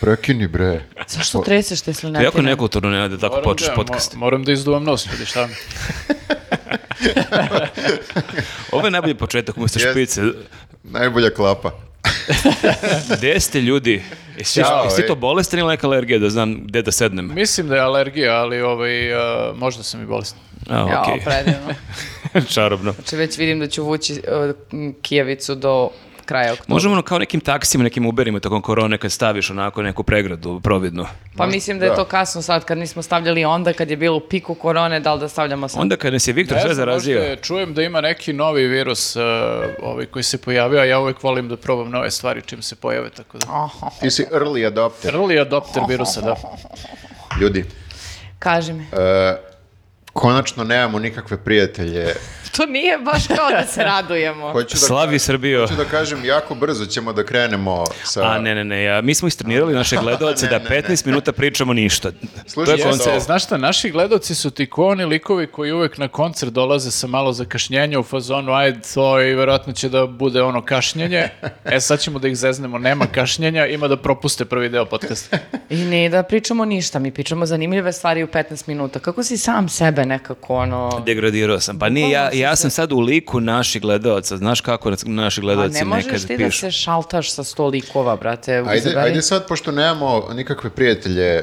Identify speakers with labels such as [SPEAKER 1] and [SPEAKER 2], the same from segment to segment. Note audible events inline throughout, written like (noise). [SPEAKER 1] prekini bre.
[SPEAKER 2] Zašto treseš te
[SPEAKER 3] To je jako
[SPEAKER 2] slinatine?
[SPEAKER 3] nekulturno, Nenade, da tako
[SPEAKER 4] Moram
[SPEAKER 3] počneš
[SPEAKER 4] da-
[SPEAKER 3] podcast.
[SPEAKER 4] mo- moram da izduvam nos, ljudi, šta mi?
[SPEAKER 3] Ovo je najbolji početak umjesto
[SPEAKER 1] Jest.
[SPEAKER 3] špice.
[SPEAKER 1] Najbolja klapa.
[SPEAKER 3] Gde ste ljudi? Jesi,
[SPEAKER 1] Ćao,
[SPEAKER 3] jesi
[SPEAKER 1] ej.
[SPEAKER 3] to bolestan ili neka alergija da znam gde da sednem?
[SPEAKER 4] Mislim da je alergija, ali ovaj, a, možda sam i bolestan.
[SPEAKER 3] A,
[SPEAKER 2] Jao,
[SPEAKER 3] okej.
[SPEAKER 2] predivno.
[SPEAKER 3] (laughs) Čarobno.
[SPEAKER 2] Znači već vidim da ću vući e, m, kijavicu do kraja oktobra.
[SPEAKER 3] Možemo ono kao nekim taksima, nekim uberima tokom korone kad staviš onako neku pregradu providnu.
[SPEAKER 2] Pa mislim da je
[SPEAKER 1] da.
[SPEAKER 2] to kasno sad, kad nismo stavljali onda, kad je bilo u piku korone, da li da stavljamo sad?
[SPEAKER 3] Onda kad nas je Viktor sve
[SPEAKER 4] Ne znam,
[SPEAKER 3] zarazio.
[SPEAKER 4] možda je- čujem da ima neki novi virus e, ovaj, koji se pojavio, a ja uvek volim da probam nove stvari čim se pojave, tako da...
[SPEAKER 2] Aha.
[SPEAKER 1] Ti si early adopter,
[SPEAKER 4] Early adopter virusa, da.
[SPEAKER 1] ljudi.
[SPEAKER 2] Kaži mi.
[SPEAKER 1] e, konačno nemamo nikakve prijatelje.
[SPEAKER 2] To nije baš kao da (laughs) se radujemo.
[SPEAKER 1] Hoću da,
[SPEAKER 3] Slavi Srbijo.
[SPEAKER 1] hoću da kažem, jako brzo ćemo da krenemo sa...
[SPEAKER 3] A ne, ne, ne, ja, mi smo istrenirali naše gledalce
[SPEAKER 1] Ne,
[SPEAKER 3] da
[SPEAKER 1] ne,
[SPEAKER 3] 15 minuta pričamo ništa.
[SPEAKER 1] Slušaj,
[SPEAKER 3] to je koncert.
[SPEAKER 1] ovo.
[SPEAKER 4] Jeste, znaš šta, naši gledoci su ti ko oni likovi koji uvek na koncert dolaze sa malo zakašnjenja u fazonu, ajde, to i verovatno će da bude ono kašnjenje. E, sad ćemo da ih zeznemo, nema kašnjenja, ima da propuste prvi deo
[SPEAKER 1] (laughs)
[SPEAKER 4] podcasta.
[SPEAKER 2] I ne da pričamo ništa, mi pričamo zanimljive stvari u 15 minuta. Kako si sam sebe nekako ono...
[SPEAKER 3] Degradirao sam. Pa nije, ja, ja sam sad u liku naših gledalaca. Znaš kako nas- naši
[SPEAKER 2] Pa
[SPEAKER 3] gledalci
[SPEAKER 2] ne možeš
[SPEAKER 3] nekad
[SPEAKER 2] ti da
[SPEAKER 3] pišu.
[SPEAKER 2] se šaltaš sa sto likova, brate.
[SPEAKER 1] Ajde,
[SPEAKER 2] izaberi.
[SPEAKER 1] ajde sad, pošto nemamo nikakve prijatelje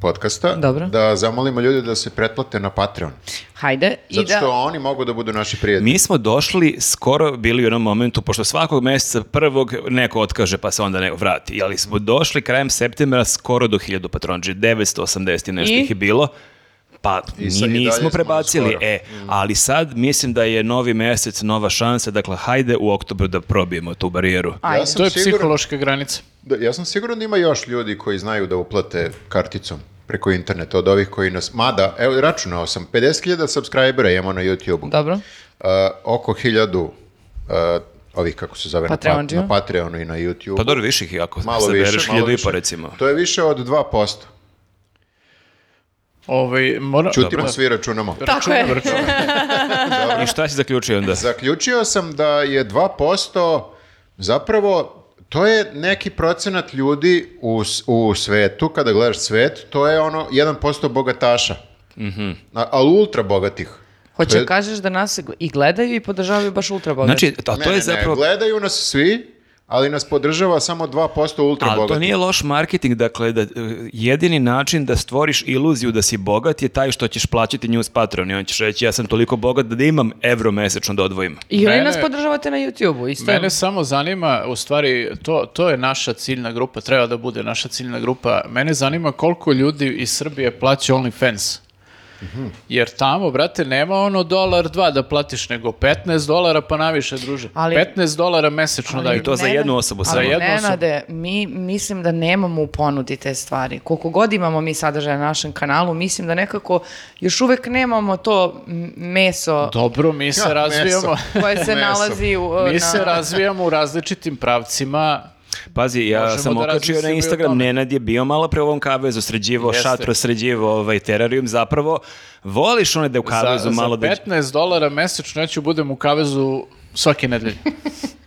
[SPEAKER 1] podcasta,
[SPEAKER 2] Dobro.
[SPEAKER 1] da zamolimo ljude da se pretplate na Patreon.
[SPEAKER 2] Hajde. I
[SPEAKER 1] Zato
[SPEAKER 2] da...
[SPEAKER 1] što oni mogu da budu naši prijatelji.
[SPEAKER 3] Mi smo došli skoro bili u jednom momentu, pošto svakog mjeseca prvog neko otkaže pa se onda neko vrati, ali smo došli krajem septembra skoro do 1000 patronđe, 980 i nešto
[SPEAKER 2] I?
[SPEAKER 3] ih je bilo. Pa
[SPEAKER 1] I sa-
[SPEAKER 3] mi
[SPEAKER 1] i dalje
[SPEAKER 3] nismo
[SPEAKER 1] smo
[SPEAKER 3] prebacili,
[SPEAKER 1] skoro. Mm.
[SPEAKER 3] e, ali sad mislim da je novi mjesec, nova šansa, dakle hajde u oktobru da probijemo tu barijeru.
[SPEAKER 2] Ajde.
[SPEAKER 1] Ja sam
[SPEAKER 4] To je
[SPEAKER 1] siguran-
[SPEAKER 4] psihološka granica.
[SPEAKER 1] Da, ja sam siguran da ima još ljudi koji znaju da uplate karticom preko interneta od ovih koji nas... Mada, evo, računao sam, 50.000 subscribera imamo na YouTube-u.
[SPEAKER 2] Dobro.
[SPEAKER 1] Uh, oko 1000 uh, ovih, kako se zove, na, pa-
[SPEAKER 2] Patreonđija.
[SPEAKER 1] na Patreonu i na YouTube-u.
[SPEAKER 3] Pa dobro, više ih je ako
[SPEAKER 1] malo
[SPEAKER 3] sabereš,
[SPEAKER 1] više, malo
[SPEAKER 3] hiljadu i
[SPEAKER 1] više.
[SPEAKER 3] po recimo.
[SPEAKER 1] To je više od 2%.
[SPEAKER 4] Ovaj, mora...
[SPEAKER 1] Čutimo,
[SPEAKER 4] Dobro.
[SPEAKER 1] svi računamo.
[SPEAKER 2] Tako je.
[SPEAKER 4] Računam, računam.
[SPEAKER 3] I šta si zaključio onda?
[SPEAKER 1] Zaključio sam da je 2% zapravo to je neki procenat ljudi u, s- u svetu, kada gledaš svet, to je ono 1% bogataša.
[SPEAKER 3] Mhm.
[SPEAKER 1] A- ali ultra bogatih. To
[SPEAKER 2] Hoće
[SPEAKER 1] je-
[SPEAKER 2] kažeš da nas i gledaju i podržavaju baš ultra bogati.
[SPEAKER 3] Znači, a
[SPEAKER 1] Ne,
[SPEAKER 3] to
[SPEAKER 1] ne,
[SPEAKER 3] je
[SPEAKER 1] ne,
[SPEAKER 3] zapravo
[SPEAKER 1] gledaju nas svi, ali nas podržava samo 2% ultra
[SPEAKER 3] Ali to
[SPEAKER 1] bogatih.
[SPEAKER 3] nije loš marketing, dakle, da, e, jedini način da stvoriš iluziju da si bogat je taj što ćeš plaćati news Patreon i on ćeš reći ja sam toliko bogat da imam evro mesečno da odvojim.
[SPEAKER 2] I vi
[SPEAKER 4] Mene-
[SPEAKER 2] nas podržavate na YouTube-u, isto.
[SPEAKER 4] Mene samo zanima, u stvari, to, to je naša ciljna grupa, treba da bude naša ciljna grupa. Mene zanima koliko ljudi iz Srbije plaća OnlyFans. Jer tamo, brate, nema ono dolar dva da platiš, nego 15 dolara pa naviše, druže.
[SPEAKER 2] Ali-
[SPEAKER 4] 15 dolara mesečno daju.
[SPEAKER 3] I to za
[SPEAKER 2] Nenad-
[SPEAKER 3] jednu osobu
[SPEAKER 2] ali
[SPEAKER 3] samo.
[SPEAKER 4] Za jednu
[SPEAKER 2] Nenade, mi mislim da nemamo u ponudi te stvari. Koliko god imamo mi sadržaja na našem kanalu, mislim da nekako još uvek nemamo to m- meso
[SPEAKER 4] Dobro, mi se
[SPEAKER 1] Ja,
[SPEAKER 2] (laughs)
[SPEAKER 4] razvijamo.
[SPEAKER 1] meso.
[SPEAKER 2] koje se
[SPEAKER 1] Meso.
[SPEAKER 2] nalazi u...
[SPEAKER 4] mi
[SPEAKER 2] na-
[SPEAKER 4] se razvijamo u različitim pravcima.
[SPEAKER 3] Pazi, ja
[SPEAKER 4] Možemo
[SPEAKER 3] sam
[SPEAKER 4] da
[SPEAKER 3] okačio na
[SPEAKER 4] razmislimo i o
[SPEAKER 3] Instagram,
[SPEAKER 4] tome.
[SPEAKER 3] Nenad je bio malo pre u ovom kavezu, sređivo
[SPEAKER 4] Jeste.
[SPEAKER 3] šatro, sređivo ovaj terarijum, zapravo voliš one da u
[SPEAKER 4] Za,
[SPEAKER 3] kavezu
[SPEAKER 4] za
[SPEAKER 3] malo da...
[SPEAKER 4] 15 dolara mesečno ja ću budem u kavezu svake nedelje.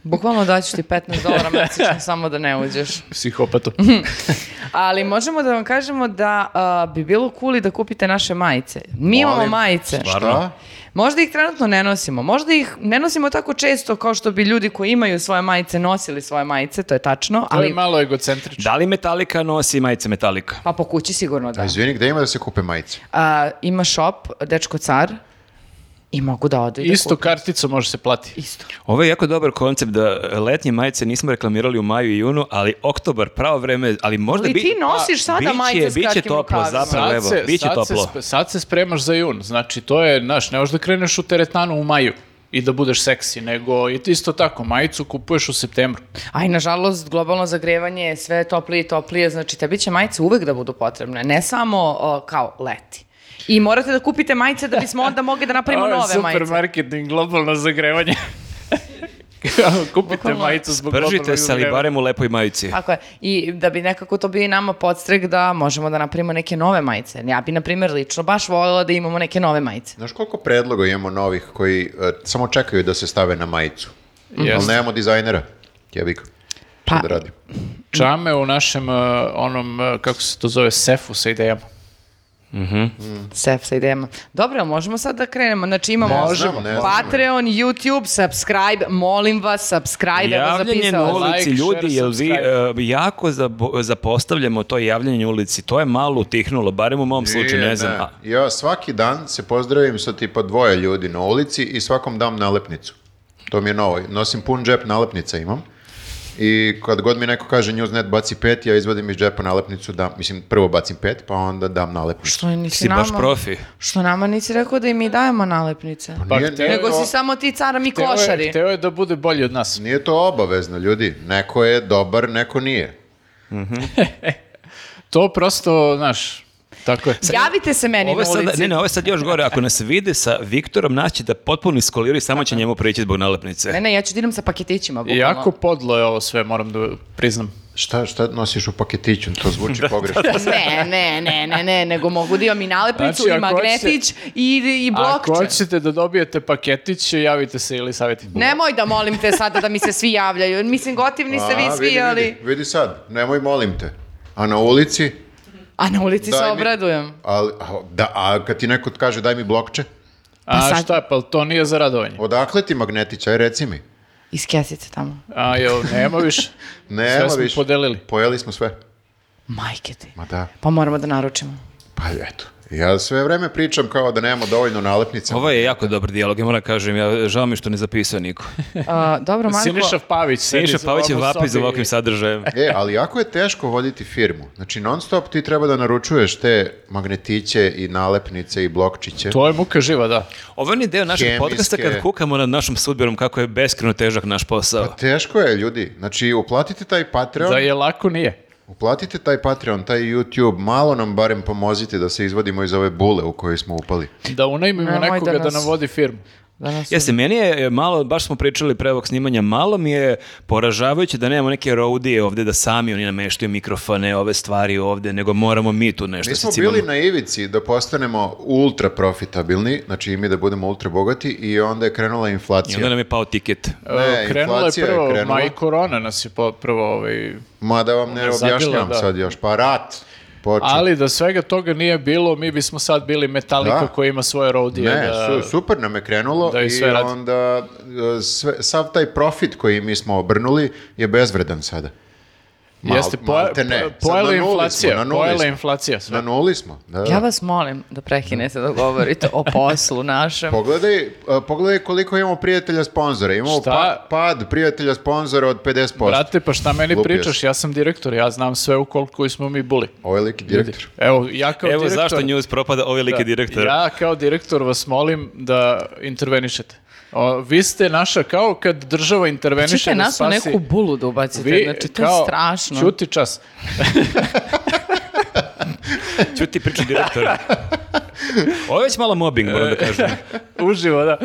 [SPEAKER 2] Bukvalno daću ti 15 dolara
[SPEAKER 4] (laughs)
[SPEAKER 2] mesečno samo da ne uđeš.
[SPEAKER 4] Psihopatom.
[SPEAKER 2] Ali možemo da vam kažemo da a, bi bilo cool i da kupite naše majice. Mi imamo
[SPEAKER 1] Molim.
[SPEAKER 2] majice.
[SPEAKER 1] Šta?
[SPEAKER 2] Možda ih trenutno ne nosimo. Možda ih ne nosimo tako često kao što bi ljudi koji imaju svoje majice nosili svoje majice, to je tačno,
[SPEAKER 4] To je
[SPEAKER 2] ali
[SPEAKER 4] malo egocentrično.
[SPEAKER 3] Da li Metallica nosi majice Metallica?
[SPEAKER 2] pa po kući sigurno da.
[SPEAKER 1] A izvini, gde ima da se kupe majice?
[SPEAKER 2] A, ima shop Dečko car i mogu da odu i da
[SPEAKER 4] Isto
[SPEAKER 2] kupe.
[SPEAKER 4] karticu može se plati.
[SPEAKER 2] Isto.
[SPEAKER 3] Ovo je jako dobar koncept da letnje majice nismo reklamirali u maju i junu, ali oktobar, pravo vreme, ali možda
[SPEAKER 2] Ali
[SPEAKER 3] bi... Pa,
[SPEAKER 2] ti nosiš sada
[SPEAKER 3] biće-
[SPEAKER 2] majice s
[SPEAKER 3] biće
[SPEAKER 2] kratkim
[SPEAKER 3] toplo,
[SPEAKER 2] rukavima.
[SPEAKER 3] zapravo. evo, bit će
[SPEAKER 4] sad
[SPEAKER 3] toplo.
[SPEAKER 4] sp- sad se spremaš za jun, znači to je, znaš, ne možeš da kreneš u teretanu u maju i da budeš seksi, nego i ti isto tako, majicu kupuješ u septembru.
[SPEAKER 2] Aj, nažalost, globalno zagrevanje je sve toplije i toplije, znači tebi će majice uvek da budu potrebne, ne samo o, kao leti. I morate da kupite majice da bismo onda mogli da
[SPEAKER 4] (laughs)
[SPEAKER 2] napravimo
[SPEAKER 4] Ovo je
[SPEAKER 2] nove
[SPEAKER 4] super
[SPEAKER 2] majice.
[SPEAKER 4] marketing, globalno
[SPEAKER 2] (laughs)
[SPEAKER 4] zagrevanje. Kao, Kupite
[SPEAKER 2] Bukvalno.
[SPEAKER 4] majicu zbog
[SPEAKER 3] Pržite
[SPEAKER 4] globalnog
[SPEAKER 3] se, ali
[SPEAKER 4] zagrevanja.
[SPEAKER 3] barem u lepoj majici.
[SPEAKER 2] Tako je. I da bi nekako to bio i nama podstrek da možemo da napravimo neke nove majice. Ja bi, na primjer, lično baš voljela da imamo neke nove majice.
[SPEAKER 1] Znaš koliko predloga imamo novih koji e, samo čekaju da se stave na majicu?
[SPEAKER 4] Jeste.
[SPEAKER 1] Ali nemamo dizajnera. Jebik. šta
[SPEAKER 2] Pa-
[SPEAKER 1] da radim.
[SPEAKER 4] Čame u našem, uh, onom, uh, kako se to zove, sefu sa idejama.
[SPEAKER 2] Sef sa idejama. Dobro, jel možemo sad da krenemo. Znači imamo
[SPEAKER 1] Ne znam, ne znam.
[SPEAKER 2] Patreon, YouTube, subscribe, molim vas, subscribe, evo
[SPEAKER 3] Javljanje na
[SPEAKER 2] zapisao.
[SPEAKER 4] Like,
[SPEAKER 3] ulici,
[SPEAKER 4] share,
[SPEAKER 3] ljudi, jel vi
[SPEAKER 4] subscribe.
[SPEAKER 3] e, jako zabo- zapostavljamo to javljanje na ulici? To je malo utihnulo, barem u mom slučaju, ne
[SPEAKER 1] Nije,
[SPEAKER 3] znam.
[SPEAKER 4] da.
[SPEAKER 1] ne.
[SPEAKER 3] a-
[SPEAKER 1] Ja svaki dan se pozdravim sa tipa dvoje ljudi na ulici i svakom dam nalepnicu. To mi je novo. Nosim pun džep, nalepnica imam. I kad god mi neko kaže Newsnet baci pet, ja izvadim iz džepa nalepnicu, dam, mislim prvo bacim pet, pa onda dam nalepnicu.
[SPEAKER 2] Što nisi
[SPEAKER 3] Si
[SPEAKER 2] nama,
[SPEAKER 3] baš profi.
[SPEAKER 2] Što nama nisi rekao da i mi dajemo nalepnice?
[SPEAKER 4] Pa
[SPEAKER 1] Nije-
[SPEAKER 4] hteo-
[SPEAKER 1] nije
[SPEAKER 2] Nego
[SPEAKER 1] to-
[SPEAKER 2] si samo ti cara mi
[SPEAKER 4] Teo je-
[SPEAKER 2] košari.
[SPEAKER 4] Teo je da bude bolji od nas.
[SPEAKER 1] Nije to obavezno, ljudi. Neko je dobar, neko nije.
[SPEAKER 4] To prosto, znaš, tako je.
[SPEAKER 2] Javite se meni
[SPEAKER 3] Ovo
[SPEAKER 2] na
[SPEAKER 3] je
[SPEAKER 2] ulici.
[SPEAKER 3] sad, ne, ne, ovo je sad još gore. Ako nas vide sa Viktorom, nas će da potpuno iskoliraju i samo će njemu prići zbog nalepnice.
[SPEAKER 2] Ne, ne, ja ću dinom sa paketićima. bukvalno.
[SPEAKER 4] Jako podlo je ovo sve, moram da priznam.
[SPEAKER 1] Šta, šta nosiš u paketiću? To
[SPEAKER 2] (laughs) Da,
[SPEAKER 1] zvuči pogrešno.
[SPEAKER 2] Ne, ne, ne, ne, ne, nego mogu da imam i nalepnicu,
[SPEAKER 4] Znači,
[SPEAKER 2] i
[SPEAKER 4] ako
[SPEAKER 2] magnetić, i, i
[SPEAKER 4] Ako
[SPEAKER 2] blokčan.
[SPEAKER 4] hoćete da dobijete paketić, javite se ili savjeti.
[SPEAKER 2] Nemoj da molim te sada da mi se svi javljaju. Mislim, gotivni ste vi
[SPEAKER 1] A,
[SPEAKER 2] svi,
[SPEAKER 1] Pa, vidi,
[SPEAKER 2] ali...
[SPEAKER 1] vidi, vidi sad, nemoj molim te. A na ulici,
[SPEAKER 2] A na ulici
[SPEAKER 1] Daj
[SPEAKER 2] se
[SPEAKER 1] mi-
[SPEAKER 2] obradujem.
[SPEAKER 1] ali, a, da, a kad ti neko kaže daj mi blokče,
[SPEAKER 4] A
[SPEAKER 2] sad-
[SPEAKER 4] šta, pa to nije za radovanje?
[SPEAKER 1] odakle ti magnetić, aj reci mi.
[SPEAKER 2] Iz kesice tamo.
[SPEAKER 4] A jel, nema
[SPEAKER 1] (laughs)
[SPEAKER 4] više?
[SPEAKER 1] Nema
[SPEAKER 4] Sve smo
[SPEAKER 1] više.
[SPEAKER 4] podelili.
[SPEAKER 1] Pojeli smo sve.
[SPEAKER 2] Majke ti.
[SPEAKER 1] Ma da,
[SPEAKER 2] Pa moramo da naručimo.
[SPEAKER 1] pa eto. Ja sve vreme pričam kao da nemamo dovoljno nalepnica.
[SPEAKER 3] Ovo je jako dobar dijalog, ja moram da kažem, ja, žao mi je što ne zapisao niko.
[SPEAKER 2] A, dobro, Marko.
[SPEAKER 4] Siniša Pa Pavić. sedi
[SPEAKER 3] Siniša
[SPEAKER 4] za
[SPEAKER 3] Pavić je
[SPEAKER 4] ovom
[SPEAKER 3] vapi za
[SPEAKER 4] sobi.
[SPEAKER 3] ovakvim sadržajem.
[SPEAKER 1] E, ali jako je teško voditi firmu. Znači, non stop ti treba da naručuješ te magnetiće i nalepnice i blokčiće.
[SPEAKER 4] To je muka živa, da.
[SPEAKER 3] Ovo je onaj deo našeg
[SPEAKER 1] Hemijske.
[SPEAKER 3] podcasta kad kukamo nad našom sudberom kako je beskreno težak naš posao.
[SPEAKER 1] Pa teško je, ljudi. Znači, uplatite taj Patreon,
[SPEAKER 4] Da je lako nije.
[SPEAKER 1] uplatite taj Patreon, taj YouTube, malo nam barem pomozite da se izvadimo iz ove bule u kojoj smo upali.
[SPEAKER 4] Da unajmimo
[SPEAKER 2] Nemoj
[SPEAKER 4] nekoga da
[SPEAKER 2] danas.
[SPEAKER 4] nam vodi firmu.
[SPEAKER 2] Danas...
[SPEAKER 3] Jeste, meni je malo, baš smo pričali pre ovog snimanja, malo mi je poražavajuće da nemamo neke roadije ovde, da sami oni nameštaju mikrofone, ove stvari ovde, nego moramo mi tu nešto
[SPEAKER 1] Mi
[SPEAKER 3] se
[SPEAKER 1] smo
[SPEAKER 3] cimamo.
[SPEAKER 1] bili na ivici da postanemo ultra profitabilni, znači i mi da budemo ultra bogati i onda je krenula
[SPEAKER 3] I
[SPEAKER 1] inflacija.
[SPEAKER 3] onda nam je pao tiket.
[SPEAKER 1] Ne,
[SPEAKER 4] E, krenula je
[SPEAKER 1] inflacija je
[SPEAKER 4] prvo,
[SPEAKER 1] krenula.
[SPEAKER 4] ma i korona nas je po- prvo ovaj...
[SPEAKER 1] Ma da vam ne
[SPEAKER 4] je zabila,
[SPEAKER 1] objašnjam
[SPEAKER 4] da.
[SPEAKER 1] sad još, pa rat počeo.
[SPEAKER 4] Ali da svega toga nije bilo, mi bismo sad bili Metallica
[SPEAKER 1] Da.
[SPEAKER 4] koji ima svoje rodije.
[SPEAKER 1] ne,
[SPEAKER 4] da...
[SPEAKER 1] su- super nam je krenulo
[SPEAKER 4] da i
[SPEAKER 1] i,
[SPEAKER 4] sve radi.
[SPEAKER 1] onda e, sve, sav taj profit koji mi smo obrnuli je bezvredan sada. Mal-
[SPEAKER 4] Jeste, poje-
[SPEAKER 1] malte ne.
[SPEAKER 4] po-
[SPEAKER 1] Sad
[SPEAKER 4] pojela
[SPEAKER 1] na nuli
[SPEAKER 4] inflacija,
[SPEAKER 1] smo, na nuli
[SPEAKER 4] pojela
[SPEAKER 1] smo.
[SPEAKER 4] inflacija sve.
[SPEAKER 1] Na nuli smo. Da, da.
[SPEAKER 2] Ja vas molim da prekinete da govorite o poslu našem.
[SPEAKER 1] Pogledaj, e, pogledaj koliko imamo prijatelja sponzora. Imamo
[SPEAKER 4] Šta?
[SPEAKER 1] pa- pad prijatelja sponzora od 50%.
[SPEAKER 4] Brate, pa šta meni
[SPEAKER 1] Lupio
[SPEAKER 4] pričaš?
[SPEAKER 1] si.
[SPEAKER 4] Ja sam direktor, ja znam sve u koliko koji smo mi buli.
[SPEAKER 1] Ovo je lik direktor.
[SPEAKER 4] Evo, ja kao
[SPEAKER 3] Evo
[SPEAKER 4] direktor...
[SPEAKER 3] zašto news propada ove like
[SPEAKER 4] Da,
[SPEAKER 3] direktora.
[SPEAKER 4] Ja kao direktor vas molim da intervenišete. O, vi ste naša, kao kad država interveniše
[SPEAKER 2] Čite
[SPEAKER 4] da
[SPEAKER 2] nas u
[SPEAKER 4] spasi...
[SPEAKER 2] neku bulu da ubacite,
[SPEAKER 4] Vi,
[SPEAKER 2] znači to
[SPEAKER 4] kao,
[SPEAKER 2] je strašno.
[SPEAKER 4] Ćuti čas.
[SPEAKER 3] Ćuti priča
[SPEAKER 1] (laughs)
[SPEAKER 3] direktora. Ovo je već malo mobbing, moram da (laughs) kažem.
[SPEAKER 4] Uživo, da.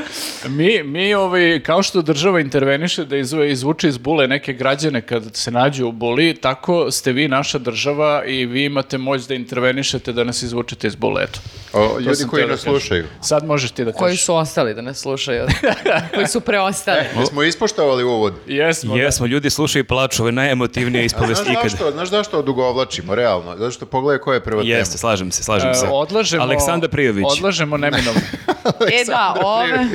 [SPEAKER 4] Mi, mi ovaj, kao što država interveniše da izvu- izvuče iz bule neke građane kad se nađu u buli, tako ste vi naša država i vi imate moć da intervenišete da nas izvučete iz bule. Eto.
[SPEAKER 1] O,
[SPEAKER 4] To
[SPEAKER 1] ljudi
[SPEAKER 4] sam
[SPEAKER 1] koji
[SPEAKER 4] teo da
[SPEAKER 1] nas
[SPEAKER 4] kažem.
[SPEAKER 1] slušaju.
[SPEAKER 4] Sad možeš ti da
[SPEAKER 2] Koji
[SPEAKER 4] kažeš.
[SPEAKER 2] su ostali da ne slušaju. Koji su preostali.
[SPEAKER 1] Mi smo ispoštovali uvod.
[SPEAKER 4] Jesmo, da.
[SPEAKER 3] Jesmo, ljudi slušaju i plaču, ovo je najemotivnija
[SPEAKER 1] Znaš
[SPEAKER 3] ispovest ikad.
[SPEAKER 1] zašto, znaš zašto odugovlačimo, realno? Zato što pogledaj koja je prva
[SPEAKER 3] Jeste, slažem se, slažem se.
[SPEAKER 4] E, odlažemo,
[SPEAKER 3] Aleksandar Prijović.
[SPEAKER 4] Odlažemo
[SPEAKER 3] (laughs)
[SPEAKER 4] neminovno.
[SPEAKER 2] E da, ove, ove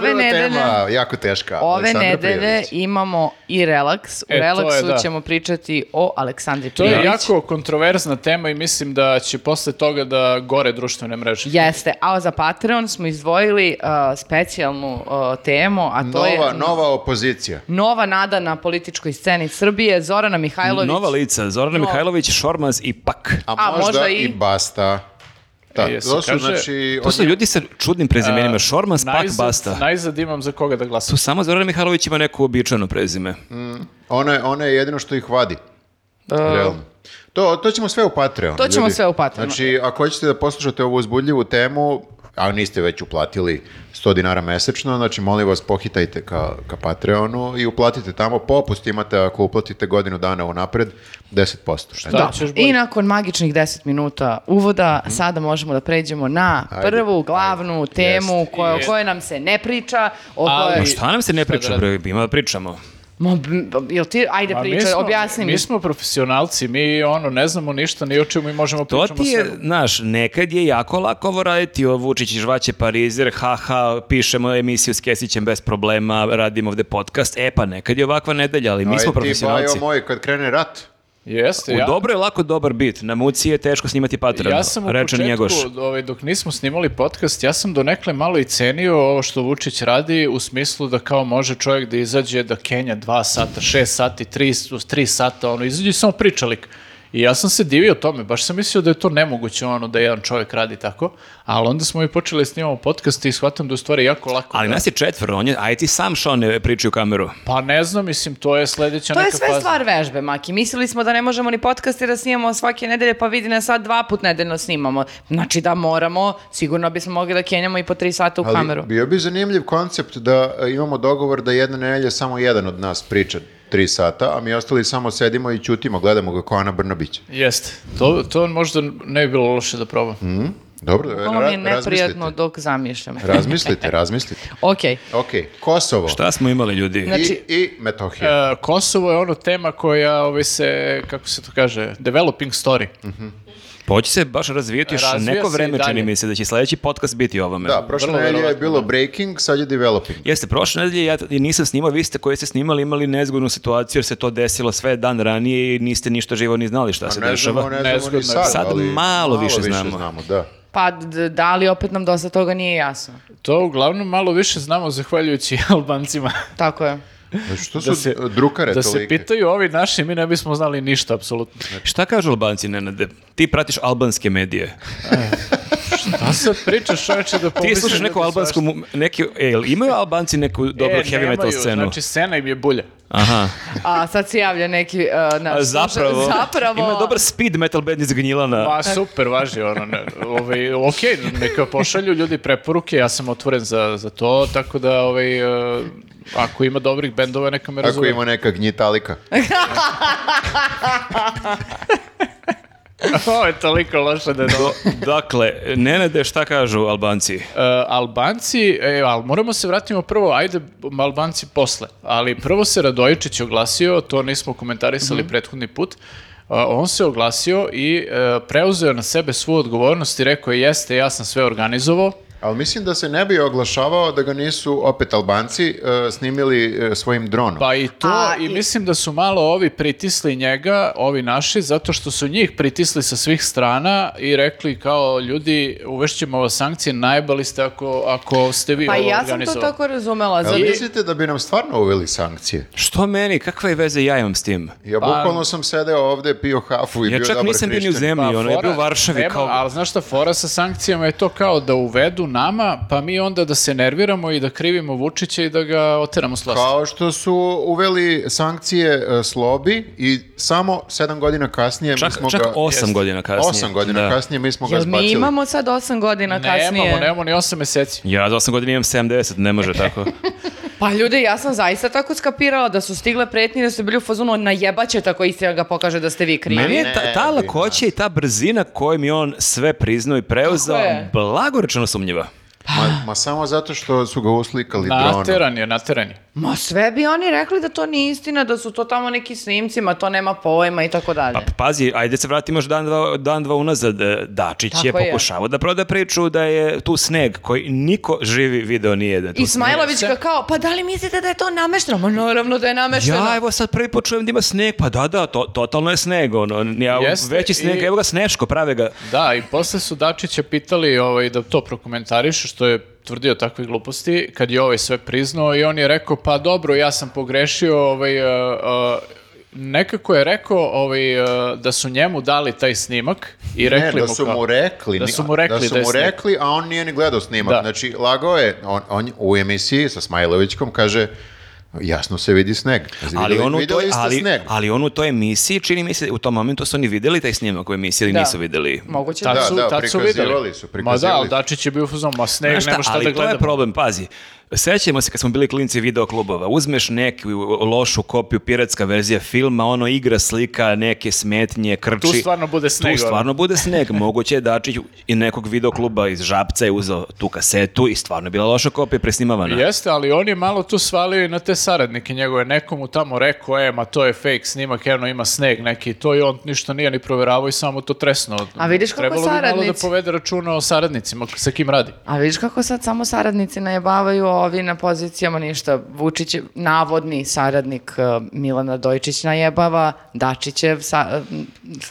[SPEAKER 1] tema. Prva
[SPEAKER 2] nedelje...
[SPEAKER 1] tema, jako teška.
[SPEAKER 2] Ove
[SPEAKER 1] Aleksandra
[SPEAKER 2] nedelje
[SPEAKER 1] Prijević.
[SPEAKER 2] imamo i relaks. U
[SPEAKER 4] E, to je,
[SPEAKER 2] relaksu
[SPEAKER 4] da.
[SPEAKER 2] ćemo pričati o Aleksandri
[SPEAKER 4] To je
[SPEAKER 2] Prijović.
[SPEAKER 4] jako kontroverzna tema i mislim da će posle toga da gore društvene mreže.
[SPEAKER 2] Jeste, a za Patreon smo izdvojili uh, specijalnu uh, temu, a to je
[SPEAKER 1] Nova, nova opozicija.
[SPEAKER 2] nova nada na političkoj sceni Srbije, Zorana Mihajlović.
[SPEAKER 3] Nova lica, Zorana
[SPEAKER 2] No.
[SPEAKER 3] Mihajlović, Šormaz i Pak.
[SPEAKER 1] A,
[SPEAKER 2] A
[SPEAKER 1] možda,
[SPEAKER 2] možda
[SPEAKER 1] i...
[SPEAKER 2] i
[SPEAKER 1] Basta. Da,
[SPEAKER 4] E, se
[SPEAKER 1] to su,
[SPEAKER 4] kaže-
[SPEAKER 1] znači...
[SPEAKER 3] To su
[SPEAKER 1] oni-
[SPEAKER 3] ljudi sa čudnim prezimenima, Šormaz, Pak,
[SPEAKER 4] E, Najzad-
[SPEAKER 3] Basta.
[SPEAKER 4] Najzad imam za koga da
[SPEAKER 3] Tu
[SPEAKER 4] glasam.
[SPEAKER 3] samo Zorana Mihajlović ima neko običajno prezime.
[SPEAKER 4] Mm.
[SPEAKER 1] Ona, je- ona je jedino što ih vadi. Realno. To, to ćemo sve u Patreon.
[SPEAKER 2] E, To ćemo
[SPEAKER 1] ljudi.
[SPEAKER 2] sve u Patreonu.
[SPEAKER 1] Znači, ako hoćete da poslušate ovu uzbudljivu temu, a niste već uplatili 100 dinara mesečno, znači molim vas pohitajte ka, ka Patreonu i uplatite tamo. Popust imate ako uplatite godinu dana unapred 10%. Šta je
[SPEAKER 4] Da.
[SPEAKER 1] to?
[SPEAKER 2] Da.
[SPEAKER 4] ćeš bolje.
[SPEAKER 2] I nakon magičnih 10 minuta uvoda, sada možemo da pređemo na
[SPEAKER 1] Mhm. Ajde,
[SPEAKER 2] prvu glavnu temu koja, o
[SPEAKER 4] Jeste.
[SPEAKER 2] kojoj nam se ne priča, o
[SPEAKER 4] Ali-
[SPEAKER 2] kojoj...
[SPEAKER 3] Šta nam se ne
[SPEAKER 4] Šta da
[SPEAKER 3] priča,
[SPEAKER 4] radim?
[SPEAKER 3] bre, ima da pričamo.
[SPEAKER 2] Ma, b- b- jel ti, ajde
[SPEAKER 4] Ma, Pa mi
[SPEAKER 2] pričaj,
[SPEAKER 4] smo-
[SPEAKER 2] objasni mi.
[SPEAKER 4] Mi smo profesionalci, mi ono, ne znamo ništa, ni o čemu i možemo
[SPEAKER 3] To
[SPEAKER 4] pričamo
[SPEAKER 3] ti je,
[SPEAKER 4] svemu.
[SPEAKER 3] znaš, nekad je jako lako ovo raditi, o Vučić i žvaće Parizer, haha, pišemo emisiju s Kesićem bez problema, radimo ovde podcast, e pa nekad je ovakva nedelja, ali mi smo
[SPEAKER 1] Ti
[SPEAKER 3] profesionalci.
[SPEAKER 1] bajo moj, kad krene rat,
[SPEAKER 4] Jeste,
[SPEAKER 3] U
[SPEAKER 4] ja,
[SPEAKER 3] dobro je lako dobar bit, na muci je teško snimati patrano,
[SPEAKER 4] ja sam u
[SPEAKER 3] reče
[SPEAKER 4] početku,
[SPEAKER 3] Njegoš.
[SPEAKER 4] ovaj, dok nismo snimali podcast, ja sam donekle malo i cenio ovo što Vučić radi u smislu da kao može čovjek da izađe da Kenja dva sata, šest sati, tri, tri sata, ono, izađe i samo priča lik. I ja sam se divio tome, baš sam mislio da je to nemoguće ono da jedan čovjek radi tako, ali onda smo i počeli da snimamo podcast i shvatam da je u stvari jako lako.
[SPEAKER 3] Ali
[SPEAKER 4] da-
[SPEAKER 3] nas je četvr, on je, a i ti sam šao ne pričaju u kameru.
[SPEAKER 4] Pa ne znam, mislim, to je sledeća
[SPEAKER 2] To je
[SPEAKER 4] neka
[SPEAKER 2] sve
[SPEAKER 4] faza.
[SPEAKER 2] stvar vežbe, Maki. Mislili smo da ne možemo ni podcaste da snimamo svake nedelje, pa vidi nas sad dva put nedeljno snimamo. Znači da moramo, sigurno bismo mogli da kenjamo i po tri sata u
[SPEAKER 1] ali
[SPEAKER 2] kameru.
[SPEAKER 1] bio bi zanimljiv koncept da e, imamo dogovor da jedna nedelja samo jedan od nas priča tri sata, a mi ostali samo sedimo i ćutimo, gledamo ga kao Ana Brnabić.
[SPEAKER 4] Jeste, to, to možda ne bi bilo loše da probam.
[SPEAKER 1] Dobro, ra-
[SPEAKER 2] Ovo mi je
[SPEAKER 1] razmislite.
[SPEAKER 2] neprijatno dok zamišljam.
[SPEAKER 1] Razmislite, razmislite.
[SPEAKER 2] Ok.
[SPEAKER 1] Ok, Kosovo
[SPEAKER 3] Šta smo imali ljudi?
[SPEAKER 2] Ne.
[SPEAKER 1] i,
[SPEAKER 2] Znači-
[SPEAKER 1] i Metohija.
[SPEAKER 4] E, Kosovo je ono tema koja ovaj se, kako se to kaže, developing story.
[SPEAKER 3] Mhm. Poći Pa se baš razvijati još
[SPEAKER 4] Razvija
[SPEAKER 3] neko
[SPEAKER 4] se i
[SPEAKER 3] vreme,
[SPEAKER 4] dalje.
[SPEAKER 3] čini mi se da će sledeći podcast biti o ovome.
[SPEAKER 1] da, prošle
[SPEAKER 4] vrlo
[SPEAKER 1] nedelje je
[SPEAKER 4] verovatno,
[SPEAKER 1] bilo breaking, sad je developing.
[SPEAKER 3] Jeste, prošle nedelje ja t- nisam snimao, vi ste koji ste snimali imali nezgodnu situaciju jer se to desilo sve dan ranije i niste ništa živo ni znali
[SPEAKER 4] Pa
[SPEAKER 3] šta se
[SPEAKER 1] Pa ne
[SPEAKER 3] dešava.
[SPEAKER 1] znamo, ne znamo
[SPEAKER 4] Nezgodno
[SPEAKER 1] ni
[SPEAKER 4] je.
[SPEAKER 1] sad,
[SPEAKER 3] Sad
[SPEAKER 1] ali
[SPEAKER 3] malo više znamo.
[SPEAKER 1] da.
[SPEAKER 2] Pa d- da li opet nam dosta toga nije jasno?
[SPEAKER 4] To uglavnom malo više znamo zahvaljujući (laughs) Albancima.
[SPEAKER 2] Tako je.
[SPEAKER 1] Znači, Što su
[SPEAKER 4] Da se-
[SPEAKER 1] e, drukare
[SPEAKER 4] da se
[SPEAKER 1] tolike?
[SPEAKER 4] pitaju ovi naši, mi ne bismo znali ništa, apsolutno.
[SPEAKER 3] Šta kažu Albanci, Nenade? Ti pratiš albanske medije.
[SPEAKER 4] Pa Šta sad pričaš čoveče da
[SPEAKER 3] Da. Ti
[SPEAKER 4] pomislim
[SPEAKER 3] slušaš
[SPEAKER 4] da
[SPEAKER 3] neku
[SPEAKER 4] ti
[SPEAKER 3] albansku...
[SPEAKER 4] svašta-
[SPEAKER 3] mu- Neki, e, jel imaju Albanci neku dobru
[SPEAKER 4] E,
[SPEAKER 3] heavy metal
[SPEAKER 4] nemaju,
[SPEAKER 3] scenu?
[SPEAKER 4] Znači, scena im je bulja.
[SPEAKER 3] Aha.
[SPEAKER 2] A sad se javlja neki uh, naš
[SPEAKER 3] A zapravo,
[SPEAKER 2] sluša- zapravo
[SPEAKER 3] Ima dobar speed metal band iz Gnjilana.
[SPEAKER 4] Pa super, važi ono. Ne, ovaj, ok, neka pošalju ljudi preporuke, ja sam otvoren za, za to, tako da ovaj, e, ako ima dobrih bendova, neka me
[SPEAKER 1] Ako
[SPEAKER 4] razume.
[SPEAKER 1] ima neka gnjitalika.
[SPEAKER 4] (laughs) Ovo je toliko loše da je dobro.
[SPEAKER 3] Dakle, Nenade, šta kažu Albanci?
[SPEAKER 4] E, Albanci, e, ali moramo se vratimo prvo, ajde Albanci posle, ali prvo se Radojičić oglasio, to nismo komentarisali
[SPEAKER 2] Mhm.
[SPEAKER 4] prethodni put, E, on se oglasio i e, preuzeo na sebe svu odgovornost i rekao je jeste, ja sam sve organizovao,
[SPEAKER 1] Ali mislim da se ne bi oglašavao da ga nisu opet Albanci e, snimili e, svojim dronom.
[SPEAKER 4] Pa i to,
[SPEAKER 2] A,
[SPEAKER 4] i,
[SPEAKER 2] i-
[SPEAKER 4] mislim da su malo ovi pritisli njega, ovi naši, zato što su njih pritisli sa svih strana i rekli kao ljudi, uvešćemo vas sankcije, najbali ste ako, ako ste vi
[SPEAKER 2] Pa i
[SPEAKER 4] ovo
[SPEAKER 2] ja sam to
[SPEAKER 4] organizovali.
[SPEAKER 2] tako razumela.
[SPEAKER 1] Ali
[SPEAKER 2] zato-
[SPEAKER 1] mislite da bi nam stvarno uveli sankcije?
[SPEAKER 3] Što meni? Kakve veze ja imam s tim?
[SPEAKER 1] Ja
[SPEAKER 2] Pa-
[SPEAKER 1] bukvalno sam sedeo ovde, pio hafu i
[SPEAKER 3] Ja
[SPEAKER 1] bio
[SPEAKER 3] čak
[SPEAKER 1] dobar Pa,
[SPEAKER 3] nisam bio ni u
[SPEAKER 1] hrišćan.
[SPEAKER 3] zemlji, Pa ono, ja bio u
[SPEAKER 4] fora-
[SPEAKER 3] Varšavi
[SPEAKER 4] treba-
[SPEAKER 3] kao...
[SPEAKER 4] Ali znaš šta, fora sa sankcijama je to kao da uvedu nama, pa mi onda da se nerviramo i da krivimo Vučića i da ga oteramo s vlasti.
[SPEAKER 1] Kao što su uveli sankcije e, slobi i samo sedam godina kasnije mi
[SPEAKER 3] Čak,
[SPEAKER 1] smo
[SPEAKER 3] čak
[SPEAKER 1] ga...
[SPEAKER 3] osam godina kasnije.
[SPEAKER 1] Osam godina
[SPEAKER 3] Da.
[SPEAKER 1] kasnije mi smo ga
[SPEAKER 2] Jel mi
[SPEAKER 1] zbacili.
[SPEAKER 2] imamo sad osam godina kasnije?
[SPEAKER 4] Nemamo, nemamo ni 8 meseci.
[SPEAKER 3] Ja za 8 godina imam 70, ne može
[SPEAKER 1] (laughs)
[SPEAKER 3] tako.
[SPEAKER 2] Pa ljudi, ja sam zaista tako skapirala da su stigle pretnje i da su bili u fazonu najebaće tako istina ga pokaže da ste vi krivi.
[SPEAKER 3] Meni je ta,
[SPEAKER 1] Ne,
[SPEAKER 3] ta
[SPEAKER 1] ne,
[SPEAKER 3] lakoća i ta brzina kojom je on sve priznao i preuzao,
[SPEAKER 2] Tako je.
[SPEAKER 3] blagorečeno sumnjiva.
[SPEAKER 1] Ma,
[SPEAKER 2] Pa.
[SPEAKER 1] ma samo zato što su ga uslikali dronom.
[SPEAKER 4] Nateran je, nateran je.
[SPEAKER 2] Ma sve bi oni rekli da to nije istina, da su to tamo neki snimci, ma to nema pojma i tako dalje.
[SPEAKER 3] Pa pazi, ajde se vratimo još dan dva, dan dva unazad. e, Dačić
[SPEAKER 2] Tako
[SPEAKER 3] je
[SPEAKER 2] je.
[SPEAKER 3] pokušavao da proda priču da je tu sneg koji niko živi video nije da je tu
[SPEAKER 2] Ismailović ga kao, pa da li mislite da je to namešteno? Ma naravno da je namešteno.
[SPEAKER 3] Ja evo sad prvi put čujem da ima sneg, pa da, da, to, totalno je sneg, ono, ja,
[SPEAKER 4] Jeste,
[SPEAKER 3] veći sneg,
[SPEAKER 4] i-
[SPEAKER 3] evo ga sneško, prave ga.
[SPEAKER 4] Da, i posle su Dačića pitali ovaj, da to prokomentariše, što je tvrdio takve gluposti, kad je ovaj sve priznao i on je rekao, pa dobro, ja sam pogrešio, ovaj, e, e, nekako je rekao ovaj, e, da su njemu dali taj snimak i
[SPEAKER 1] Ne,
[SPEAKER 4] rekli
[SPEAKER 1] da
[SPEAKER 4] mu
[SPEAKER 1] su
[SPEAKER 4] kao-
[SPEAKER 1] mu rekli.
[SPEAKER 4] da
[SPEAKER 1] ni-
[SPEAKER 4] su mu rekli
[SPEAKER 1] da su
[SPEAKER 4] da je
[SPEAKER 1] mu
[SPEAKER 4] sneg.
[SPEAKER 1] rekli, a on nije ni gledao snimak.
[SPEAKER 4] Da.
[SPEAKER 1] Znači, lagao je, on, on u emisiji sa Smajlovićkom kaže, jasno se vidi sneg. Znači,
[SPEAKER 3] Ali
[SPEAKER 1] videli-
[SPEAKER 3] on, u
[SPEAKER 1] videli
[SPEAKER 3] toj,
[SPEAKER 1] ste
[SPEAKER 3] ali,
[SPEAKER 1] sneg.
[SPEAKER 3] ali on u toj emisiji, čini mi se, u tom momentu su oni videli taj snimak u emisiji ili
[SPEAKER 2] Da.
[SPEAKER 3] nisu videli.
[SPEAKER 2] Moguće da.
[SPEAKER 4] Tad
[SPEAKER 1] Da,
[SPEAKER 4] su,
[SPEAKER 1] da,
[SPEAKER 4] tad su
[SPEAKER 1] prikazivali
[SPEAKER 4] videli.
[SPEAKER 1] su,
[SPEAKER 4] Ma da,
[SPEAKER 1] prikazivali
[SPEAKER 4] ali
[SPEAKER 1] su.
[SPEAKER 4] Dačić je bio u fazonu, ma sneg,
[SPEAKER 3] Znaš
[SPEAKER 4] nema šta
[SPEAKER 3] ali
[SPEAKER 4] da
[SPEAKER 3] to je
[SPEAKER 4] gledamo.
[SPEAKER 3] problem, pazi. Sećamo se kad smo bili klinci videoklubova, uzmeš neku lošu kopiju, piratska verzija filma, ono igra slika, neke smetnje, krči.
[SPEAKER 4] Tu stvarno bude sneg,
[SPEAKER 3] Tu stvarno bude
[SPEAKER 4] (laughs)
[SPEAKER 3] sneg. Moguće je Dačić i nekog videokluba iz Žabca je uzeo tu kasetu i stvarno je bila loša kopija presnimavana.
[SPEAKER 4] Jeste, ali on je malo tu svalio i na te saradnike njegove. Nekomu tamo rekao, e, ma to je fake snimak, eno ima sneg neki. To i on ništa nije ni provjeravao i samo to tresno.
[SPEAKER 2] A vidiš kako
[SPEAKER 4] Trebalo bi malo da
[SPEAKER 2] saradnici-
[SPEAKER 4] povede računa o saradnicima, sa kim radi.
[SPEAKER 2] A vidiš kako sad samo saradnici najebavaju, a ovi na pozicijama ništa. Vučić, je navodni saradnik e, Milana Dojčić najebava, Dačićev, sa, e,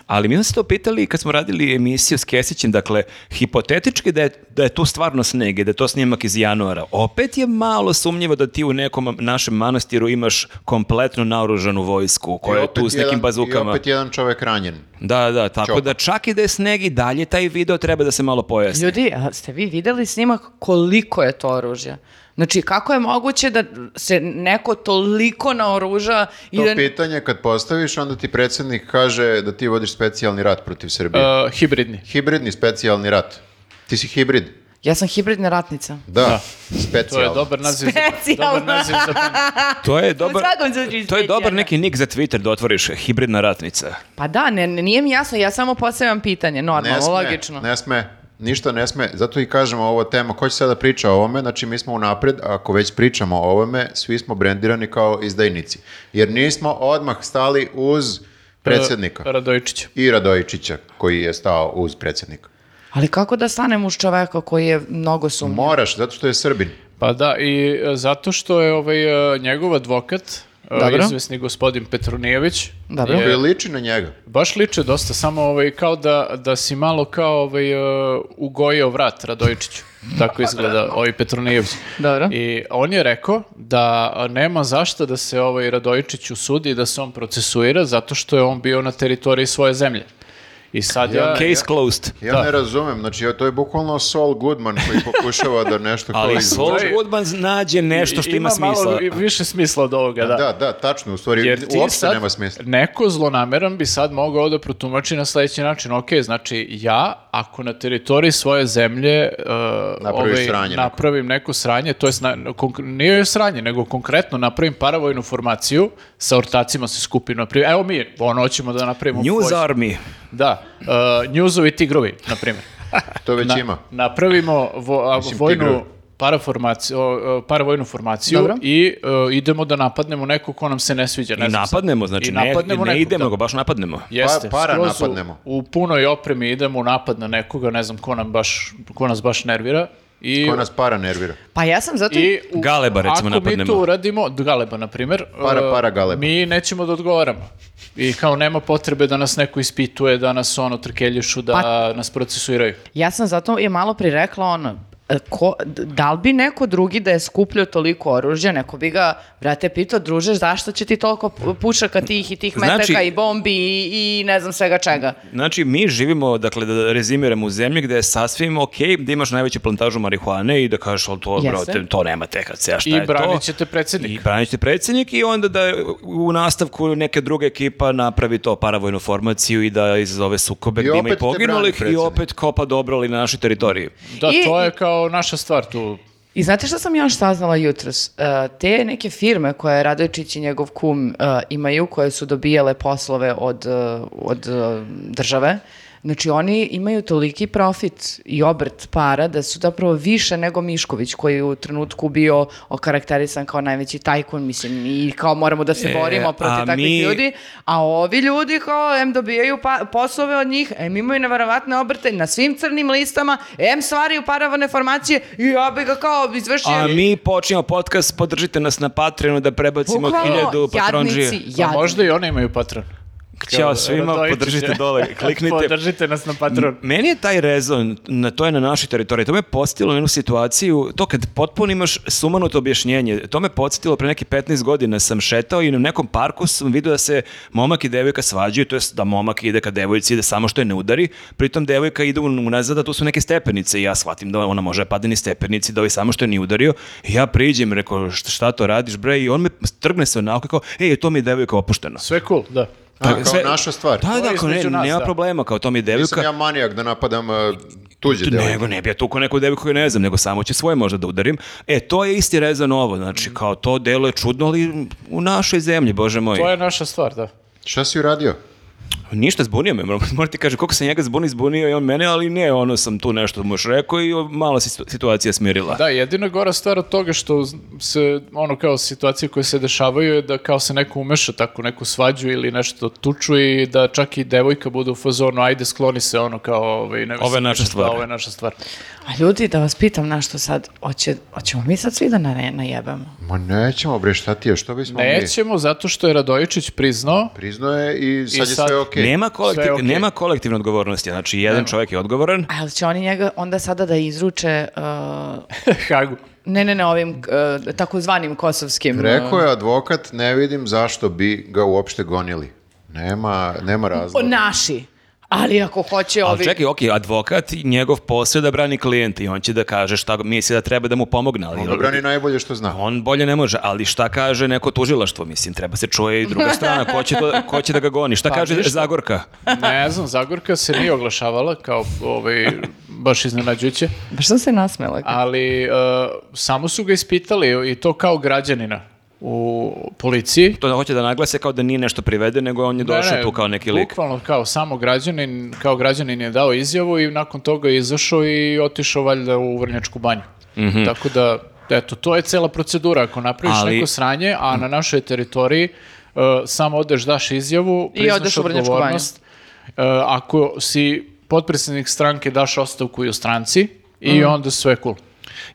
[SPEAKER 3] Ali mi smo se to pitali kad smo radili emisiju s Kesićem, dakle, hipotetički da je, da je tu stvarno sneg i da je to snimak iz januara. Opet je malo sumnjivo da ti u nekom našem manastiru imaš kompletno naoružanu vojsku koja je
[SPEAKER 1] opet
[SPEAKER 3] tu s nekim
[SPEAKER 1] jedan-
[SPEAKER 3] bazukama.
[SPEAKER 1] I opet jedan čovek ranjen.
[SPEAKER 3] Da, da, tako
[SPEAKER 1] Čopa.
[SPEAKER 3] da čak i da je sneg i dalje taj video treba da se malo pojasni.
[SPEAKER 2] Ljudi, a ste vi videli snimak koliko je to oružja? Znači, kako je moguće da se neko toliko naoruža i
[SPEAKER 1] To
[SPEAKER 2] da...
[SPEAKER 1] pitanje kad postaviš, onda ti predsjednik kaže da ti vodiš specijalni rat protiv Srbije.
[SPEAKER 4] E, hibridni.
[SPEAKER 1] Hibridni specijalni rat. Ti si hibrid.
[SPEAKER 2] Ja sam hibridna ratnica.
[SPEAKER 1] Da,
[SPEAKER 4] To je
[SPEAKER 1] specijalni.
[SPEAKER 4] dobar naziv za,
[SPEAKER 2] Specijalno.
[SPEAKER 4] dobar naziv
[SPEAKER 1] (laughs)
[SPEAKER 4] za band.
[SPEAKER 3] To je dobar,
[SPEAKER 2] svakom slučaju
[SPEAKER 3] to je dobar
[SPEAKER 2] specijalno.
[SPEAKER 3] neki nik za Twitter da otvoriš, hibridna ratnica.
[SPEAKER 2] Pa da, ne, ne- nije mi jasno, ja samo postavljam pitanje, normalno,
[SPEAKER 1] Ne sme,
[SPEAKER 2] logično.
[SPEAKER 1] ne sme, ništa ne sme. Zato i kažemo ovo je tema. Ko će sada priča o ovome? Znači, mi smo unapred, a ako već pričamo o ovome, svi smo brendirani kao izdajnici. Jer nismo odmah stali uz predsjednika.
[SPEAKER 4] Radojičića.
[SPEAKER 1] I Radojičića, koji je stao uz predsjednika.
[SPEAKER 2] Ali kako da stanem uz čoveka koji je mnogo sumnjiv?
[SPEAKER 1] Moraš, zato što je Srbin.
[SPEAKER 4] Pa da, i e, zato što je ovaj, e, njegov advokat, e,
[SPEAKER 2] Dobro.
[SPEAKER 4] izvesni gospodin Petronijević,
[SPEAKER 2] Dobro.
[SPEAKER 1] Koji liči na njega.
[SPEAKER 4] baš liče dosta, samo ovaj, kao da, da si malo kao ovaj, e, ugojio vrat Radojičiću. Tako izgleda ovaj Petronijević.
[SPEAKER 2] Dobro.
[SPEAKER 4] I on je rekao da nema zašta da se ovaj Radojičić usudi i da se on procesuira zato što je on bio na teritoriji svoje zemlje. I sad ja...
[SPEAKER 3] Case closed.
[SPEAKER 1] Da, Ja
[SPEAKER 4] Da.
[SPEAKER 1] ne razumem, znači to je bukvalno Saul Goodman koji
[SPEAKER 4] (laughs)
[SPEAKER 1] pokušava da nešto kao
[SPEAKER 3] Ali
[SPEAKER 1] izvuče.
[SPEAKER 3] Saul Goodman nađe nešto što ima,
[SPEAKER 4] malo
[SPEAKER 3] smisla.
[SPEAKER 4] vi- više smisla od ovoga, da.
[SPEAKER 1] Da, da, tačno, u stvari
[SPEAKER 4] Jer ti
[SPEAKER 1] uopšte
[SPEAKER 4] sad,
[SPEAKER 1] nema smisla.
[SPEAKER 4] neko zlonameran bi sad mogao da protumači na sledeći način. Ok, znači ja, ako na teritoriji svoje zemlje uh,
[SPEAKER 1] Napraviš sranje neko.
[SPEAKER 4] napravim neko sranje, to je nije joj sranje, nego konkretno napravim paravojnu formaciju, sa ortacima se skupi, na primjer, evo mi, ono hoćemo da napravimo...
[SPEAKER 3] News
[SPEAKER 4] vojsku.
[SPEAKER 3] Army.
[SPEAKER 4] Da, uh, newsovi tigrovi, na primjer.
[SPEAKER 1] To već
[SPEAKER 4] Na-
[SPEAKER 1] ima.
[SPEAKER 4] Napravimo vo, a,
[SPEAKER 1] Mislim, tigrovi.
[SPEAKER 4] vojnu paraformaciju, o, o, paravojnu formaciju
[SPEAKER 2] Dobro.
[SPEAKER 4] i e, idemo da napadnemo nekog ko nam se ne sviđa. Ne
[SPEAKER 3] I
[SPEAKER 4] znam sad.
[SPEAKER 3] napadnemo, znači
[SPEAKER 4] I
[SPEAKER 3] ne,
[SPEAKER 4] napadnemo
[SPEAKER 3] ne
[SPEAKER 4] nekog,
[SPEAKER 3] idemo,
[SPEAKER 4] da.
[SPEAKER 3] nego baš napadnemo.
[SPEAKER 4] Jeste,
[SPEAKER 1] Pa- para
[SPEAKER 4] skroz u-
[SPEAKER 1] napadnemo.
[SPEAKER 4] U, punoj opremi idemo u napad na nekoga, ne znam ko, nam baš, ko nas baš nervira. I,
[SPEAKER 1] Ko nas para nervira.
[SPEAKER 2] Pa ja sam zato...
[SPEAKER 4] i u-
[SPEAKER 3] Galeba, recimo,
[SPEAKER 4] ako mi
[SPEAKER 3] napadnemo.
[SPEAKER 4] to uradimo, d- Galeba na primjer,
[SPEAKER 1] Para,
[SPEAKER 4] e,
[SPEAKER 1] para Galeba.
[SPEAKER 4] mi nećemo da odgovaramo. I kao nema potrebe da nas neko ispituje, da nas ono trkeljušu, da
[SPEAKER 1] Pa-
[SPEAKER 4] nas procesuiraju.
[SPEAKER 2] Ja sam zato je malo pri rekla ono, e, ko, d- da li bi neko drugi da je skupljio toliko oružja, neko bi ga, brate, pitao, druže, zašto će ti toliko pu- pušaka tih i tih
[SPEAKER 3] Znači-
[SPEAKER 2] metaka i bombi i, i ne znam svega čega?
[SPEAKER 3] Znači, mi živimo, dakle, da rezimiram u zemlji gde je sasvim okej da imaš najveću plantažu marihuane i da kažeš, ali to,
[SPEAKER 2] Jeste.
[SPEAKER 3] brate, to nema THC, a šta
[SPEAKER 4] I
[SPEAKER 3] je to?
[SPEAKER 4] branit ćete predsjednika.
[SPEAKER 3] I branit ćete predsjednik i onda da u nastavku neke druga ekipa napravi to paravojnu formaciju i da izazove sukobe
[SPEAKER 1] I
[SPEAKER 3] gdje ima
[SPEAKER 1] opet
[SPEAKER 3] i
[SPEAKER 1] te brani
[SPEAKER 3] poginulih i
[SPEAKER 1] predsjednik.
[SPEAKER 3] opet kopa dobro ali na našoj teritoriji.
[SPEAKER 4] Da,
[SPEAKER 2] I-
[SPEAKER 4] to
[SPEAKER 2] i-
[SPEAKER 4] je kao naša stvar tu.
[SPEAKER 2] I znate šta sam još saznala jutros? E, te neke firme koje Radojičić i njegov kum e, imaju, koje su dobijale poslove od, e, od e, države, znači oni imaju toliki profit i obrt para da su zapravo više nego Mišković koji je u trenutku bio okarakterisan kao najveći tajkun, mislim, i kao moramo da se
[SPEAKER 3] E,
[SPEAKER 2] borimo
[SPEAKER 3] a
[SPEAKER 2] protiv takvih
[SPEAKER 3] mi-
[SPEAKER 2] ljudi, a ovi ljudi kao em dobijaju pa, poslove od njih, em imaju neverovatne obrte na svim crnim listama, em stvaraju paravane formacije i ja bi ga kao izvršio.
[SPEAKER 3] A mi počinjemo podcast, podržite nas na Patreonu da prebacimo
[SPEAKER 2] Bukvalno,
[SPEAKER 3] hiljadu patronđije.
[SPEAKER 2] jadnici,
[SPEAKER 4] A
[SPEAKER 2] jadni.
[SPEAKER 4] Pa možda i one imaju patron.
[SPEAKER 3] Ćao svima,
[SPEAKER 4] Radojičić.
[SPEAKER 3] podržite dole,
[SPEAKER 4] (laughs)
[SPEAKER 3] kliknite,
[SPEAKER 4] podržite nas na patron.
[SPEAKER 3] Meni je taj rezon, na to je na našoj teritoriji, to me podsjetilo na jednu situaciju, to kad potpuno imaš sumanuto objašnjenje, to me podsjetilo pre neki 15 godina sam šetao i na nekom parku sam vidio da se momak i devojka svađaju, to jest da momak ide ka devojci, ide samo što je ne udari, pritom devojka ide unazad, a tu su neke stepenice i ja shvatim da ona može padati ni stepenici, da ovaj samo što je ni udario, i ja priđem, rekao, "Šta- šta to radiš bre, i on me trgne se onako, kao, ej, to mi je devojka opušteno.
[SPEAKER 4] Sve cool, da.
[SPEAKER 1] A,
[SPEAKER 3] Tako,
[SPEAKER 1] kao naša stvar.
[SPEAKER 3] Da,
[SPEAKER 4] To
[SPEAKER 3] da,
[SPEAKER 4] je
[SPEAKER 3] ako ne,
[SPEAKER 4] između nas,
[SPEAKER 3] nema
[SPEAKER 4] da.
[SPEAKER 3] problema, kao to mi je devojka.
[SPEAKER 1] Nisam ja manijak da napadam uh, Tuđe delo.
[SPEAKER 3] Nego ne bi ja tukao neku devu koju ne znam, nego samo će svoje možda da udarim. E, to je isti rezan ovo, znači kao to delo je čudno, ali u našoj zemlji, bože moj.
[SPEAKER 4] To je naša stvar, da.
[SPEAKER 1] Šta si uradio?
[SPEAKER 3] Ništa zbunio me, moram moram ti kažem koliko sam njega zbunio, zbunio i on mene, ali ne, ono sam tu nešto mu još rekao i o, malo se situ- situacija smirila.
[SPEAKER 4] Da, jedina gora stvar od toga što se, ono kao situacije koje se dešavaju je da kao se neko umeša tako, u neku svađu ili nešto tuču i da čak i devojka bude u fazonu, ajde skloni se ono kao, ovaj, ne
[SPEAKER 3] Ovo je
[SPEAKER 4] mislim,
[SPEAKER 3] naša
[SPEAKER 4] da,
[SPEAKER 3] stvar.
[SPEAKER 4] ovo je naša stvar.
[SPEAKER 2] A ljudi, da vas pitam na što sad, hoće, hoćemo mi sad svi da nare- najebamo?
[SPEAKER 1] Ma nećemo bre, šta ti je, što bismo mi?
[SPEAKER 4] Nećemo zato što je Radojičić
[SPEAKER 3] (laughs)
[SPEAKER 4] priznao
[SPEAKER 1] Priznao je i sad
[SPEAKER 4] I
[SPEAKER 1] je
[SPEAKER 4] sad-
[SPEAKER 1] sve okej.
[SPEAKER 3] Nema, kolektiv,
[SPEAKER 4] Sve je okej.
[SPEAKER 3] nema kolektivne odgovornosti, znači jedan čovjek je odgovoran.
[SPEAKER 2] A jel će oni njega onda sada da izruče, uh,
[SPEAKER 4] Hagu.
[SPEAKER 2] ne, ne, ne, ovim uh, takozvanim kosovskim? uh,
[SPEAKER 1] Rekao je advokat, ne vidim zašto bi ga uopšte gonili. Nema, nema
[SPEAKER 2] o,
[SPEAKER 1] razloga.
[SPEAKER 2] naši. Ali ako hoće ovi...
[SPEAKER 3] Ali čekaj, okej, advokat i njegov posao je da brani klijenta i on će da kaže šta misli da treba da mu pomogne, ali
[SPEAKER 1] Onda brani najbolje što zna.
[SPEAKER 3] on bolje ne može, ali šta kaže neko tužilaštvo, mislim, treba se čuje i druga strana, ko će, to- ko će da ga goni, šta kaže
[SPEAKER 4] Pa, ništa.
[SPEAKER 3] Zagorka?
[SPEAKER 4] Ne znam, Zagorka se nije oglašavala kao ovaj, baš iznenađujuće,
[SPEAKER 2] Baš sam Pa se nasmela.
[SPEAKER 4] ali eh, samo su ga ispitali i to kao građanina u policiji.
[SPEAKER 3] To da hoće da naglase kao da nije nešto privede, nego on je
[SPEAKER 4] Ne,
[SPEAKER 3] došao
[SPEAKER 4] ne,
[SPEAKER 3] tu kao neki lik.
[SPEAKER 4] Bukvalno kao samo građanin, kao građanin je dao izjavu i nakon toga je izašao i otišao valjda u Vrnjačku banju. Tako da, eto, to je cela procedura. Ako napraviš
[SPEAKER 3] Mhm. Ali-
[SPEAKER 4] neko sranje, a na našoj teritoriji uh, samo odeš, daš izjavu,
[SPEAKER 2] odeš
[SPEAKER 4] priznaš
[SPEAKER 2] u Vrnjačku banju.
[SPEAKER 4] odgovornost. Uh, ako si potpredsjednik stranke, daš ostavku i u stranci i
[SPEAKER 2] Mhm.
[SPEAKER 4] onda sve cool.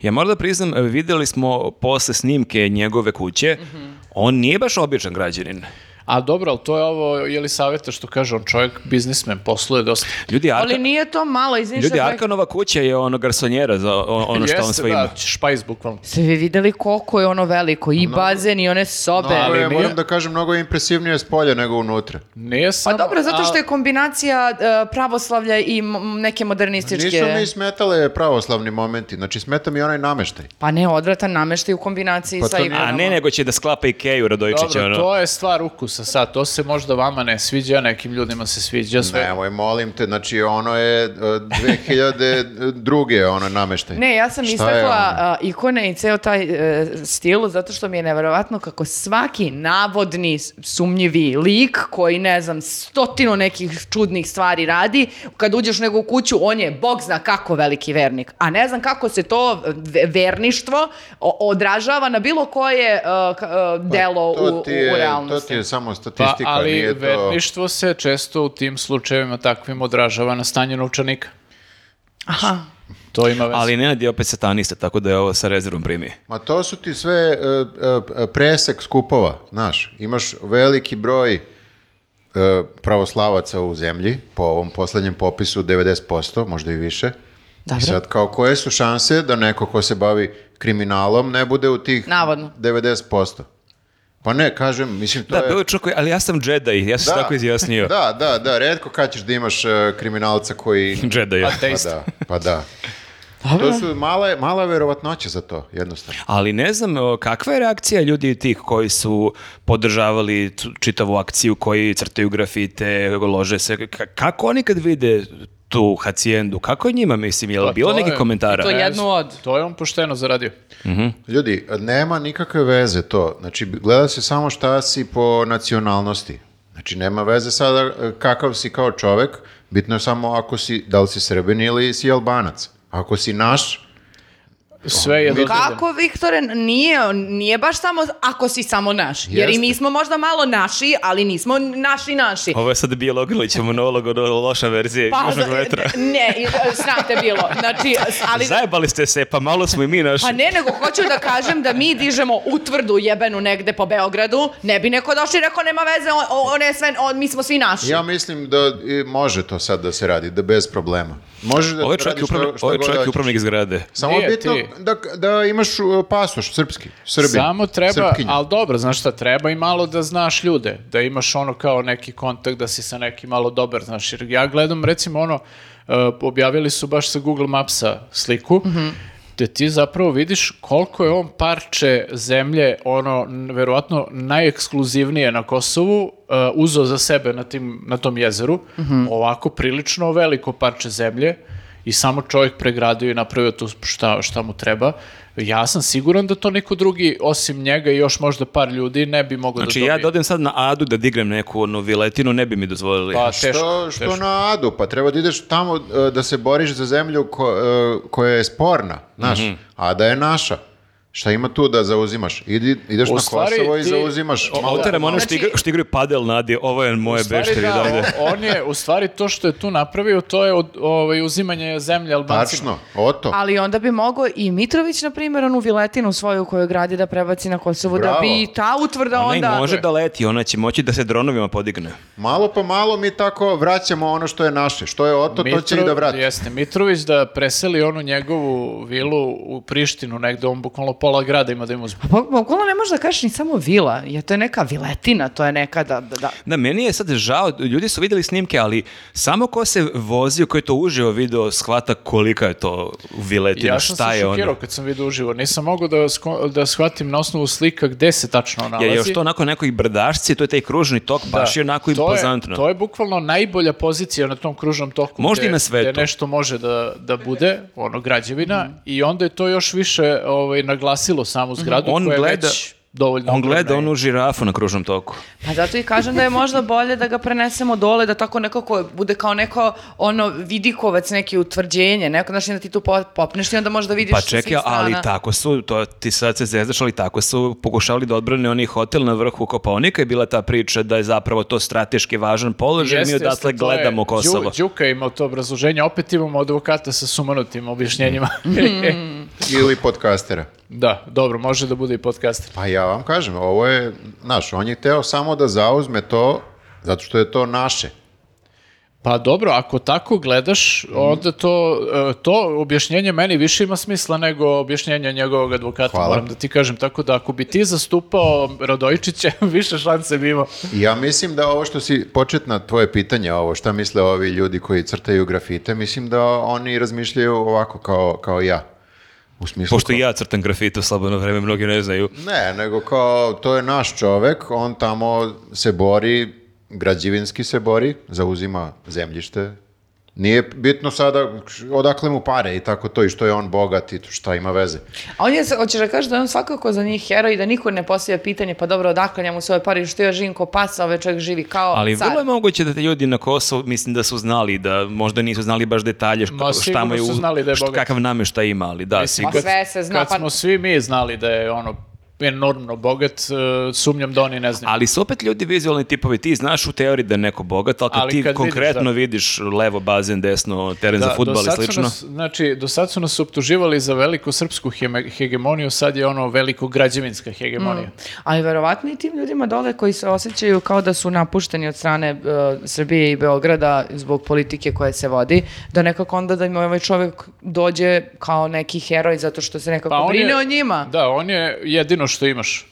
[SPEAKER 3] Ja moram da priznam, e, videli smo posle snimke njegove kuće,
[SPEAKER 4] Mhm.
[SPEAKER 3] on nije baš običan građanin.
[SPEAKER 4] A dobro, ali to je ovo, je li savjeta što kaže on čovjek, biznismen, posluje dosta.
[SPEAKER 3] Ljudi, Arka,
[SPEAKER 2] Ali nije to malo, izvinite.
[SPEAKER 3] ljudi Arkanova kuća je ono garsonjera za o- ono što on
[SPEAKER 4] Jeste,
[SPEAKER 3] sve ima.
[SPEAKER 4] da, špajs bukvalno.
[SPEAKER 2] Ste vi videli koliko je ono veliko, i bazen i one sobe.
[SPEAKER 1] Mnogo je,
[SPEAKER 4] Ali
[SPEAKER 1] moram
[SPEAKER 4] nije-
[SPEAKER 1] da kažem, mnogo je impresivnije s polja nego unutra.
[SPEAKER 4] Nije
[SPEAKER 2] Pa
[SPEAKER 4] samo...
[SPEAKER 2] dobro, zato što
[SPEAKER 4] a-
[SPEAKER 2] je kombinacija e, pravoslavlja i m- neke modernističke...
[SPEAKER 1] Nisu mi smetale pravoslavni momenti, znači smeta mi onaj nameštaj.
[SPEAKER 2] Pa ne, odvratan nameštaj u kombinaciji
[SPEAKER 1] Pa
[SPEAKER 2] sa
[SPEAKER 1] to
[SPEAKER 2] igranama.
[SPEAKER 3] A ne, nego će da sklapa Ikeju Radojičića.
[SPEAKER 4] Dobro,
[SPEAKER 3] Ono.
[SPEAKER 4] to je stvar ukusa sad, to se možda vama ne sviđa, nekim ljudima se sviđa
[SPEAKER 2] E.
[SPEAKER 4] sve.
[SPEAKER 1] Nemoj, molim te, znači ono je e, 2002. ono nameštaj.
[SPEAKER 2] Ne, ja sam
[SPEAKER 1] Šta je
[SPEAKER 2] istakla
[SPEAKER 1] ono?
[SPEAKER 2] a, ikone i ceo taj e, stil zato što mi je nevjerovatno kako svaki navodni s- sumnjivi lik koji ne znam stotinu nekih čudnih stvari radi, kad uđeš u njegovu kuću on je bog zna kako veliki vernik. A ne znam kako se to ve- verništvo o- odražava na bilo koje e, ka- e, delo
[SPEAKER 1] Pa To
[SPEAKER 2] u,
[SPEAKER 1] ti je-
[SPEAKER 2] u
[SPEAKER 1] To
[SPEAKER 2] realnosti.
[SPEAKER 1] ti je samo
[SPEAKER 4] Pa,
[SPEAKER 1] statistika,
[SPEAKER 4] ali
[SPEAKER 1] nije to...
[SPEAKER 4] verništvo se često u tim slučajevima takvim odražava na stanje novčanika.
[SPEAKER 2] Aha.
[SPEAKER 4] To ima veze.
[SPEAKER 3] Ali Nenad je opet satanista, tako da je ovo sa rezervom primi.
[SPEAKER 1] Ma to su ti sve e, e, presek skupova, znaš. Imaš veliki broj e, pravoslavaca u zemlji, po ovom poslednjem popisu 90%, možda i više. I
[SPEAKER 2] Dobro.
[SPEAKER 1] sad, kao koje su šanse da neko ko se bavi kriminalom ne bude u tih
[SPEAKER 2] Navodno.
[SPEAKER 1] 90%? Pa ne, kažem, mislim, to
[SPEAKER 3] Da,
[SPEAKER 1] je...
[SPEAKER 3] bilo je čukoj, ali ja sam Jedi, ja sam se tako
[SPEAKER 4] (laughs)
[SPEAKER 3] izjasnio.
[SPEAKER 1] Da, da, da, redko kad ćeš da imaš e, kriminalca
[SPEAKER 3] (laughs)
[SPEAKER 1] koji... (laughs)
[SPEAKER 3] Jedi.
[SPEAKER 4] A
[SPEAKER 1] pa
[SPEAKER 4] te isto.
[SPEAKER 1] da, pa da. To su male, mala verovatnoća za to, jednostavno.
[SPEAKER 3] Ali ne znam o, kakva je reakcija ljudi tih koji su podržavali tu- čitavu akciju, koji crtaju grafite, lože se. Ka- kako oni kad vide tu hacijendu, kako je njima, mislim, je li
[SPEAKER 4] Pa
[SPEAKER 3] bilo
[SPEAKER 4] to
[SPEAKER 3] nekih
[SPEAKER 4] je-
[SPEAKER 3] komentara?
[SPEAKER 2] To je
[SPEAKER 4] Ne
[SPEAKER 2] jednu
[SPEAKER 4] znam,
[SPEAKER 2] od.
[SPEAKER 4] To je on pošteno zaradio.
[SPEAKER 1] Ljudi, nema nikakve veze to. Znači, gleda se samo šta si po nacionalnosti. Znači, nema veze sada e, kakav si kao čovek, bitno je samo ako si, da li si srbin ili si albanac. Ako si naš,
[SPEAKER 4] Sve je dozvoljeno.
[SPEAKER 2] Kako, Viktore, nije, nije baš samo ako si samo naš. Jer i
[SPEAKER 1] Jeste.
[SPEAKER 2] mi smo možda malo naši, ali nismo naši naši.
[SPEAKER 3] Ovo je sad Bija ćemo monolog od loša verzije
[SPEAKER 2] Pa,
[SPEAKER 3] Južnog
[SPEAKER 2] za-
[SPEAKER 3] vetra.
[SPEAKER 2] (laughs) ne, i- e, sram te bilo. Znači, ali,
[SPEAKER 3] Zajebali ste se, pa malo smo i mi naši.
[SPEAKER 2] pa ne, nego hoću da kažem da mi dižemo utvrdu jebenu negde po Beogradu. Ne bi neko došao i rekao, nema veze, on, on- on je sve, on- mi smo svi naši.
[SPEAKER 3] Znači-
[SPEAKER 1] ja mislim da i može to sad da se radi, da bez problema. Možeš da
[SPEAKER 3] Ovo je čovjek,
[SPEAKER 1] radiš
[SPEAKER 3] upravni,
[SPEAKER 1] što, što
[SPEAKER 3] ovo je
[SPEAKER 1] god da
[SPEAKER 3] čovjek
[SPEAKER 1] hoćeš.
[SPEAKER 3] upravnik zgrade.
[SPEAKER 1] Samo
[SPEAKER 4] Nije,
[SPEAKER 1] bitno
[SPEAKER 4] ti.
[SPEAKER 1] da, da imaš uh, pasoš srpski, srbin,
[SPEAKER 4] Samo treba,
[SPEAKER 1] srpkinja.
[SPEAKER 4] ali dobro, znaš šta, treba i malo da znaš ljude, da imaš ono kao neki kontakt, da si sa nekim malo dobar, znaš, jer ja gledam recimo ono, e, objavili su baš sa Google Mapsa sliku, gde ti zapravo vidiš koliko je on parče zemlje, ono, n- verovatno najekskluzivnije na Kosovu, e, uzeo za sebe na, tim, na tom jezeru, ovako prilično veliko parče zemlje, I i samo čovjek pregradio i napravio tu šta, šta mu treba, ja sam siguran da to niko drugi, osim njega i još možda par ljudi, ne bi mogao
[SPEAKER 3] Znači
[SPEAKER 4] da dobije.
[SPEAKER 3] ja da odem sad na Adu da digram neku onu viletinu, ne bi mi dozvolili.
[SPEAKER 4] Pa teško,
[SPEAKER 1] Što, što
[SPEAKER 4] teško.
[SPEAKER 1] na adu? Pa treba da ideš tamo e, da se boriš za zemlju ko- e, koja je sporna, znaš,
[SPEAKER 3] Mhm.
[SPEAKER 1] a da je naša. Šta ima tu da zauzimaš? Idi, ideš
[SPEAKER 4] U
[SPEAKER 1] na
[SPEAKER 4] stvari,
[SPEAKER 1] Kosovo i
[SPEAKER 4] ti-
[SPEAKER 1] zauzimaš.
[SPEAKER 3] O-
[SPEAKER 1] Malo-
[SPEAKER 3] Oteram ono što,
[SPEAKER 2] Znači-
[SPEAKER 3] igra- što igraju padel nadi, ovo je moje
[SPEAKER 4] U stvari
[SPEAKER 3] bešte, vi
[SPEAKER 4] da,
[SPEAKER 3] ovde.
[SPEAKER 4] o- on je, u stvari to što je tu napravio, to je od, ovaj, uzimanje zemlje Albancima.
[SPEAKER 1] Tačno, oto.
[SPEAKER 2] Ali onda bi mogao i Mitrović, na primjer, onu viletinu svoju koju gradi da prebaci na Kosovo, da
[SPEAKER 1] Bravo.
[SPEAKER 2] bi i ta utvrda
[SPEAKER 3] Ona i
[SPEAKER 2] onda...
[SPEAKER 3] može da leti, ona će moći da se dronovima podigne.
[SPEAKER 1] Malo pa malo mi tako vraćamo ono što je naše. Što je oto, to će i
[SPEAKER 4] Mitro-
[SPEAKER 1] da vrati.
[SPEAKER 4] Jeste, Mitrović da preseli onu njegovu vilu u Prištinu negde, on bukvalno pola grada ima da im uzme.
[SPEAKER 2] Pa, bukvalno ne možeš da kažeš ni samo vila, jer to je neka viletina, to je neka da... da, da.
[SPEAKER 3] Da, meni je sad žao, ljudi su vidjeli snimke, ali samo ko se vozio, ko je to uživo video, shvata kolika je to viletina,
[SPEAKER 4] Ja sam
[SPEAKER 3] šta
[SPEAKER 4] se
[SPEAKER 3] je ono.
[SPEAKER 4] šokirao kad sam vidio uživo, nisam mogao da, sko- da shvatim na osnovu slika gde se tačno nalazi. Da,
[SPEAKER 3] Je još to onako nekoj brdašci, to je taj kružni tok, baš je onako
[SPEAKER 4] to
[SPEAKER 3] impozantno.
[SPEAKER 4] Je, to je bukvalno najbolja pozicija na tom kružnom toku.
[SPEAKER 3] Možda i
[SPEAKER 4] gde-
[SPEAKER 3] na svetu.
[SPEAKER 4] Gde nešto može da, da bude, ono, građevina, i onda je to još više ovaj, naglasilo samu zgradu
[SPEAKER 3] Mhm. On
[SPEAKER 4] koja
[SPEAKER 3] gleda-
[SPEAKER 4] je već dovoljno
[SPEAKER 3] On gleda
[SPEAKER 4] ogromna i-
[SPEAKER 3] onu žirafu na kružnom toku.
[SPEAKER 2] Pa zato i kažem da je možda bolje da ga prenesemo dole, da tako nekako bude kao neko ono vidikovac, neki utvrđenje, neko, znaš, i onda ti tu po- popneš i onda možda vidiš
[SPEAKER 3] Pa
[SPEAKER 2] sa
[SPEAKER 3] čekaj,
[SPEAKER 2] svih
[SPEAKER 3] ali
[SPEAKER 2] strana.
[SPEAKER 3] tako su, to ti sad se zezdaš, ali tako su pokušali da odbrane oni hotel na vrhu Kopaonika je bila ta priča da je zapravo to strateški važan položaj, mi
[SPEAKER 4] Jeste,
[SPEAKER 3] odatle
[SPEAKER 4] jeste, to je-
[SPEAKER 3] gledamo
[SPEAKER 4] Đu-
[SPEAKER 3] Kosovo.
[SPEAKER 4] Đuka je imao to obrazloženje, opet imamo advokata sa sumanutim objašnjenjima.
[SPEAKER 3] Mhm.
[SPEAKER 4] (laughs) E,
[SPEAKER 1] Ili podcastera.
[SPEAKER 4] da, dobro, može da bude i podcaster.
[SPEAKER 1] Pa ja vam kažem, ovo je, znaš, on je hteo samo da zauzme to, zato što je to naše.
[SPEAKER 4] Pa dobro, ako tako gledaš, onda to, e, to objašnjenje meni više ima smisla nego objašnjenje njegovog advokata,
[SPEAKER 1] Hvala.
[SPEAKER 4] moram da ti kažem. Tako da ako bi ti zastupao Radojičića, (laughs) više šanse bi imao.
[SPEAKER 1] I Ja mislim da ovo što si početna tvoje pitanje, ovo šta misle ovi ljudi koji crtaju grafite, mislim da oni razmišljaju ovako kao, kao ja. U smislu
[SPEAKER 3] Pošto
[SPEAKER 1] kao-
[SPEAKER 3] i ja crtam grafite u slobodno vreme, mnogi ne znaju.
[SPEAKER 1] Ne, nego kao to je naš čovek, on tamo se bori, građevinski se bori, zauzima zemljište. Nije bitno sada odakle mu pare i tako to i što je on bogat i šta ima veze.
[SPEAKER 2] A on je, hoćeš da kažeš da je on svakako za njih heroj i da niko ne postavlja pitanje, pa dobro, odakle njemu sve ove pare, što ja živim ko pasa, ovaj čovjek živi kao
[SPEAKER 3] Ali
[SPEAKER 2] car.
[SPEAKER 3] vrlo je moguće da te ljudi na Kosovu, mislim da su znali, da možda nisu znali baš detalje št-
[SPEAKER 4] Ma,
[SPEAKER 3] šta mu je,
[SPEAKER 4] sigurno su
[SPEAKER 3] uz-
[SPEAKER 4] znali da je
[SPEAKER 3] št-
[SPEAKER 4] bogat.
[SPEAKER 3] kakav namještaj ima, ali da,
[SPEAKER 4] Mislim,
[SPEAKER 3] sigurno.
[SPEAKER 2] Ma sve se zna,
[SPEAKER 4] Kad
[SPEAKER 2] pa-
[SPEAKER 4] smo svi mi znali da je ono enormno bogat, e, sumnjam da oni ne znaju.
[SPEAKER 3] Ali su opet ljudi vizualni tipovi, ti znaš u teoriji da je neko bogat, ali kad
[SPEAKER 4] Ali
[SPEAKER 3] ti
[SPEAKER 4] kad vidiš,
[SPEAKER 3] konkretno
[SPEAKER 4] da.
[SPEAKER 3] vidiš, levo bazen, desno, teren za
[SPEAKER 4] do
[SPEAKER 3] futbal i
[SPEAKER 4] sad su
[SPEAKER 3] slično.
[SPEAKER 4] Nas, znači, do sad su nas optuživali za veliku srpsku heme- hegemoniju, sad je ono veliko građevinska hegemonija.
[SPEAKER 2] Ali verovatno i tim ljudima dole koji se osjećaju kao da su napušteni od strane e, Srbije i Beograda zbog politike koja se vodi, da nekako onda da im ovaj čovjek dođe kao neki heroj zato što se nekako
[SPEAKER 4] Pa on
[SPEAKER 2] brine
[SPEAKER 4] je-
[SPEAKER 2] o njima.
[SPEAKER 4] Da, on je jedino što imaš.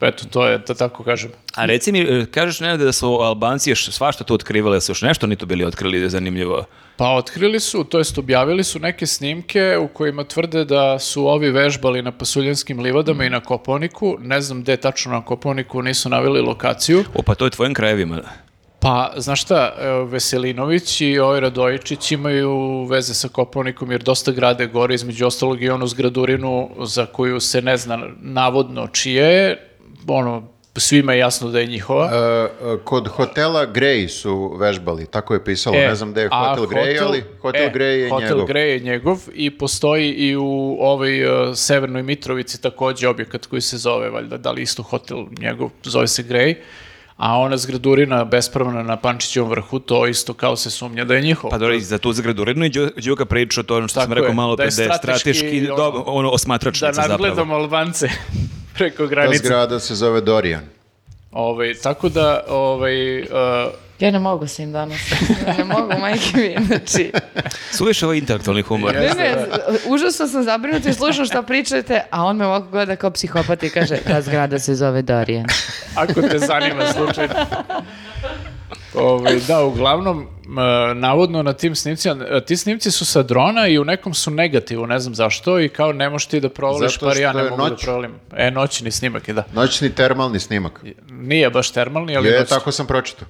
[SPEAKER 4] Eto, to je, da tako kažem.
[SPEAKER 3] A reci mi, e, kažeš Nenade da su Albanci još svašta tu otkrivali, da su još nešto oni tu bili otkrili, da je zanimljivo.
[SPEAKER 4] Pa otkrili su, to jest objavili su neke snimke u kojima tvrde da su ovi vežbali na pasuljanskim livadama i na Koponiku. Ne znam gde tačno na Koponiku nisu naveli lokaciju.
[SPEAKER 3] O, pa to je tvojim krajevima.
[SPEAKER 4] Pa, znaš šta, e, Veselinović i ovaj Radojičić imaju veze sa Koponikom jer dosta grade gore, između ostalog i onu zgradurinu za koju se ne zna navodno čije je, ono, svima je jasno da je njihova.
[SPEAKER 1] E, e, kod hotela Grey su vežbali, tako je pisalo,
[SPEAKER 4] E,
[SPEAKER 1] ne znam gde je
[SPEAKER 4] a
[SPEAKER 1] hotel Grey, ali hotel
[SPEAKER 4] e,
[SPEAKER 1] Grey je
[SPEAKER 4] hotel
[SPEAKER 1] njegov.
[SPEAKER 4] Grey je njegov i postoji i u ovoj e, Severnoj Mitrovici takođe objekat koji se zove, valjda, da li isto hotel njegov, zove se Grey, a ona zgradurina bespravna na Pančićevom vrhu, to isto kao se sumnja da je njihov.
[SPEAKER 3] Pa dobro, i za tu zagradurinu i Đu- Đuka priča o tom što sam
[SPEAKER 4] Tako je,
[SPEAKER 3] rekao malo
[SPEAKER 4] da
[SPEAKER 3] pre,
[SPEAKER 4] je
[SPEAKER 3] da je
[SPEAKER 4] strateški,
[SPEAKER 3] strateški,
[SPEAKER 4] ono,
[SPEAKER 3] dobro, ono,
[SPEAKER 4] da
[SPEAKER 3] osmatračnica zapravo.
[SPEAKER 4] nadgledamo Albance (laughs) preko
[SPEAKER 1] Ta
[SPEAKER 4] granice.
[SPEAKER 1] Da, zgrada se zove Dorian.
[SPEAKER 4] Ovaj, tako da, ovaj, e,
[SPEAKER 2] Ja ne mogu sa im danas. Ja (laughs) ne mogu, majke mi. Znači,
[SPEAKER 3] Suviše ovaj intelektualni humor.
[SPEAKER 2] ne, ne,
[SPEAKER 4] da.
[SPEAKER 2] užasno sam zabrinuta i slušam šta pričate, a on me ovako gleda kao psihopat i kaže, ta zgrada se zove Dorijan.
[SPEAKER 4] ako te zanima slučajno. Ovaj, da, uglavnom, e, navodno na tim snimcima, e, ti snimci su sa drona i u nekom su negativu, ne znam zašto, i kao ne možeš ti da provoliš,
[SPEAKER 1] Zato
[SPEAKER 4] par ja
[SPEAKER 1] što
[SPEAKER 4] ne
[SPEAKER 1] je
[SPEAKER 4] mogu da
[SPEAKER 1] noć.
[SPEAKER 4] provolim. E, noćni snimak je, da.
[SPEAKER 1] Noćni termalni snimak.
[SPEAKER 4] Nije baš termalni, ali
[SPEAKER 1] Je,
[SPEAKER 4] noćni.
[SPEAKER 1] tako sam pročitao.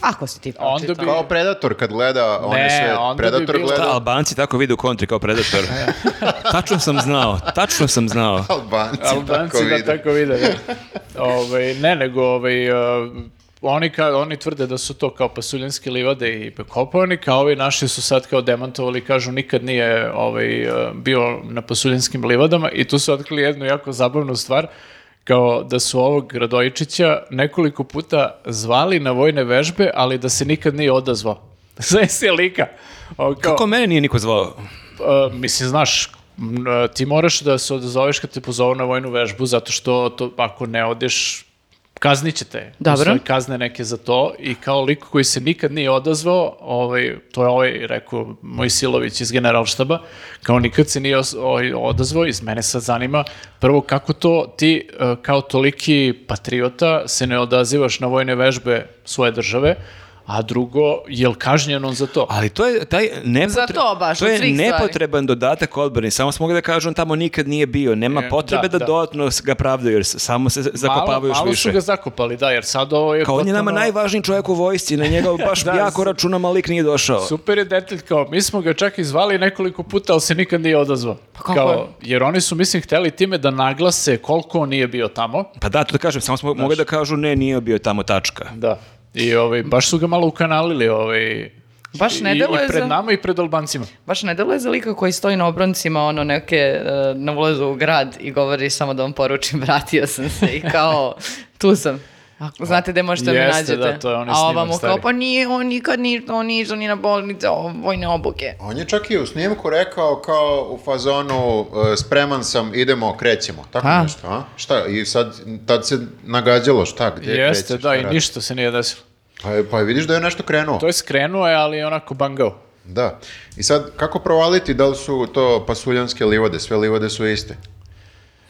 [SPEAKER 2] Ako si ti
[SPEAKER 4] Onda
[SPEAKER 2] pročitao.
[SPEAKER 4] bi-
[SPEAKER 1] Znači, Kao predator kad gleda on je
[SPEAKER 4] Ne,
[SPEAKER 1] sve
[SPEAKER 4] onda bi
[SPEAKER 1] predator
[SPEAKER 4] bilo-
[SPEAKER 3] Da,
[SPEAKER 1] gleda
[SPEAKER 3] Albanci tako vide u kontri kao predator. tačno sam znao, tačno sam znao.
[SPEAKER 1] Albanci,
[SPEAKER 4] Albanci
[SPEAKER 1] tako
[SPEAKER 4] da
[SPEAKER 1] vide.
[SPEAKER 4] tako vide. Da. Ovaj, ne, nego ovaj, uh, oni, ka, oni tvrde da su to kao pasuljanske livade i Bekopanik, a ovi naši su sad kao demantovali, kažu nikad nije ovaj, uh, bio na pasuljanskim livadama i tu su otkrili jednu jako zabavnu stvar, kao da su ovog Gradojičića nekoliko puta zvali na vojne vežbe, ali da se nikad nije odazvao. (laughs) Sve se lika. Ovo kao-
[SPEAKER 3] Kako mene nije niko zvao?
[SPEAKER 4] Uh, mislim, znaš, m, uh, ti moraš da se odazoveš kad te pozovu na vojnu vežbu, zato što to, ako ne odeš, kaznit će te.
[SPEAKER 2] Dobro.
[SPEAKER 4] Postoje kazne neke za to i kao liko koji se nikad nije odazvao, ovaj, to je ovaj, rekao Mojsilović iz generalštaba, kao nikad se nije os- ovaj, odazvao i mene sad zanima prvo kako to ti uh, kao toliki patriota se ne odazivaš na vojne vežbe svoje države, a drugo, je li kažnjen on za to?
[SPEAKER 3] Ali to je taj nepotre...
[SPEAKER 2] Za to baš,
[SPEAKER 3] to
[SPEAKER 2] od
[SPEAKER 3] je
[SPEAKER 2] svih stvari.
[SPEAKER 3] nepotreban dodatak odbrani. Samo smo mogli da kažu on tamo nikad nije bio. Nema
[SPEAKER 4] E,
[SPEAKER 3] potrebe da,
[SPEAKER 4] da, da.
[SPEAKER 3] dodatno ga pravdaju jer samo se zakopavaju da još
[SPEAKER 4] malo, malo
[SPEAKER 3] više.
[SPEAKER 4] su ga zakopali, da, jer sad ovo je...
[SPEAKER 3] Kao on je nama
[SPEAKER 4] potpuno-
[SPEAKER 3] najvažniji čovjek u vojsci, na njega baš
[SPEAKER 4] Da,
[SPEAKER 3] jako
[SPEAKER 4] s-
[SPEAKER 3] računam, ali lik nije došao.
[SPEAKER 4] Super je detalj, kao mi smo ga čak i zvali nekoliko puta, ali se nikad nije odazvao.
[SPEAKER 2] Pa kako
[SPEAKER 4] kao, jer oni su, mislim, hteli time da naglase koliko on nije bio tamo.
[SPEAKER 3] Pa da, to da kažem, samo smo mogli da kažu ne, nije bio tamo tačka.
[SPEAKER 4] Da. I ovaj, baš su ga malo ukanalili. Ovaj,
[SPEAKER 2] Baš ne
[SPEAKER 4] I,
[SPEAKER 2] deluje
[SPEAKER 4] I pred
[SPEAKER 2] za-
[SPEAKER 4] nama i pred Albancima.
[SPEAKER 2] Baš ne deluje za lika koji stoji na obroncima ono neke e, na ulazu u grad i govori samo da vam poručim (laughs) vratio sam se i kao tu sam. Ako znate gde možete da me
[SPEAKER 4] Jeste,
[SPEAKER 2] nađete.
[SPEAKER 4] da, to je onaj
[SPEAKER 2] A
[SPEAKER 4] snimak
[SPEAKER 2] ovamo kao
[SPEAKER 4] stari.
[SPEAKER 2] pa nije, on nikad nije, on nije išao ni na bolnice, o, vojne obuke.
[SPEAKER 1] On je čak i u snimku rekao kao u fazonu e, spreman sam, idemo, krećemo. Tako
[SPEAKER 2] A?
[SPEAKER 1] nešto, a? Šta? I sad, tad se nagađalo šta, gdje
[SPEAKER 4] Jeste,
[SPEAKER 1] krećeš,
[SPEAKER 4] da,
[SPEAKER 1] šta
[SPEAKER 4] i
[SPEAKER 1] radiš?
[SPEAKER 4] ništa se nije desilo.
[SPEAKER 1] Pa, je- pa je vidiš da je nešto krenuo.
[SPEAKER 4] To je skrenuo je, ali je onako bangao.
[SPEAKER 1] Da. I sad, kako provaliti da li su to pasuljanske livade? Sve livade su iste.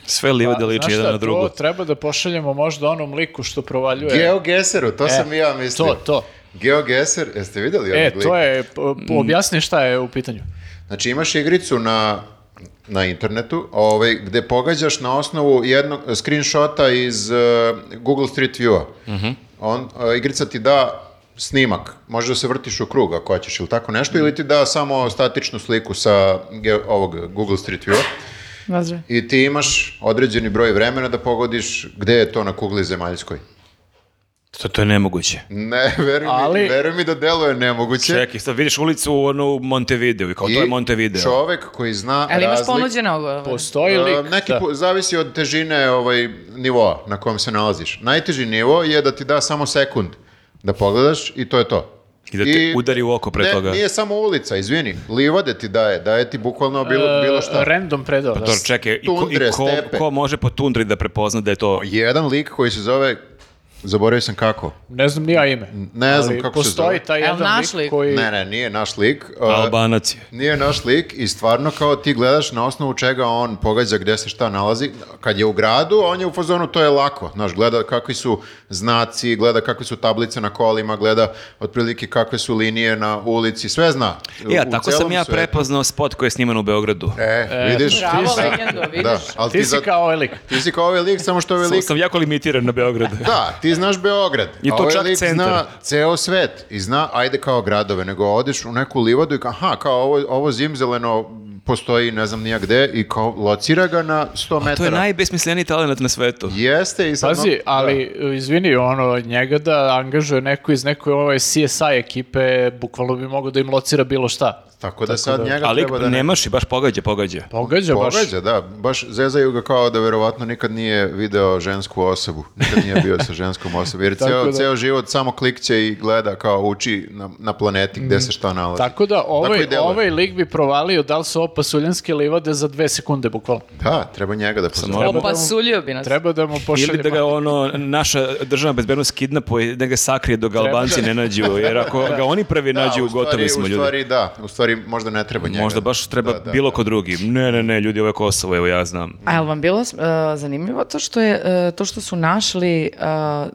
[SPEAKER 3] Sve live
[SPEAKER 1] Pa,
[SPEAKER 3] da
[SPEAKER 4] Znaš
[SPEAKER 3] liči jedan
[SPEAKER 4] šta,
[SPEAKER 3] na drugu.
[SPEAKER 4] To treba da pošaljemo možda onom liku što provaljuje.
[SPEAKER 1] Geogeseru, to sam i ja mislio.
[SPEAKER 4] E, To, to.
[SPEAKER 1] Geogeser, jeste vidjeli?
[SPEAKER 4] E,
[SPEAKER 1] onog lika?
[SPEAKER 4] to je, po- po- objasni šta je u pitanju.
[SPEAKER 1] Znači imaš igricu na na internetu, ovaj, gde pogađaš na osnovu jednog screenshota iz eh, Google Street View-a.
[SPEAKER 4] Mhm.
[SPEAKER 1] On, eh, igrica ti da snimak, možeš da se vrtiš u krug ako hoćeš ili tako nešto, ili ti da samo statičnu sliku sa ge- ovog Google Street View-a i ti imaš određeni broj vremena da pogodiš gde je to na kugli zemaljskoj.
[SPEAKER 3] To, to je nemoguće.
[SPEAKER 1] Ne, veruj, mi,
[SPEAKER 4] Ali-
[SPEAKER 1] veruj mi da deluje nemoguće.
[SPEAKER 3] Čekaj, sad vidiš ulicu ono, u Montevideo i kao to je
[SPEAKER 1] I
[SPEAKER 3] Montevideo.
[SPEAKER 1] Čovek koji zna
[SPEAKER 2] Ali imaš
[SPEAKER 1] razliku-
[SPEAKER 2] ponuđene ogove.
[SPEAKER 4] Postoji
[SPEAKER 1] E,
[SPEAKER 4] lik,
[SPEAKER 1] neki
[SPEAKER 4] da.
[SPEAKER 1] pu- zavisi od težine ovaj, nivoa na kojem se nalaziš. Najteži nivo je da ti da samo sekund da pogledaš i to je to.
[SPEAKER 3] I da te udari u oko pre
[SPEAKER 1] ne,
[SPEAKER 3] toga.
[SPEAKER 1] Nije samo ulica, izvini. Livade ti daje, daje ti bukvalno bilo,
[SPEAKER 4] E,
[SPEAKER 1] bilo šta.
[SPEAKER 4] Random predao. da
[SPEAKER 3] Pa to čekaj, i, ko, i
[SPEAKER 1] Tundre,
[SPEAKER 3] ko,
[SPEAKER 1] stepe.
[SPEAKER 3] ko može po tundri da prepozna da je to...
[SPEAKER 1] Jedan lik koji se zove, zaboravio sam kako.
[SPEAKER 4] Ne znam ni ja ime.
[SPEAKER 1] Ne znam kako se
[SPEAKER 4] postoji
[SPEAKER 1] zove.
[SPEAKER 4] taj
[SPEAKER 2] Jel
[SPEAKER 4] jedan
[SPEAKER 2] naš
[SPEAKER 4] lik
[SPEAKER 2] lik?
[SPEAKER 4] koji...
[SPEAKER 1] Ne, ne, nije naš lik. E,
[SPEAKER 3] Albanac je.
[SPEAKER 1] Nije naš lik i stvarno kao ti gledaš na osnovu čega on pogađa gde se šta nalazi. Kad je u gradu, on je u fazonu to je lako. Znaš, gleda kakvi su znaci, gleda kakve su tablice na kolima, gleda otprilike kakve su linije na ulici, sve zna. U-
[SPEAKER 3] Ja,
[SPEAKER 1] u
[SPEAKER 3] E, tako sam
[SPEAKER 1] celom
[SPEAKER 3] ja
[SPEAKER 1] svetu.
[SPEAKER 3] prepoznao spot koji je sniman u Beogradu.
[SPEAKER 1] E, vidiš,
[SPEAKER 2] Bravo,
[SPEAKER 1] ti si-
[SPEAKER 2] legendo, vidiš.
[SPEAKER 1] Da, ali ti,
[SPEAKER 4] Ti si
[SPEAKER 1] za-
[SPEAKER 4] kao ovaj lik.
[SPEAKER 1] ti si kao ovaj lik, samo što ovaj
[SPEAKER 3] Sam,
[SPEAKER 1] lik...
[SPEAKER 3] sam jako limitiran na
[SPEAKER 1] (laughs)
[SPEAKER 3] Beogradu.
[SPEAKER 1] Da, ti znaš Beograd.
[SPEAKER 3] I to
[SPEAKER 1] a ovaj
[SPEAKER 3] čak
[SPEAKER 1] lik
[SPEAKER 3] centar.
[SPEAKER 1] zna ceo svet i zna, ajde kao gradove, nego odeš u neku livadu i kao, aha, kao ovo, ovo zimzeleno postoji ne znam nija gde i kao locira ga na 100 metara.
[SPEAKER 3] to je najbesmisleniji talent na svetu.
[SPEAKER 1] Jeste i sad...
[SPEAKER 4] Pazi, ali izvini, ono, njega da angažuje neko iz neke ove CSI ekipe, bukvalno bi mogao da im locira bilo šta.
[SPEAKER 1] Tako da sad njega
[SPEAKER 3] Ali
[SPEAKER 1] treba da... ne-
[SPEAKER 3] nemaš i baš pogađa, pogađa.
[SPEAKER 4] Pogađa, baš.
[SPEAKER 1] Pogađa, da. Baš zezaju ga kao da verovatno nikad nije video žensku osobu. Nikad nije bio sa ženskom osobom. Jer
[SPEAKER 4] (laughs) Tako
[SPEAKER 1] ceo,
[SPEAKER 4] da.
[SPEAKER 1] ceo život samo klikće i gleda kao uči na, na planeti
[SPEAKER 3] Mm.
[SPEAKER 1] gde se šta nalazi.
[SPEAKER 4] Tako da ovaj,
[SPEAKER 1] i deluje.
[SPEAKER 4] ovaj lik bi provalio da li su ovo pasuljanske livade za dve sekunde, bukvalno.
[SPEAKER 1] Da, treba njega da pozove.
[SPEAKER 3] Samo-
[SPEAKER 2] Opasulio bi nas.
[SPEAKER 4] Treba da mu pošaljemo.
[SPEAKER 3] Ili da ga ono, naša državna bezbednost kidnapuje, da ga sakrije dok ga Albanci ne nađu, jer ako ga oni prvi
[SPEAKER 1] Da,
[SPEAKER 3] nađu,
[SPEAKER 1] u stvari-
[SPEAKER 3] gotovi smo
[SPEAKER 1] u
[SPEAKER 3] ljudi.
[SPEAKER 1] stvari, da, u stvari možda ne treba njega.
[SPEAKER 3] Možda baš treba
[SPEAKER 1] Da, da,
[SPEAKER 3] bilo
[SPEAKER 1] da.
[SPEAKER 3] ko drugi. Ne, ne, ne, ljudi, ovo je Kosovo, evo ja znam.
[SPEAKER 2] A jel vam bilo e, zanimljivo to što, je, e, to što su našli e,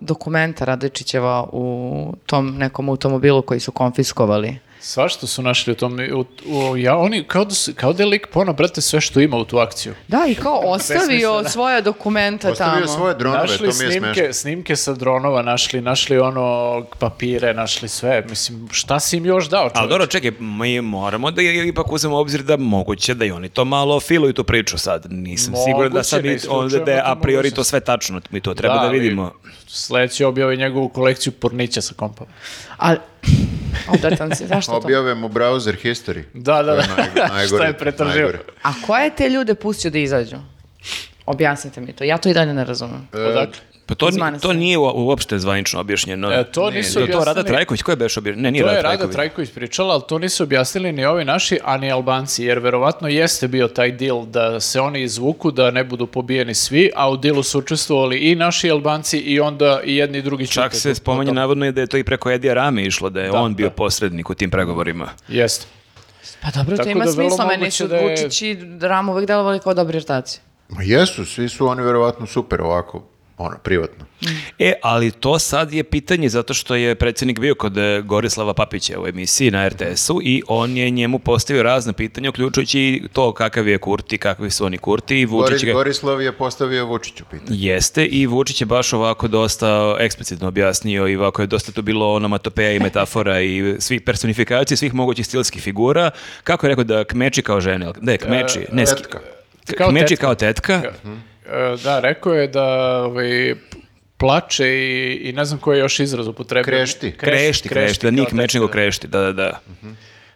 [SPEAKER 2] dokumenta Radojčićeva u tom nekom automobilu koji su konfiskovali?
[SPEAKER 4] Svašta su našli u tom. U, u- ja, oni, kao da, su- kao da je lik ponao, brate, sve što ima u tu akciju.
[SPEAKER 2] Da, i kao ostavio
[SPEAKER 4] Besmisleno.
[SPEAKER 2] svoja dokumenta
[SPEAKER 1] Ostavio
[SPEAKER 2] tamo.
[SPEAKER 1] svoje dronove,
[SPEAKER 4] našli
[SPEAKER 1] to mi je smešno.
[SPEAKER 4] snimke, snimke sa dronova, našli, našli ono papire, našli sve. Mislim, šta si im još dao?
[SPEAKER 3] Ali
[SPEAKER 4] čoveče?
[SPEAKER 3] dobro, čekaj, mi moramo da je- ipak uzmemo u obzir da moguće da i oni to malo filuju tu priču sad. Nisam
[SPEAKER 4] Moguće,
[SPEAKER 3] siguran da sad
[SPEAKER 4] ne
[SPEAKER 3] mi,
[SPEAKER 4] isključujemo
[SPEAKER 3] onda da je
[SPEAKER 4] tu
[SPEAKER 3] a priori to
[SPEAKER 4] mogućnost.
[SPEAKER 3] sve tačno. Mi to treba da,
[SPEAKER 4] ali
[SPEAKER 3] vidimo.
[SPEAKER 4] Sledeći objavi njegovu kolekciju pornića sa kompom.
[SPEAKER 2] Ali, odvratan si, zašto to?
[SPEAKER 1] Objave mu browser history.
[SPEAKER 4] Da, da,
[SPEAKER 1] To
[SPEAKER 4] da.
[SPEAKER 1] je naj- najgore,
[SPEAKER 4] (laughs) Šta je pretražio?
[SPEAKER 1] najgore.
[SPEAKER 2] A ko je te ljude pustio da izađu? Objasnite mi to, ja to i dalje ne razumem.
[SPEAKER 1] E,
[SPEAKER 4] Odakle?
[SPEAKER 3] Pa to,
[SPEAKER 2] Iz
[SPEAKER 3] ni-
[SPEAKER 2] manastira.
[SPEAKER 3] to nije u- uopšte zvanično objašnjeno.
[SPEAKER 4] E, to nisu
[SPEAKER 3] Jel to Rada
[SPEAKER 4] objasnili.
[SPEAKER 3] Trajković, ko je beš objašnjeno? Ne, nije
[SPEAKER 4] To
[SPEAKER 3] Rada
[SPEAKER 4] je Rada
[SPEAKER 3] Trajković.
[SPEAKER 4] Trajković pričala, ali to nisu objasnili ni ovi naši, a ni Albanci, jer verovatno jeste bio taj deal da se oni izvuku, da ne budu pobijeni svi, a u dealu su učestvovali i naši Albanci i onda i jedni i drugi
[SPEAKER 3] Čak
[SPEAKER 4] ćute.
[SPEAKER 3] se spomenje navodno je da je to i preko Edija Rame išlo, da je on bio posrednik u tim pregovorima.
[SPEAKER 4] Jeste.
[SPEAKER 2] Pa dobro, to
[SPEAKER 4] Tako
[SPEAKER 2] ima
[SPEAKER 4] da vrlo
[SPEAKER 2] smisla, meni
[SPEAKER 4] moguće
[SPEAKER 2] su
[SPEAKER 4] da je-
[SPEAKER 2] Vučić i Ram uvek delovali kao dobri ortaci.
[SPEAKER 1] Ma jesu, svi su oni verovatno super ovako, ono, privatno.
[SPEAKER 3] E, ali to sad je pitanje zato što je predsjednik bio kod e, Gorislava Papića u emisiji na RTS-u i on je njemu postavio razne pitanja, uključujući i to kakav je Kurti, kakvi su oni Kurti i Vučić
[SPEAKER 1] Boris,
[SPEAKER 3] ga...
[SPEAKER 1] Gorislav je postavio Vučiću pitanje.
[SPEAKER 3] Jeste i Vučić je baš ovako dosta eksplicitno objasnio i ovako je dosta tu bilo onomatopeja i metafora i svih personifikacija, svih mogućih stilskih figura. Kako je rekao da kmeči kao žene? jel? Ne, kmeči. Ne, sk-
[SPEAKER 1] tetka.
[SPEAKER 3] k-
[SPEAKER 4] Da, Kao
[SPEAKER 3] kmeči
[SPEAKER 4] tetka.
[SPEAKER 3] kao tetka.
[SPEAKER 4] E, Da, rekao je da ovaj, plače i, i ne znam koji je još izraz upotrebio.
[SPEAKER 1] Krešti.
[SPEAKER 3] Krešti, krešti, da nije
[SPEAKER 4] kao
[SPEAKER 3] kmeč
[SPEAKER 4] tetka,
[SPEAKER 3] nego
[SPEAKER 4] da. Mhm.
[SPEAKER 3] krešti, da, da, da.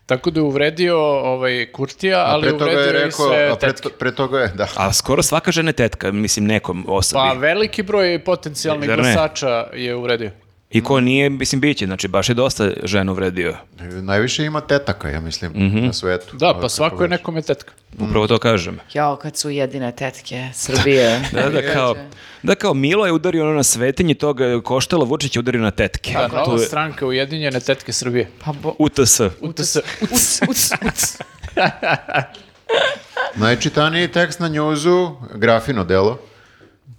[SPEAKER 4] Tako da je uvredio ovaj, Kurtija,
[SPEAKER 1] A
[SPEAKER 4] ali
[SPEAKER 1] pre toga
[SPEAKER 4] uvredio
[SPEAKER 1] je
[SPEAKER 4] je i
[SPEAKER 1] rekao,
[SPEAKER 4] sve
[SPEAKER 1] a pre,
[SPEAKER 4] tetke.
[SPEAKER 1] to- pre toga je, da.
[SPEAKER 3] A skoro svaka žena je tetka, mislim nekom osobi.
[SPEAKER 4] Pa veliki broj potencijalnih
[SPEAKER 3] Zar ne?
[SPEAKER 4] glasača je uvredio.
[SPEAKER 3] I ko nije, mislim, biće, znači baš je dosta ženu uvredio.
[SPEAKER 1] Najviše ima tetaka, ja mislim, na svetu.
[SPEAKER 4] Da,
[SPEAKER 1] Ovo
[SPEAKER 4] pa
[SPEAKER 1] kako
[SPEAKER 4] svako je
[SPEAKER 1] već.
[SPEAKER 4] nekome tetka.
[SPEAKER 3] Upravo to kažem.
[SPEAKER 4] Mhm.
[SPEAKER 2] Jao, kad su jedine tetke Srbije.
[SPEAKER 4] (laughs)
[SPEAKER 3] Da, da, kao, da kao Milo je udario ono na svetinji toga, Koštelo Vučić je udario na tetke.
[SPEAKER 4] Da,
[SPEAKER 3] Tu
[SPEAKER 4] nova
[SPEAKER 3] je
[SPEAKER 4] stranka Ujedinjene tetke Srbije.
[SPEAKER 2] Pa bo...
[SPEAKER 3] UTS.
[SPEAKER 4] UTS.
[SPEAKER 2] Uc, uc, uc.
[SPEAKER 1] Najčitaniji tekst na njuzu, grafino delo,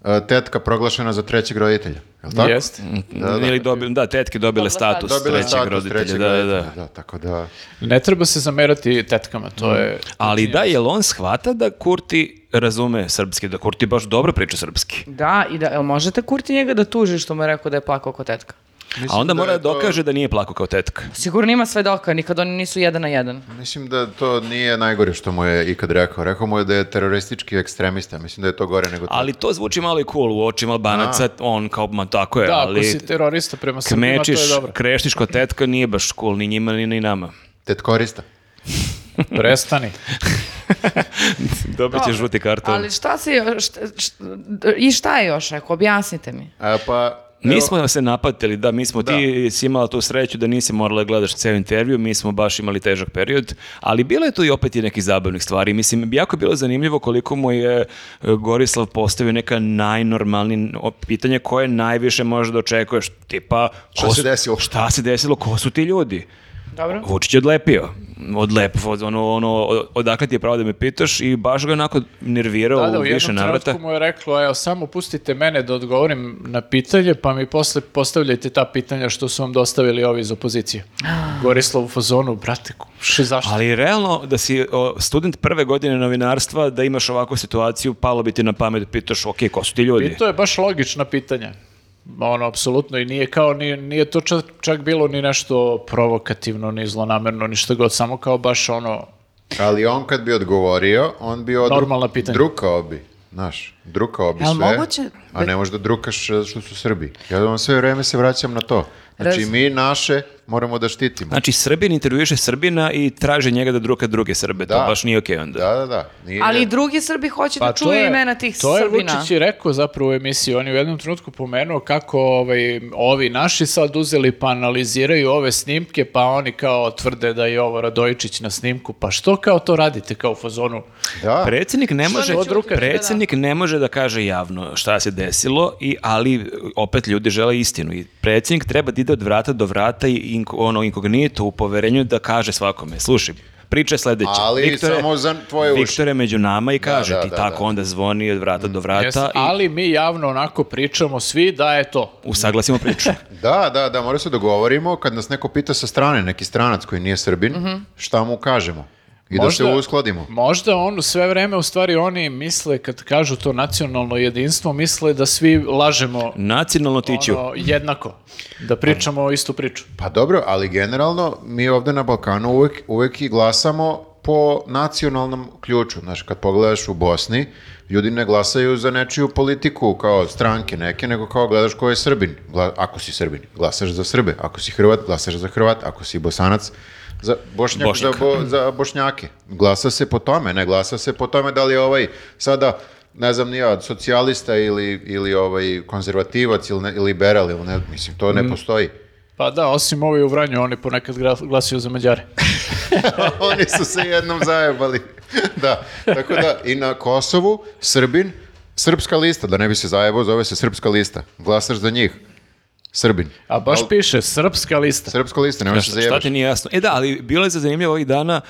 [SPEAKER 1] e, tetka proglašena za trećeg roditelja. Je li tako?
[SPEAKER 4] Jeste.
[SPEAKER 1] Da, da.
[SPEAKER 3] Ili dobi- da, tetke dobile status
[SPEAKER 1] Dobila je
[SPEAKER 3] trećeg
[SPEAKER 1] status
[SPEAKER 3] roditelja.
[SPEAKER 1] trećeg
[SPEAKER 3] da, da, da.
[SPEAKER 1] roditelja, da, tako da...
[SPEAKER 4] Ne treba se zamerati tetkama, to je...
[SPEAKER 3] Ali da, jel on shvata da Kurti razume srpski, da Kurti baš dobro priča srpski.
[SPEAKER 2] Da, i da, jel možete Kurti njega da tuži što mu je rekao da je plakao kao tetka?
[SPEAKER 1] Mislim
[SPEAKER 3] A onda mora
[SPEAKER 1] je
[SPEAKER 3] da
[SPEAKER 1] to-
[SPEAKER 3] dokaže da nije plako kao tetka.
[SPEAKER 2] Sigurno ima svedoka, nikad oni nisu jedan na jedan.
[SPEAKER 1] Mislim da to nije najgore što mu je ikad rekao. Rekao mu je da je teroristički ekstremista. Mislim da je to gore nego to.
[SPEAKER 3] Ali to zvuči malo i cool u očima Albanaca, on kao, ma tako je,
[SPEAKER 4] Da, ako
[SPEAKER 3] ali
[SPEAKER 4] si terorista prema Srbima, to je
[SPEAKER 3] kmečiš,
[SPEAKER 4] dobro.
[SPEAKER 3] kreštiš kao tetka, nije baš cool, ni njima, ni, ni nama.
[SPEAKER 1] Tetkorista.
[SPEAKER 4] Prestani.
[SPEAKER 3] Dobit će žuti karton.
[SPEAKER 2] Ali šta se još, šta- šta- i šta je još rekao, objasnite mi.
[SPEAKER 1] A, pa...
[SPEAKER 3] Mi
[SPEAKER 1] evo-
[SPEAKER 3] smo se napatili, da, mi smo,
[SPEAKER 1] Da.
[SPEAKER 3] ti si imala tu sreću da nisi morala da gledaš ceo intervju, mi smo baš imali težak period, ali bilo je tu i opet i nekih zabavnih stvari. Mislim, jako je bilo zanimljivo koliko mu je e, Gorislav postavio neka najnormalnija pitanja koje najviše možeš da očekuješ, tipa...
[SPEAKER 1] Šta
[SPEAKER 3] ko
[SPEAKER 1] se
[SPEAKER 3] su-
[SPEAKER 1] desilo?
[SPEAKER 3] Šta se desilo? Ko su ti ljudi?
[SPEAKER 2] Dobro.
[SPEAKER 3] Vučić je odlepio. Odlep, od- ono, ono, od- odakle ti je pravo da me pitaš i baš ga onako nervirao
[SPEAKER 4] Da, da,
[SPEAKER 3] u
[SPEAKER 4] u
[SPEAKER 3] više
[SPEAKER 4] jednom
[SPEAKER 3] navrata.
[SPEAKER 4] trenutku mu je reklo, evo, samo pustite mene da odgovorim na pitanje, pa mi posle postavljajte ta pitanja što su vam dostavili ovi iz opozicije. Gorislav u fazonu, brate, še zašto?
[SPEAKER 3] Ali realno, da si o, student prve godine novinarstva, da imaš ovakvu situaciju, palo bi ti na pamet, da pitaš, ok, ko su ti ljudi?
[SPEAKER 4] I to je baš logična pitanja. Ono, apsolutno, i nije kao, nije, nije to čak, čak bilo ni nešto provokativno, ni zlonamerno, ni šta god, samo kao baš ono,
[SPEAKER 1] Ali on kad bi odgovorio, on bi od...
[SPEAKER 4] Normalna pitanja.
[SPEAKER 1] Drukao bi, znaš, drukao bi
[SPEAKER 2] Jel
[SPEAKER 1] sve,
[SPEAKER 2] moguće
[SPEAKER 1] a ne možeš da drukaš e, što su Srbi. Ja vam sve vreme se vraćam na to. Znači,
[SPEAKER 2] Raz-
[SPEAKER 1] mi naše moramo da štitimo.
[SPEAKER 3] Znači, Srbin intervjuiše Srbina i traže njega da druga druge Srbe. To
[SPEAKER 1] Da.
[SPEAKER 3] baš nije okej onda.
[SPEAKER 1] Da, da, da. Nije,
[SPEAKER 2] Ali i drugi Srbi hoće
[SPEAKER 3] Pa
[SPEAKER 2] da
[SPEAKER 4] to
[SPEAKER 2] čuju
[SPEAKER 4] je-
[SPEAKER 2] imena tih
[SPEAKER 4] To je
[SPEAKER 2] Srbina.
[SPEAKER 4] Vučić i rekao zapravo u emisiji. On je u jednom trenutku pomenuo kako ovaj, ovi naši sad uzeli pa analiziraju ove snimke, pa oni kao tvrde da je ovo Radojičić na snimku. Pa što kao to radite kao u fazonu?
[SPEAKER 1] Da,
[SPEAKER 3] Predsjednik ne može,
[SPEAKER 2] ne ćuti?
[SPEAKER 3] Druga- predsjednik ne može da kaže javno šta se desilo, i, ali opet ljudi žele istinu. I predsjednik treba da ide od vrata do vrata i inko- ono inkognito u poverenju da kaže svakome, slušaj, Priča je sledeća.
[SPEAKER 1] Ali samo za tvoje uši.
[SPEAKER 3] Viktore među nama i kaže
[SPEAKER 1] da,
[SPEAKER 3] ti
[SPEAKER 1] da,
[SPEAKER 3] tako
[SPEAKER 1] da.
[SPEAKER 3] onda zvoni od vrata do vrata
[SPEAKER 4] Jeste,
[SPEAKER 3] i
[SPEAKER 4] ali mi javno onako pričamo svi da je to.
[SPEAKER 3] usaglasimo priču.
[SPEAKER 1] Da, da, da, mora se dogovorimo kad nas neko pita sa strane, neki stranac koji nije Srbin, šta mu kažemo i da se
[SPEAKER 4] Možda-
[SPEAKER 1] uskladimo.
[SPEAKER 4] Možda on sve vreme, u stvari oni misle, kad kažu to nacionalno jedinstvo, misle da svi lažemo
[SPEAKER 3] Nacionalno tiću.
[SPEAKER 4] ono, jednako, da pričamo istu priču.
[SPEAKER 1] Pa dobro, ali generalno mi ovdje na Balkanu uvek, uvek i glasamo po nacionalnom ključu. Znaš, kad pogledaš u Bosni, ljudi ne glasaju za nečiju politiku kao stranke neke, nego kao gledaš ko je Srbin. Gla- ako si Srbin, glasaš za Srbe. Ako si Hrvat, glasaš za Hrvat. Ako si Bosanac, za, Bošnjak,
[SPEAKER 3] Bošnjak.
[SPEAKER 1] Za, bo- za Bošnjake. Glasa se po tome, ne glasa se po tome da li je ovaj sada ne znam ni ja, socijalista ili, ili ovaj konzervativac ili ne- liberal ili ne, mislim, to ne postoji.
[SPEAKER 4] Pa da, osim ovi u Vranju, oni ponekad gra- glasaju za Mađare.
[SPEAKER 1] (laughs) Oni su se jednom zajebali. (laughs) da, tako da i na Kosovu Srbin, Srpska lista, da ne bi se zajebao, zove se Srpska lista. Glasaš za njih. Srbin.
[SPEAKER 4] A baš piše, srpska lista.
[SPEAKER 1] Srpska lista, nemoj se
[SPEAKER 3] Šta, šta
[SPEAKER 1] zajebaš.
[SPEAKER 3] ti nije jasno? E da, ali bilo je za zanimljivo ovih dana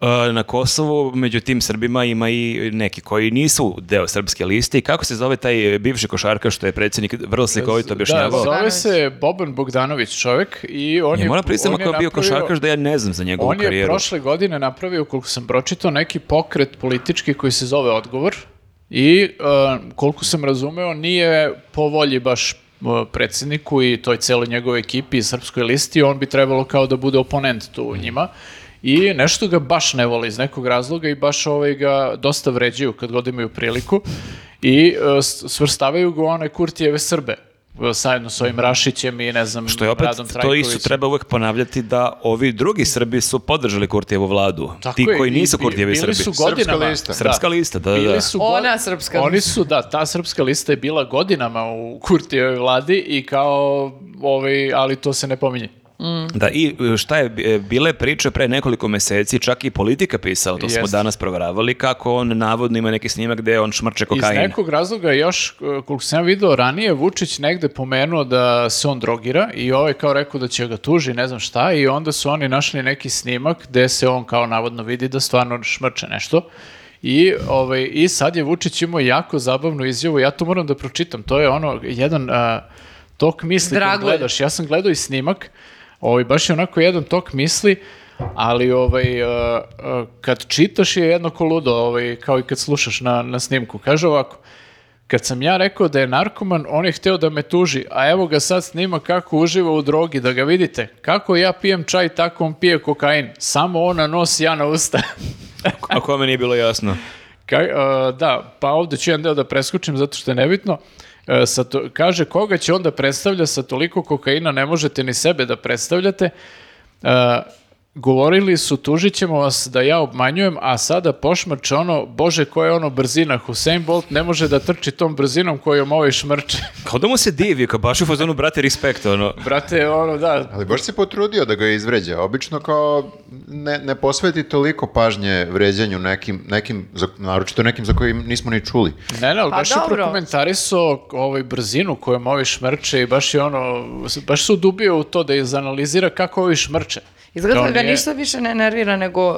[SPEAKER 3] e, na Kosovu, među tim Srbima ima i neki koji nisu deo srpske liste i kako se zove taj e, bivši košarka što je predsjednik vrlo slikovito
[SPEAKER 4] Da,
[SPEAKER 3] objašnjavao?
[SPEAKER 4] zove se Boban Bogdanović čovjek i on
[SPEAKER 3] Ja
[SPEAKER 4] je...
[SPEAKER 3] moram priznati
[SPEAKER 4] on je
[SPEAKER 3] ako je bio
[SPEAKER 4] napravio-
[SPEAKER 3] košarkaš da ja ne znam za njegovu
[SPEAKER 4] On je
[SPEAKER 3] karijeru.
[SPEAKER 4] prošle godine napravio, koliko sam pročitao, neki pokret politički koji se zove Odgovor i e, koliko sam razumeo nije po volji baš e, predsjedniku i toj celoj njegovoj ekipi i srpskoj listi, on bi trebalo kao da bude oponent tu njima i nešto ga baš ne voli iz nekog razloga i baš ovaj ga dosta vređaju kad god imaju priliku i e, s- svrstavaju ga u one Kurtijeve Srbe e, sajedno s ovim Rašićem i ne znam
[SPEAKER 3] Što je opet,
[SPEAKER 4] Radom
[SPEAKER 3] to isto
[SPEAKER 4] Trajkovićem.
[SPEAKER 3] treba uvek ponavljati da ovi drugi Srbi su podržali Kurtijevu vladu. Ti
[SPEAKER 4] je,
[SPEAKER 3] koji
[SPEAKER 4] i
[SPEAKER 3] nisu
[SPEAKER 4] bi-
[SPEAKER 3] Kurtijevi
[SPEAKER 4] bili
[SPEAKER 3] Srbi.
[SPEAKER 4] Su
[SPEAKER 1] Srpska
[SPEAKER 4] godinama,
[SPEAKER 1] lista.
[SPEAKER 3] Srpska lista, da, da, da.
[SPEAKER 4] Bili su go-
[SPEAKER 2] Ona srpska
[SPEAKER 4] Oni su, da, ta srpska lista je bila godinama u Kurtijevoj vladi i kao, ovaj, ali to se ne pominje.
[SPEAKER 3] Da, i e, šta je, e, bile priče pre nekoliko meseci, čak i politika pisala, to smo
[SPEAKER 4] Jeste.
[SPEAKER 3] danas proveravali, kako on navodno ima neki snimak gde on šmrče
[SPEAKER 4] Iz
[SPEAKER 3] kokain.
[SPEAKER 4] nekog razloga još, e, koliko sam ja video ranije, Vučić negde pomenuo da se on drogira i ovaj kao rekao da će ga tuži, ne znam šta, i onda su oni našli neki snimak gde se on kao navodno vidi da stvarno šmrče nešto. I, ovaj, I sad je Vučić imao jako zabavnu izjavu, ja to moram da pročitam, to je ono, jedan a, tok misli kad
[SPEAKER 2] Dragulj.
[SPEAKER 4] gledaš. Ja sam gledao i snimak, ovaj, baš je onako jedan tok misli, ali ovaj, a, a, kad čitaš je jedno koludo, ovaj, kao i kad slušaš na, na snimku. Kaže ovako, kad sam ja rekao da je narkoman, on je hteo da me tuži, a evo ga sad snima kako uživa u drogi, da ga vidite. Kako ja pijem čaj, tako on pije kokain. Samo ona nos, ja na usta. (laughs)
[SPEAKER 3] A kome nije bilo jasno?
[SPEAKER 4] Kaj, e, da, pa ovdje ću jedan deo da preskučim zato što je nebitno. E, sa to- kaže, koga će onda predstavlja sa toliko kokaina, ne možete ni sebe da predstavljate. E, govorili su, tužit ćemo vas da ja obmanjujem, a sada pošmrče ono, bože, koja je ono brzina, Hussein Bolt ne može da trči tom brzinom kojom ovaj šmrče. (laughs)
[SPEAKER 3] Kao da mu se divi, kao baš u fazonu, brate, respekt, ono.
[SPEAKER 4] Brate, ono, da,
[SPEAKER 1] Ali baš se potrudio da ga izvređa. Obično kao ne, ne posveti toliko pažnje vređanju nekim, nekim za- naročito nekim za kojim nismo ni čuli.
[SPEAKER 4] Ne, ne, ali
[SPEAKER 2] Pa
[SPEAKER 4] baš je
[SPEAKER 2] dobro.
[SPEAKER 4] prokomentarisao ovaj brzinu kojom ovi šmrče i baš je ono, baš se udubio u to da izanalizira kako ovi šmrče.
[SPEAKER 2] Izgleda
[SPEAKER 4] Da
[SPEAKER 2] da
[SPEAKER 4] on
[SPEAKER 2] ga
[SPEAKER 4] nije-
[SPEAKER 2] ništa više ne nervira nego uh,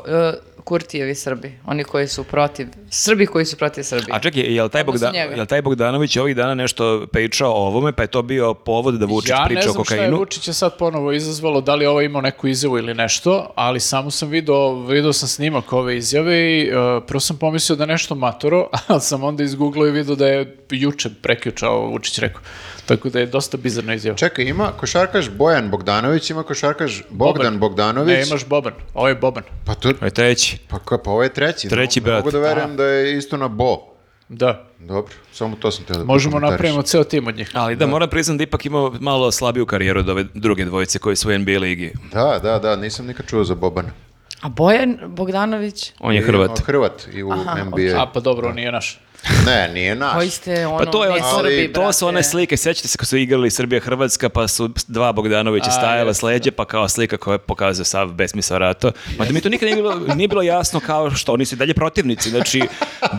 [SPEAKER 2] Kurtijevi Srbi. Oni koji su protiv, Srbi koji su protiv Srbije.
[SPEAKER 3] A čekaj, je li taj,
[SPEAKER 2] Odnosno
[SPEAKER 3] Bogda-
[SPEAKER 2] njega.
[SPEAKER 3] je li taj Bogdanović ovih dana nešto pečao o ovome, pa je to bio povod da Vučić
[SPEAKER 4] ja ne
[SPEAKER 3] priča o
[SPEAKER 4] znam šta je
[SPEAKER 3] kokainu?
[SPEAKER 4] Vučića sad ponovo izazvalo, da li je ovo imao neku izjavu ili nešto, ali samo sam video, video sam snimak ove izjave i uh, prvo sam pomislio da je nešto matoro, (laughs) ali sam onda izgooglao i video da je juče prekjučao Vučić rekao. Tako da je dosta bizarna izjava.
[SPEAKER 1] Čekaj, ima košarkaš Bojan Bogdanović, ima košarkaš Bogdan Bogdanović.
[SPEAKER 4] Ne, imaš Boban. Ovo je Boban.
[SPEAKER 1] Pa to,
[SPEAKER 3] Aj, treći.
[SPEAKER 1] pa, ko- pa ovo je treći.
[SPEAKER 3] Treći
[SPEAKER 1] ne, mogu- ne
[SPEAKER 3] brat.
[SPEAKER 1] mogu da verujem da je isto na Bo.
[SPEAKER 4] Da.
[SPEAKER 1] Dobro, samo to sam te da
[SPEAKER 4] Možemo
[SPEAKER 1] prokomentarišem.
[SPEAKER 4] napravimo ceo tim od njih.
[SPEAKER 3] Ali da, moram priznati da ipak imao malo slabiju karijeru od ove druge dvojice koji su u NBA ligi.
[SPEAKER 1] Da, da, da, nisam nikad čuo za Bobana.
[SPEAKER 2] A Bojan Bogdanović?
[SPEAKER 3] On je
[SPEAKER 1] I-
[SPEAKER 3] Hrvat.
[SPEAKER 1] o, Hrvat i u NBA.
[SPEAKER 4] A pa dobro, on nije naš.
[SPEAKER 1] Ne, nije naš.
[SPEAKER 2] Koji ste ono,
[SPEAKER 3] Pa to, je,
[SPEAKER 2] ne
[SPEAKER 3] to,
[SPEAKER 2] Srbi,
[SPEAKER 3] to su
[SPEAKER 2] brate.
[SPEAKER 3] one slike, sećate se kad su igrali Srbija-Hrvatska, pa su dva Bogdanovića stajala s
[SPEAKER 4] da.
[SPEAKER 3] leđa, pa kao slika koja pokazuje sav besmisao rata. Ma da mi to nikad nije bilo, nije bilo jasno kao što, oni su i dalje protivnici, znači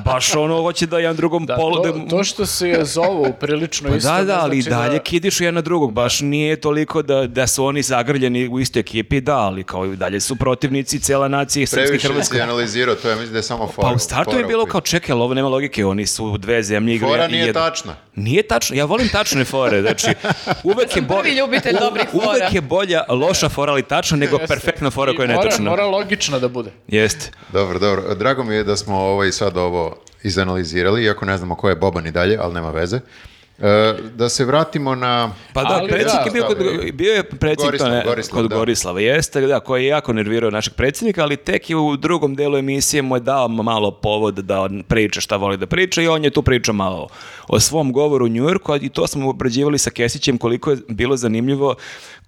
[SPEAKER 3] baš ono hoće da jedan drugom
[SPEAKER 4] Da,
[SPEAKER 3] polu...
[SPEAKER 4] to,
[SPEAKER 3] da-
[SPEAKER 4] to što se je zovu prilično
[SPEAKER 3] Pa
[SPEAKER 4] isto.
[SPEAKER 3] da,
[SPEAKER 4] ne
[SPEAKER 3] da, ali i
[SPEAKER 4] znači
[SPEAKER 3] dalje
[SPEAKER 4] da-
[SPEAKER 3] kidišu jedan na drugog, baš nije toliko da, da su oni zagrljeni u istoj ekipi, da, ali kao i dalje su protivnici cela nacija i srpski
[SPEAKER 1] Previše
[SPEAKER 3] Hrvatska.
[SPEAKER 1] si analizirao, to ja mislim da je samo fora.
[SPEAKER 3] Pa u startu je
[SPEAKER 1] fora u
[SPEAKER 3] bilo
[SPEAKER 1] pitanju.
[SPEAKER 3] kao čekaj, ali ovo nema logike, oni su dve zemlje igraju.
[SPEAKER 1] Fora
[SPEAKER 3] i
[SPEAKER 1] nije
[SPEAKER 3] jedno.
[SPEAKER 1] tačna.
[SPEAKER 3] Nije tačno, ja volim tačne fore, znači uvek je
[SPEAKER 2] Prvi
[SPEAKER 3] bolja,
[SPEAKER 2] ljubitelj dobrih fora.
[SPEAKER 3] uvek je bolja loša fora ali tačna nego perfektna fora
[SPEAKER 4] I
[SPEAKER 3] koja je
[SPEAKER 4] mora-
[SPEAKER 3] netačna.
[SPEAKER 4] Mora logično da bude.
[SPEAKER 3] Jeste.
[SPEAKER 1] Dobro, dobro. Drago mi je da smo ovaj sad ovo izanalizirali, iako ne znamo ko je Boban i dalje, ali nema veze. E, da se vratimo na...
[SPEAKER 3] Pa da,
[SPEAKER 4] Ali
[SPEAKER 3] predsjednik
[SPEAKER 4] da,
[SPEAKER 3] je bio,
[SPEAKER 1] stavili.
[SPEAKER 3] kod, bio je predsjednik
[SPEAKER 1] Gorislav,
[SPEAKER 3] to ne,
[SPEAKER 1] Gorislav,
[SPEAKER 3] kod
[SPEAKER 1] da.
[SPEAKER 3] Gorislava, jeste, da, koji je jako nervirao našeg predsjednika, ali tek je u drugom delu emisije mu je dao malo povod da on priča šta voli da priča i on je tu pričao malo o svom govoru u Njujorku a i to smo obrađivali sa Kesićem koliko je bilo zanimljivo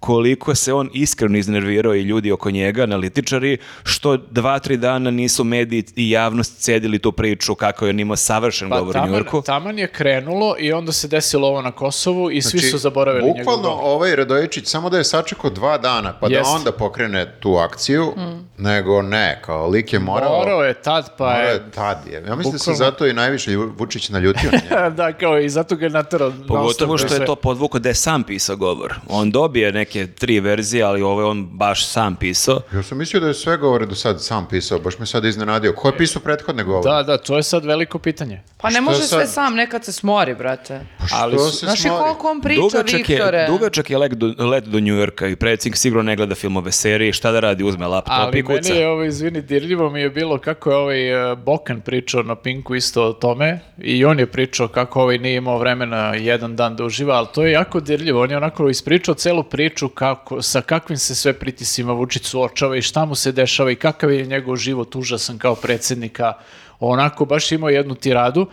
[SPEAKER 3] koliko se on iskreno iznervirao i ljudi oko njega, analitičari, što dva, tri dana nisu mediji i javnost cedili tu priču kako je on imao savršen
[SPEAKER 4] Pa
[SPEAKER 3] govor u
[SPEAKER 4] taman,
[SPEAKER 3] Njujorku.
[SPEAKER 4] taman je krenulo i onda se desilo ovo na Kosovu i svi su zaboravili njegov
[SPEAKER 1] Znači, Bukvalno
[SPEAKER 4] govor.
[SPEAKER 1] ovaj Radojičić samo da je sačekao dva dana, pa
[SPEAKER 4] Jeste.
[SPEAKER 1] da onda pokrene tu akciju,
[SPEAKER 3] Mm.
[SPEAKER 1] nego ne, kao lik je morao...
[SPEAKER 4] Morao je tad, pa
[SPEAKER 1] morao
[SPEAKER 4] je...
[SPEAKER 1] je tad je. Ja mislim da se
[SPEAKER 4] Bukvalno.
[SPEAKER 1] zato i najviše Lju- Vučić naljutio
[SPEAKER 4] (laughs)
[SPEAKER 1] na njega.
[SPEAKER 4] da, kao i zato ga je natarao.
[SPEAKER 3] Pogotovo što je to podvuko da je sam pisao govor. On dobije neke tri verzije, ali ovo je on baš sam pisao.
[SPEAKER 1] Ja sam mislio da je sve govore do sad sam pisao, baš me sad iznenadio. Ko je pisao prethodne govore?
[SPEAKER 4] Da, da, to je sad veliko pitanje.
[SPEAKER 2] Pa ne
[SPEAKER 1] Što
[SPEAKER 2] može sve
[SPEAKER 1] sad?
[SPEAKER 2] sam, nekad se smori, brate.
[SPEAKER 1] ali
[SPEAKER 3] su-
[SPEAKER 1] Pa se
[SPEAKER 2] Znaš i
[SPEAKER 1] smori?
[SPEAKER 2] koliko on priča, Viktore?
[SPEAKER 3] je, dugačak je let do, let do Njujorka i predsjednik sigurno ne gleda filmove serije, šta da radi, uzme laptop
[SPEAKER 4] Ali
[SPEAKER 3] i kuca.
[SPEAKER 4] meni je, ovo, izvini, dirljivo mi je bilo kako je ovaj e, Bokan pričao na Pinku isto o tome i on je pričao kako ovaj nije imao vremena jedan dan da uživa, ali to je jako dirljivo. On je onako ispričao celu priču kako, sa kakvim se sve pritisima Vučić suočava i šta mu se dešava i kakav je njegov život užasan kao predsjednika. Onako baš imao jednu tiradu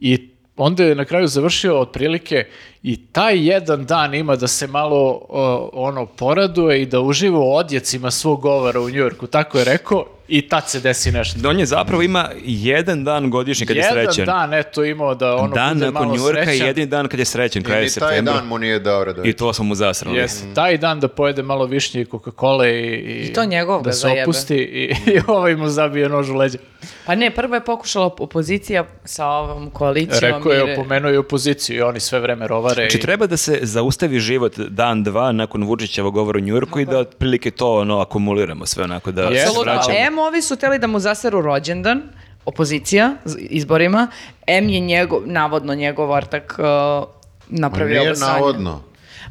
[SPEAKER 4] i onda je na kraju završio otprilike i taj jedan dan ima da se malo o, ono poraduje i da uživa u odjecima svog govora u Njujorku, tako je rekao i tad se desi nešto.
[SPEAKER 3] On je zapravo ima jedan dan godišnji Znači, kad je
[SPEAKER 4] jedan
[SPEAKER 3] srećen.
[SPEAKER 4] dan eto imao da ono
[SPEAKER 3] dan
[SPEAKER 4] bude
[SPEAKER 3] nakon
[SPEAKER 4] malo
[SPEAKER 3] Njujorka je
[SPEAKER 4] srećan.
[SPEAKER 3] jedini dan kad je srećen,
[SPEAKER 1] I
[SPEAKER 3] kraj
[SPEAKER 1] ni taj
[SPEAKER 3] septembra.
[SPEAKER 1] dan mu nije dao Radojičić.
[SPEAKER 3] I to smo mu zasrali.
[SPEAKER 4] Jeste, taj dan da pojede malo višnje i Coca-Cola i, i,
[SPEAKER 2] I to njegov
[SPEAKER 4] da
[SPEAKER 2] ga
[SPEAKER 4] se
[SPEAKER 2] zajebe.
[SPEAKER 4] opusti i, i ovaj mu zabije nož u leđa.
[SPEAKER 2] Pa ne, prvo je pokušala op- opozicija sa ovom koalicijom.
[SPEAKER 4] Rekao
[SPEAKER 2] i
[SPEAKER 4] je,
[SPEAKER 2] re-
[SPEAKER 4] opomenuo je opoziciju i oni sve vreme rovare.
[SPEAKER 3] Znači
[SPEAKER 4] i-
[SPEAKER 3] treba da se zaustavi život dan, dva nakon Vučićeva govora u Njujorku i da otprilike to ono akumuliramo sve onako da se
[SPEAKER 4] Apsolutno. E,
[SPEAKER 2] Apsolutno.
[SPEAKER 3] vraćamo.
[SPEAKER 2] Em, ovi su teli da mu zaseru rođendan, opozicija z- izborima. M je njegov, navodno njegov ortak uh,
[SPEAKER 1] Ma
[SPEAKER 2] napravio
[SPEAKER 1] Pa Nije
[SPEAKER 2] ovo sranje.
[SPEAKER 1] navodno.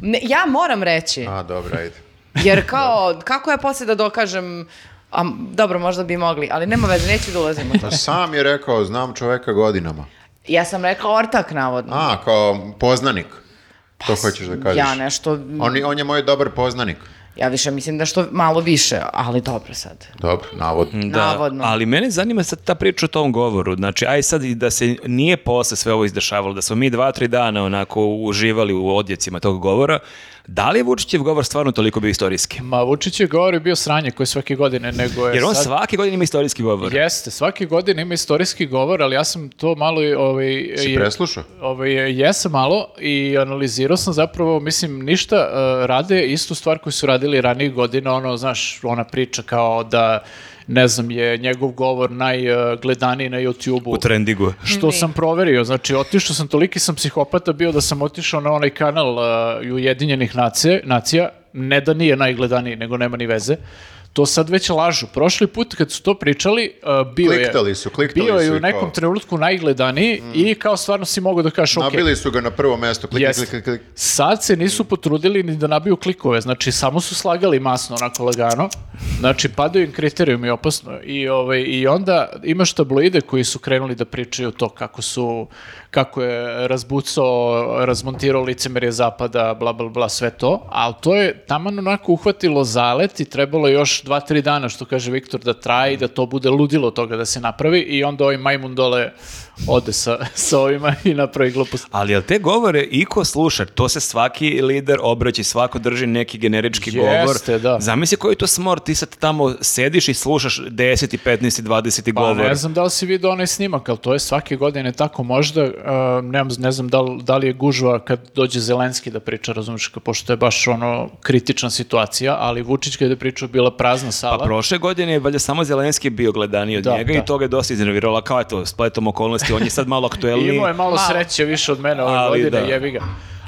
[SPEAKER 2] Ne, ja moram reći,
[SPEAKER 1] A, dobro, ajde.
[SPEAKER 2] jer kao, kako ja poslije da dokažem, a, m, dobro, možda bi mogli, ali nema veze, neću da ulazim u to.
[SPEAKER 1] Pa sam je rekao, znam čoveka godinama.
[SPEAKER 2] Ja sam rekla ortak, navodno.
[SPEAKER 1] A, kao poznanik. to hoćeš da kažeš.
[SPEAKER 2] Pa Ja nešto,
[SPEAKER 1] On, je- on je moj dobar poznanik.
[SPEAKER 2] ja više mislim da što malo više, ali dobro sad.
[SPEAKER 1] Dobro, navod.
[SPEAKER 4] Mm. Da,
[SPEAKER 2] Navodno.
[SPEAKER 3] Da, Ali mene zanima sad ta priča o tom govoru. Znači, aj sad i da se nije posle sve ovo izdešavalo, da smo mi dva, tri dana onako uživali u odjecima tog govora, da li je Vučićev govor stvarno toliko bio istorijski?
[SPEAKER 4] Ma Vučić je govor bio sranje koji svake godine, nego je
[SPEAKER 3] Jer on
[SPEAKER 4] sad-
[SPEAKER 3] svake godine ima istorijski govor.
[SPEAKER 4] Jeste, svake godine ima istorijski govor, ali ja sam to malo i, ovaj
[SPEAKER 1] Si
[SPEAKER 4] je-
[SPEAKER 1] preslušao?
[SPEAKER 4] ovaj jesam malo i analizirao sam zapravo, mislim ništa eh, rade istu stvar koju su radili ranijih godina, ono znaš, ona priča kao da ne znam je njegov govor najgledaniji na YouTubeu.
[SPEAKER 3] U trendigu.
[SPEAKER 4] Što sam proverio, znači otišao sam, toliki sam psihopata bio da sam otišao na onaj kanal uh, Ujedinjenih nacije, nacija, ne da nije najgledaniji, nego nema ni veze. To sad već lažu. Prošli put kad su to pričali, uh, bio
[SPEAKER 1] Kliktali
[SPEAKER 4] je,
[SPEAKER 1] su, kliktali
[SPEAKER 4] bio
[SPEAKER 1] su
[SPEAKER 4] je
[SPEAKER 1] i
[SPEAKER 4] u nekom
[SPEAKER 1] kao-
[SPEAKER 4] trenutku najgledaniji i kao stvarno si mogao da kažeš, ok,
[SPEAKER 1] Nabili su ga na prvo mesto. Klik,
[SPEAKER 4] Jeste.
[SPEAKER 1] klik, klik, klik.
[SPEAKER 4] Sad se nisu potrudili ni da nabiju klikove, znači samo su slagali masno onako lagano. Znači padaju im kriterijum i opasno. I, ovaj, I onda imaš tabloide koji su krenuli da pričaju to kako su, kako je razbucao, razmontirao licemerje zapada, bla bla bla, sve to. Ali to je taman onako uhvatilo zalet i trebalo je još dva, tri dana, što kaže Viktor, da traje i da to bude ludilo toga da se napravi i onda ovaj majmun dole ode sa, sa ovima i napravi glupost.
[SPEAKER 3] Ali jel te govore iko sluša? To se svaki lider obraća i svako drži neki generički
[SPEAKER 4] Jeste,
[SPEAKER 3] govor.
[SPEAKER 4] da.
[SPEAKER 3] Zamisli koji je to smor, ti sad tamo sediš i slušaš 10, 15, 20
[SPEAKER 4] Pa
[SPEAKER 3] govor.
[SPEAKER 4] ne znam da li si vidio onaj snimak, ali to je svake godine tako možda, uh, nemam, ne znam da li, da li je gužva kad dođe Zelenski da priča, razumiješ, pošto je baš ono kritična situacija, ali Vučić kada je pričao bila prazna sala.
[SPEAKER 3] Pa prošle godine je valjda samo Zelenski bio gledaniji od
[SPEAKER 4] Da,
[SPEAKER 3] njega
[SPEAKER 4] da.
[SPEAKER 3] i toga je dosta iznervirala. Kao je to, spletom okolnosti, on je sad
[SPEAKER 4] (laughs)
[SPEAKER 3] malo
[SPEAKER 4] I
[SPEAKER 3] aktuelniji.
[SPEAKER 4] Imao je malo sreće više od mene ove
[SPEAKER 3] Ali
[SPEAKER 4] godine,
[SPEAKER 3] da.
[SPEAKER 4] jebi ga.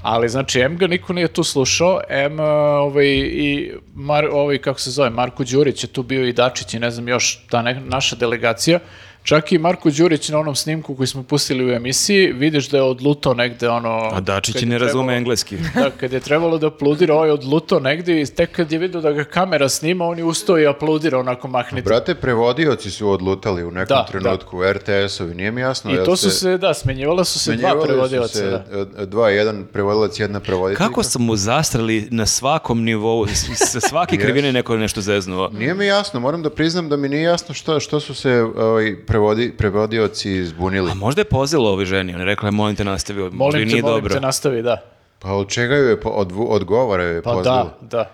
[SPEAKER 4] Ali znači, em ga niko nije tu slušao, em e, ovaj, i Mar, ovaj, kako se zove, Marko Đurić je tu bio i Dačić i ne znam još, ta ne- naša delegacija. Čak i Marko Đurić na onom snimku koji smo pustili u emisiji, vidiš da je odlutao negde ono...
[SPEAKER 3] A da. Dačić
[SPEAKER 4] kad
[SPEAKER 3] i
[SPEAKER 4] je
[SPEAKER 3] ne razume
[SPEAKER 4] trebalo-
[SPEAKER 3] engleski.
[SPEAKER 4] Da, kad je trebalo da apludira, ovaj je odlutao negde i tek kad je vidio da ga kamera snima, on je ustao i apludira onako mahnito.
[SPEAKER 1] Brate, prevodioci su odlutali u nekom
[SPEAKER 4] Da, da.
[SPEAKER 1] trenutku, RTS-ovi, nije mi jasno.
[SPEAKER 4] I
[SPEAKER 1] jel
[SPEAKER 4] to su se, da, smenjivala su se dva
[SPEAKER 1] smenjivali su
[SPEAKER 4] prevodioca.
[SPEAKER 1] se,
[SPEAKER 4] da.
[SPEAKER 1] e, Dva, jedan prevodilac, jedna prevoditeljka.
[SPEAKER 3] Kako su mu zastrali na svakom nivou, s- sa svake krivine neko je nešto zeznuo.
[SPEAKER 1] Nije mi jasno, moram da priznam da mi nije jasno što, što su se ovaj, prevodi, prevodioci zbunili.
[SPEAKER 3] A možda je pozelo ovi ženi, ona je rekla, molim te nastavi, možda i
[SPEAKER 4] Molim te,
[SPEAKER 3] nije
[SPEAKER 4] molim
[SPEAKER 3] dobro.
[SPEAKER 4] te, nastavi, da.
[SPEAKER 1] Pa od čega ju je, po- od, vu- od govora ju je
[SPEAKER 4] Pa
[SPEAKER 1] pozvalo?
[SPEAKER 4] da, da.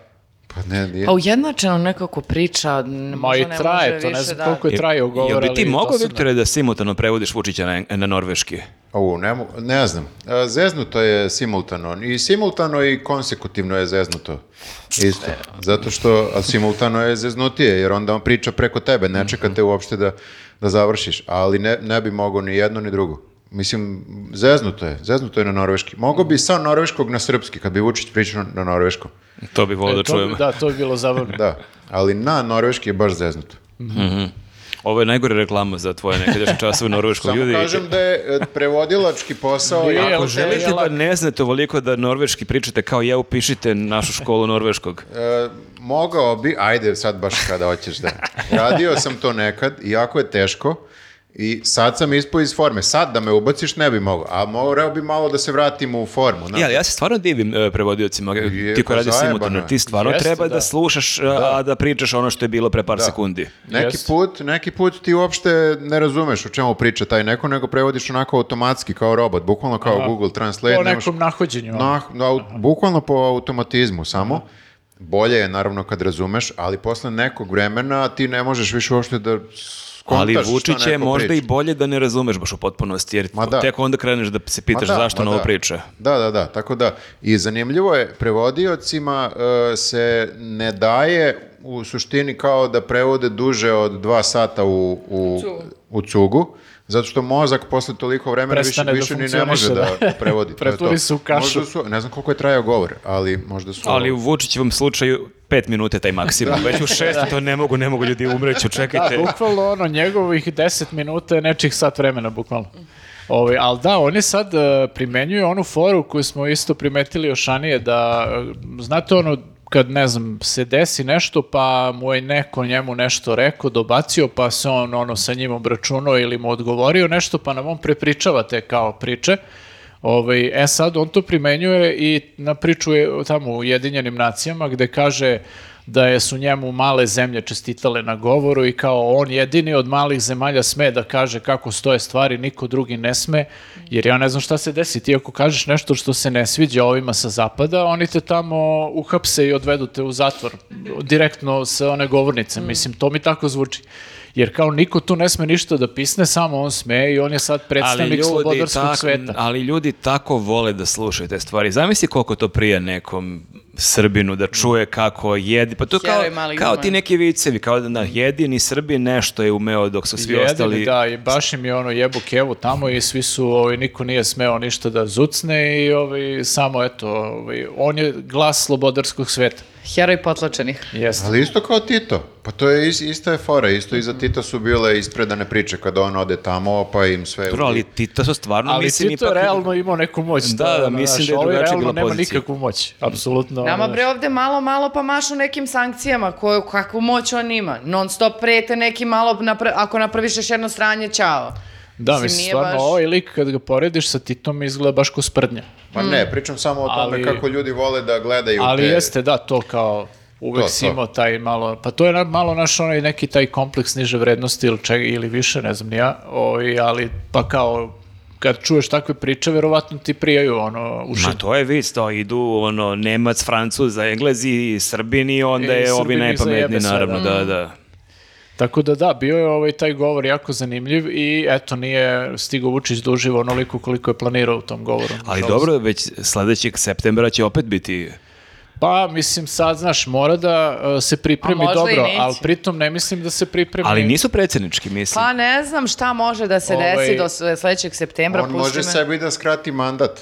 [SPEAKER 1] Pa ne, nije.
[SPEAKER 2] Pa ujednačeno nekako priča, n-
[SPEAKER 4] Ma
[SPEAKER 2] možda
[SPEAKER 4] i
[SPEAKER 2] ne
[SPEAKER 4] traje
[SPEAKER 2] može
[SPEAKER 4] to, ne
[SPEAKER 2] više
[SPEAKER 4] znam
[SPEAKER 2] da-
[SPEAKER 4] koliko je trajao govor,
[SPEAKER 3] E, Jel bi ti
[SPEAKER 4] ali
[SPEAKER 3] mogao,
[SPEAKER 4] dosadno.
[SPEAKER 3] Viktore, da simultano prevodiš Vučića na, na norveški?
[SPEAKER 1] Au, ne, mo- ne znam. E, Zeznuto je simultano. I simultano i konsekutivno je zeznuto. Isto. Zato što a simultano je zeznutije, jer onda on priča preko tebe. Ne čekate uopšte da, da završiš. Ali ne, ne bi mogao ni jedno ni drugo. Mislim, zeznuto je. Zeznuto je na norveški. Mogao bi sa norveškog na srpski, kad bi Vučić pričao na norveškom.
[SPEAKER 3] To bi volio da
[SPEAKER 4] E, to bi-
[SPEAKER 3] čujem.
[SPEAKER 4] Da, to bi bilo
[SPEAKER 3] (laughs)
[SPEAKER 4] zabavno.
[SPEAKER 1] Da. Ali na norveški je baš zeznuto.
[SPEAKER 3] Ovo je najgore reklama za tvoje nekadašnje
[SPEAKER 4] (laughs)
[SPEAKER 3] časove norveškog.
[SPEAKER 1] Samo
[SPEAKER 3] Pa Ljudi,
[SPEAKER 1] kažem da je e, prevodilački posao...
[SPEAKER 4] Nije,
[SPEAKER 1] jako
[SPEAKER 4] ali-
[SPEAKER 3] Ako
[SPEAKER 4] Jel te je
[SPEAKER 3] želite da
[SPEAKER 4] lak-
[SPEAKER 3] ne znate ovoliko da norveški pričate kao ja, upišite našu školu norveškog.
[SPEAKER 1] E, mogao bi, ajde sad baš kada hoćeš
[SPEAKER 3] (laughs)
[SPEAKER 1] da. Radio sam to nekad i jako je teško i sad sam ispao iz forme. Sad da me ubaciš ne bi mogao, a morao bi malo da se vratim u formu. znaš.
[SPEAKER 3] Ja, ali ja se stvarno divim e, prevodiocima,
[SPEAKER 1] Je,
[SPEAKER 3] ti
[SPEAKER 1] pa
[SPEAKER 3] koji radi
[SPEAKER 1] zajebano
[SPEAKER 3] simultano.
[SPEAKER 1] je.
[SPEAKER 3] Ti stvarno
[SPEAKER 4] Jeste,
[SPEAKER 3] treba da,
[SPEAKER 4] da.
[SPEAKER 3] slušaš, e, a da pričaš ono što je bilo pre par
[SPEAKER 1] Da.
[SPEAKER 3] sekundi.
[SPEAKER 1] Neki
[SPEAKER 4] Jest.
[SPEAKER 1] put, neki put ti uopšte ne razumeš o čemu priča taj neko, nego prevodiš onako automatski kao robot, bukvalno kao Google Translate.
[SPEAKER 4] Po
[SPEAKER 1] nemaš-
[SPEAKER 4] nekom nahođenju. ono.
[SPEAKER 1] Na, na, bukvalno po automatizmu samo. Bolje je naravno kad razumeš, ali posle nekog vremena ti ne možeš više uopšte da
[SPEAKER 3] Ali
[SPEAKER 1] skontaš šta
[SPEAKER 3] Vučić je
[SPEAKER 1] neko
[SPEAKER 3] možda
[SPEAKER 1] priča.
[SPEAKER 3] i bolje da ne razumeš baš u potpunosti, jer
[SPEAKER 1] Ma da.
[SPEAKER 3] tek onda kreneš da se pitaš
[SPEAKER 1] Ma da,
[SPEAKER 3] zašto
[SPEAKER 1] ma
[SPEAKER 3] on ovo
[SPEAKER 1] da.
[SPEAKER 3] priča.
[SPEAKER 1] Da, da, da, tako da. I zanimljivo je, prevodiocima e, se ne daje u suštini kao da prevode duže od dva sata u, u, u cugu, zato što mozak posle toliko vremena
[SPEAKER 4] Prestane da
[SPEAKER 1] više, više ni ne može da,
[SPEAKER 4] funkcioniše, da.
[SPEAKER 1] (laughs) prevodi. To je
[SPEAKER 4] Preturi
[SPEAKER 1] to.
[SPEAKER 4] se u kašu.
[SPEAKER 1] Možda su, ne znam koliko je trajao govor, ali možda su...
[SPEAKER 3] Ali u Vučićevom slučaju pet minute taj maksimum,
[SPEAKER 1] Da.
[SPEAKER 3] već u šest to ne mogu, ne mogu ljudi
[SPEAKER 1] (laughs)
[SPEAKER 3] umreću, čekajte.
[SPEAKER 4] Bukvalno ono, njegovih 10 minuta je nečih sat vremena, bukvalno. Ovaj, ali da, oni sad e, primenjuju onu foru koju smo isto primetili još ranije, da, e, znate ono, kad, ne znam, se desi nešto, pa mu je neko njemu nešto rekao, dobacio, pa se on ono sa njim obračunao ili mu odgovorio nešto, pa nam on prepričava te kao priče. Ovaj, e sad, on to primenjuje i na priču je tamo u Jedinjenim nacijama gde kaže da je su njemu male zemlje čestitale na govoru i kao on jedini od malih zemalja sme da kaže kako stoje stvari, niko drugi ne sme, jer ja ne znam šta se desi. Ti ako kažeš nešto što se ne sviđa ovima sa zapada, oni te tamo uhapse i odvedu te u zatvor, direktno sa one govornice. Mislim, to mi tako zvuči. Jer kao niko tu ne sme ništa da pisne, samo on sme i on je sad predstavnik slobodarskog
[SPEAKER 3] tak-
[SPEAKER 4] sveta.
[SPEAKER 3] ali ljudi tako vole da slušaju te stvari. Zamisli koliko to prija nekom Srbinu da čuje kako jedi. Pa to kao,
[SPEAKER 2] Heroj mali
[SPEAKER 3] kao
[SPEAKER 2] junak.
[SPEAKER 3] ti neki vicevi, kao da da, jedini Srbi nešto je umeo dok su svi
[SPEAKER 4] Jedini,
[SPEAKER 3] ostali.
[SPEAKER 4] da, i baš im je ono jebu kevu tamo i svi su, ovaj, niko nije smeo ništa da zucne i ovaj, samo eto, ovaj, on je glas slobodarskog sveta.
[SPEAKER 2] Heroj potlačenih.
[SPEAKER 4] Jeste.
[SPEAKER 1] Ali isto kao Tito. Pa to je is- ista je fora. Isto i
[SPEAKER 4] Mhm.
[SPEAKER 1] za Tita su bile ispredane priče kada on ode tamo pa im sve...
[SPEAKER 3] Dobro, ali ti to su stvarno,
[SPEAKER 4] Ali
[SPEAKER 3] mislim,
[SPEAKER 4] Tito
[SPEAKER 3] ipak-
[SPEAKER 4] realno imao neku moć.
[SPEAKER 3] Da,
[SPEAKER 4] to je
[SPEAKER 3] da,
[SPEAKER 4] ono,
[SPEAKER 3] mislim
[SPEAKER 4] znaš,
[SPEAKER 3] da je
[SPEAKER 4] ovaj
[SPEAKER 3] drugačija
[SPEAKER 4] realno
[SPEAKER 3] bila
[SPEAKER 4] nema
[SPEAKER 3] pozicija.
[SPEAKER 4] nikakvu moć, apsolutno.
[SPEAKER 2] Nama
[SPEAKER 4] ono,
[SPEAKER 2] bre ovde malo, malo pa mašu nekim sankcijama, koju, kakvu moć on ima. Non stop prete neki malo, napra- ako napraviš još jedno sranje, čao.
[SPEAKER 4] Da,
[SPEAKER 2] Mislim,
[SPEAKER 4] mislim,
[SPEAKER 2] nije
[SPEAKER 4] stvarno,
[SPEAKER 2] baš-
[SPEAKER 4] ovaj lik kad ga porediš sa Titom izgleda baš ko sprdnja.
[SPEAKER 1] Pa ne, pričam samo o tome
[SPEAKER 4] Ali-
[SPEAKER 1] kako ljudi vole da gledaju
[SPEAKER 4] Ali
[SPEAKER 1] te-
[SPEAKER 4] jeste, da, to kao Uvek
[SPEAKER 1] To,
[SPEAKER 4] si
[SPEAKER 1] to.
[SPEAKER 4] imao taj malo, pa to je na- malo naš onaj neki taj kompleks niže vrednosti ili, čega, ili više, ne znam ni ja, ovaj, ali pa kao kad čuješ takve priče, verovatno ti prijaju ono uši.
[SPEAKER 3] Ma to je vic, to idu ono, Nemac, Francuz, Englezi, Srbini, onda
[SPEAKER 4] E,
[SPEAKER 3] je ovi
[SPEAKER 4] Srbini
[SPEAKER 3] najpametniji,
[SPEAKER 4] zajebe sve,
[SPEAKER 3] naravno,
[SPEAKER 4] da.
[SPEAKER 3] da, da.
[SPEAKER 4] Tako da da, bio je ovaj taj govor jako zanimljiv i eto nije stigo Vučić duživo onoliko koliko je planirao u tom govoru.
[SPEAKER 3] Ali
[SPEAKER 4] nažalost.
[SPEAKER 3] dobro, već sledećeg septembra će opet biti...
[SPEAKER 4] Pa mislim sad znaš mora da e, se pripremi
[SPEAKER 2] A možda i
[SPEAKER 4] dobro,
[SPEAKER 2] neće.
[SPEAKER 4] ali pritom ne mislim da se pripremi.
[SPEAKER 3] Ali nisu predsjednički, mislim.
[SPEAKER 2] Pa ne znam šta može da se desi
[SPEAKER 4] Ovaj,
[SPEAKER 2] do s- sledećeg septembra.
[SPEAKER 1] On
[SPEAKER 2] pusti
[SPEAKER 1] može
[SPEAKER 2] me.
[SPEAKER 1] sebi da skrati mandat.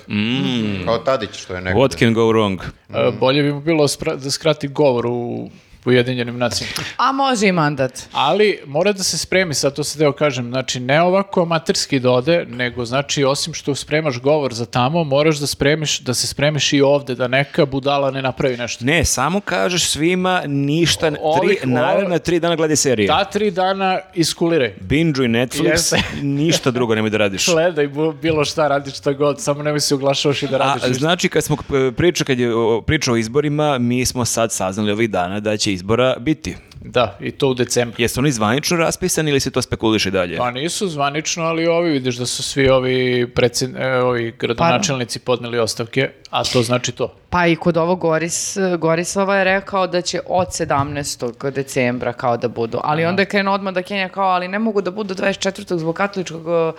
[SPEAKER 1] Kao Tadić što je nekada.
[SPEAKER 3] What can go wrong?
[SPEAKER 4] E, Bolje bi mu bilo spra- da skrati govor u Ujedinjenim nacijama.
[SPEAKER 2] A može i mandat.
[SPEAKER 4] Ali mora da se spremi, sad to se deo kažem, znači ne ovako amaterski da ode, nego znači osim što spremaš govor za tamo, moraš da spremiš, da se spremiš i ovde, da neka budala ne napravi nešto.
[SPEAKER 3] Ne, samo kažeš svima ništa,
[SPEAKER 4] Ovih-
[SPEAKER 3] tri, naravno tri dana gledaj serije.
[SPEAKER 4] Ta tri dana iskuliraj.
[SPEAKER 3] Binge i Netflix,
[SPEAKER 4] Jeste.
[SPEAKER 3] ništa drugo nemoj da radiš.
[SPEAKER 4] Gledaj bu- bilo šta, radi šta god, samo nemoj se oglašavaš i da
[SPEAKER 3] A,
[SPEAKER 4] radiš ništa.
[SPEAKER 3] znači, kad smo e, priča, kad je o, priča o izborima, mi smo sad saznali ovih dana da će izbora biti.
[SPEAKER 4] Da, i to u decembru.
[SPEAKER 3] Jesu oni zvanično raspisani ili se to spekuliše dalje?
[SPEAKER 4] Pa nisu zvanično, ali ovi vidiš da su svi ovi, predsjed- e, ovi gradonačelnici podneli ostavke, a to znači to. (laughs)
[SPEAKER 2] Pa i kod ovog Goris, Gorisova je rekao da će od 17. decembra kao da budu. Ali onda je krenuo odmah da Kenja kao, ali ne mogu da budu 24. zbog katoličkog uh,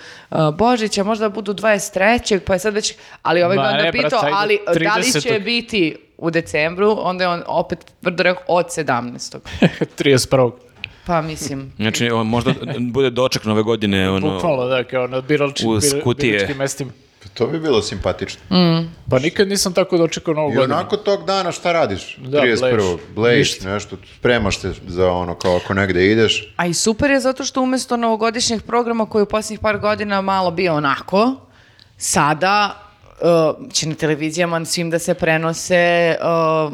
[SPEAKER 2] Božića, možda budu 23. pa je sad već... Ali ovaj
[SPEAKER 4] Ma
[SPEAKER 2] ga onda
[SPEAKER 4] ne, brate,
[SPEAKER 2] pitao,
[SPEAKER 4] ajde,
[SPEAKER 2] ali da li
[SPEAKER 4] 30..
[SPEAKER 2] će biti u decembru, onda je on opet tvrdo rekao od 17.
[SPEAKER 4] 31.
[SPEAKER 2] Pa mislim...
[SPEAKER 3] Znači, o, možda bude doček nove godine, ono...
[SPEAKER 4] Bukvalno, da, kao na biralči,
[SPEAKER 3] Uz
[SPEAKER 4] bir-
[SPEAKER 3] kutije.
[SPEAKER 4] biračkim mestima.
[SPEAKER 1] To bi bilo simpatično.
[SPEAKER 4] Pa nikad nisam tako dočekao novu
[SPEAKER 1] I
[SPEAKER 4] godinu.
[SPEAKER 1] onako tog dana šta radiš?
[SPEAKER 4] Da,
[SPEAKER 1] 31.
[SPEAKER 4] blejiš.
[SPEAKER 1] Blejiš
[SPEAKER 4] Ništa.
[SPEAKER 1] nešto, spremaš se za ono kao ako negde ideš.
[SPEAKER 2] A i super je zato što umjesto novogodišnjih programa koji je u posljednjih par godina malo bio onako, sada uh, će na televizijama svim da se prenose uh,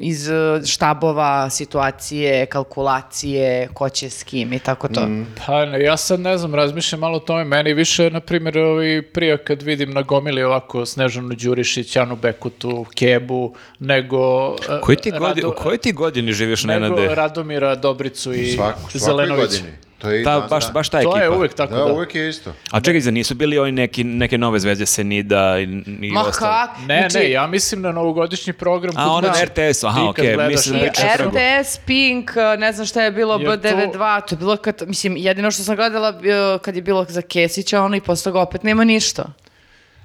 [SPEAKER 2] iz uh, štabova situacije, kalkulacije, ko će s kim i tako to.
[SPEAKER 3] Mm,
[SPEAKER 4] Pa ne, ja sad ne znam, razmišljam malo o tome. Meni više, na primjer, ovi prija kad vidim na gomili ovako Snežanu Đurišić, Anu Bekutu, Kebu, nego... e,
[SPEAKER 3] Koji ti godi,
[SPEAKER 4] Rado-
[SPEAKER 3] u kojoj ti godini živiš,
[SPEAKER 4] nego
[SPEAKER 3] Nenade?
[SPEAKER 4] Radomira Dobricu i
[SPEAKER 1] Svaku, svakoj
[SPEAKER 4] Zelenović.
[SPEAKER 1] godini. To je i
[SPEAKER 3] Ta,
[SPEAKER 1] danas,
[SPEAKER 3] baš,
[SPEAKER 1] da.
[SPEAKER 3] baš ta
[SPEAKER 4] to
[SPEAKER 3] ekipa.
[SPEAKER 4] je uvek tako da.
[SPEAKER 1] Da, uvijek je isto.
[SPEAKER 3] A čekaj, zar nisu bili oni neki, neke nove zvezde Senida i, i
[SPEAKER 2] Ma
[SPEAKER 3] ostalo?
[SPEAKER 2] kak?
[SPEAKER 4] Ne,
[SPEAKER 2] Znači,
[SPEAKER 4] ne, ja mislim na novogodišnji program.
[SPEAKER 3] A,
[SPEAKER 4] kod
[SPEAKER 3] ono
[SPEAKER 4] nas.
[SPEAKER 3] na RTS-u, aha,
[SPEAKER 4] Ti kad
[SPEAKER 3] okej,
[SPEAKER 4] gledaš
[SPEAKER 3] mislim
[SPEAKER 4] na
[SPEAKER 3] da je
[SPEAKER 4] RTS-u.
[SPEAKER 3] četvrgo.
[SPEAKER 2] e, RTS, Pink, uh, ne znam šta je bilo,
[SPEAKER 4] Jer to-
[SPEAKER 2] B92, to je bilo kad, mislim, jedino što sam gledala uh, kad je bilo za Kesića, ono i posle toga opet nema ništa.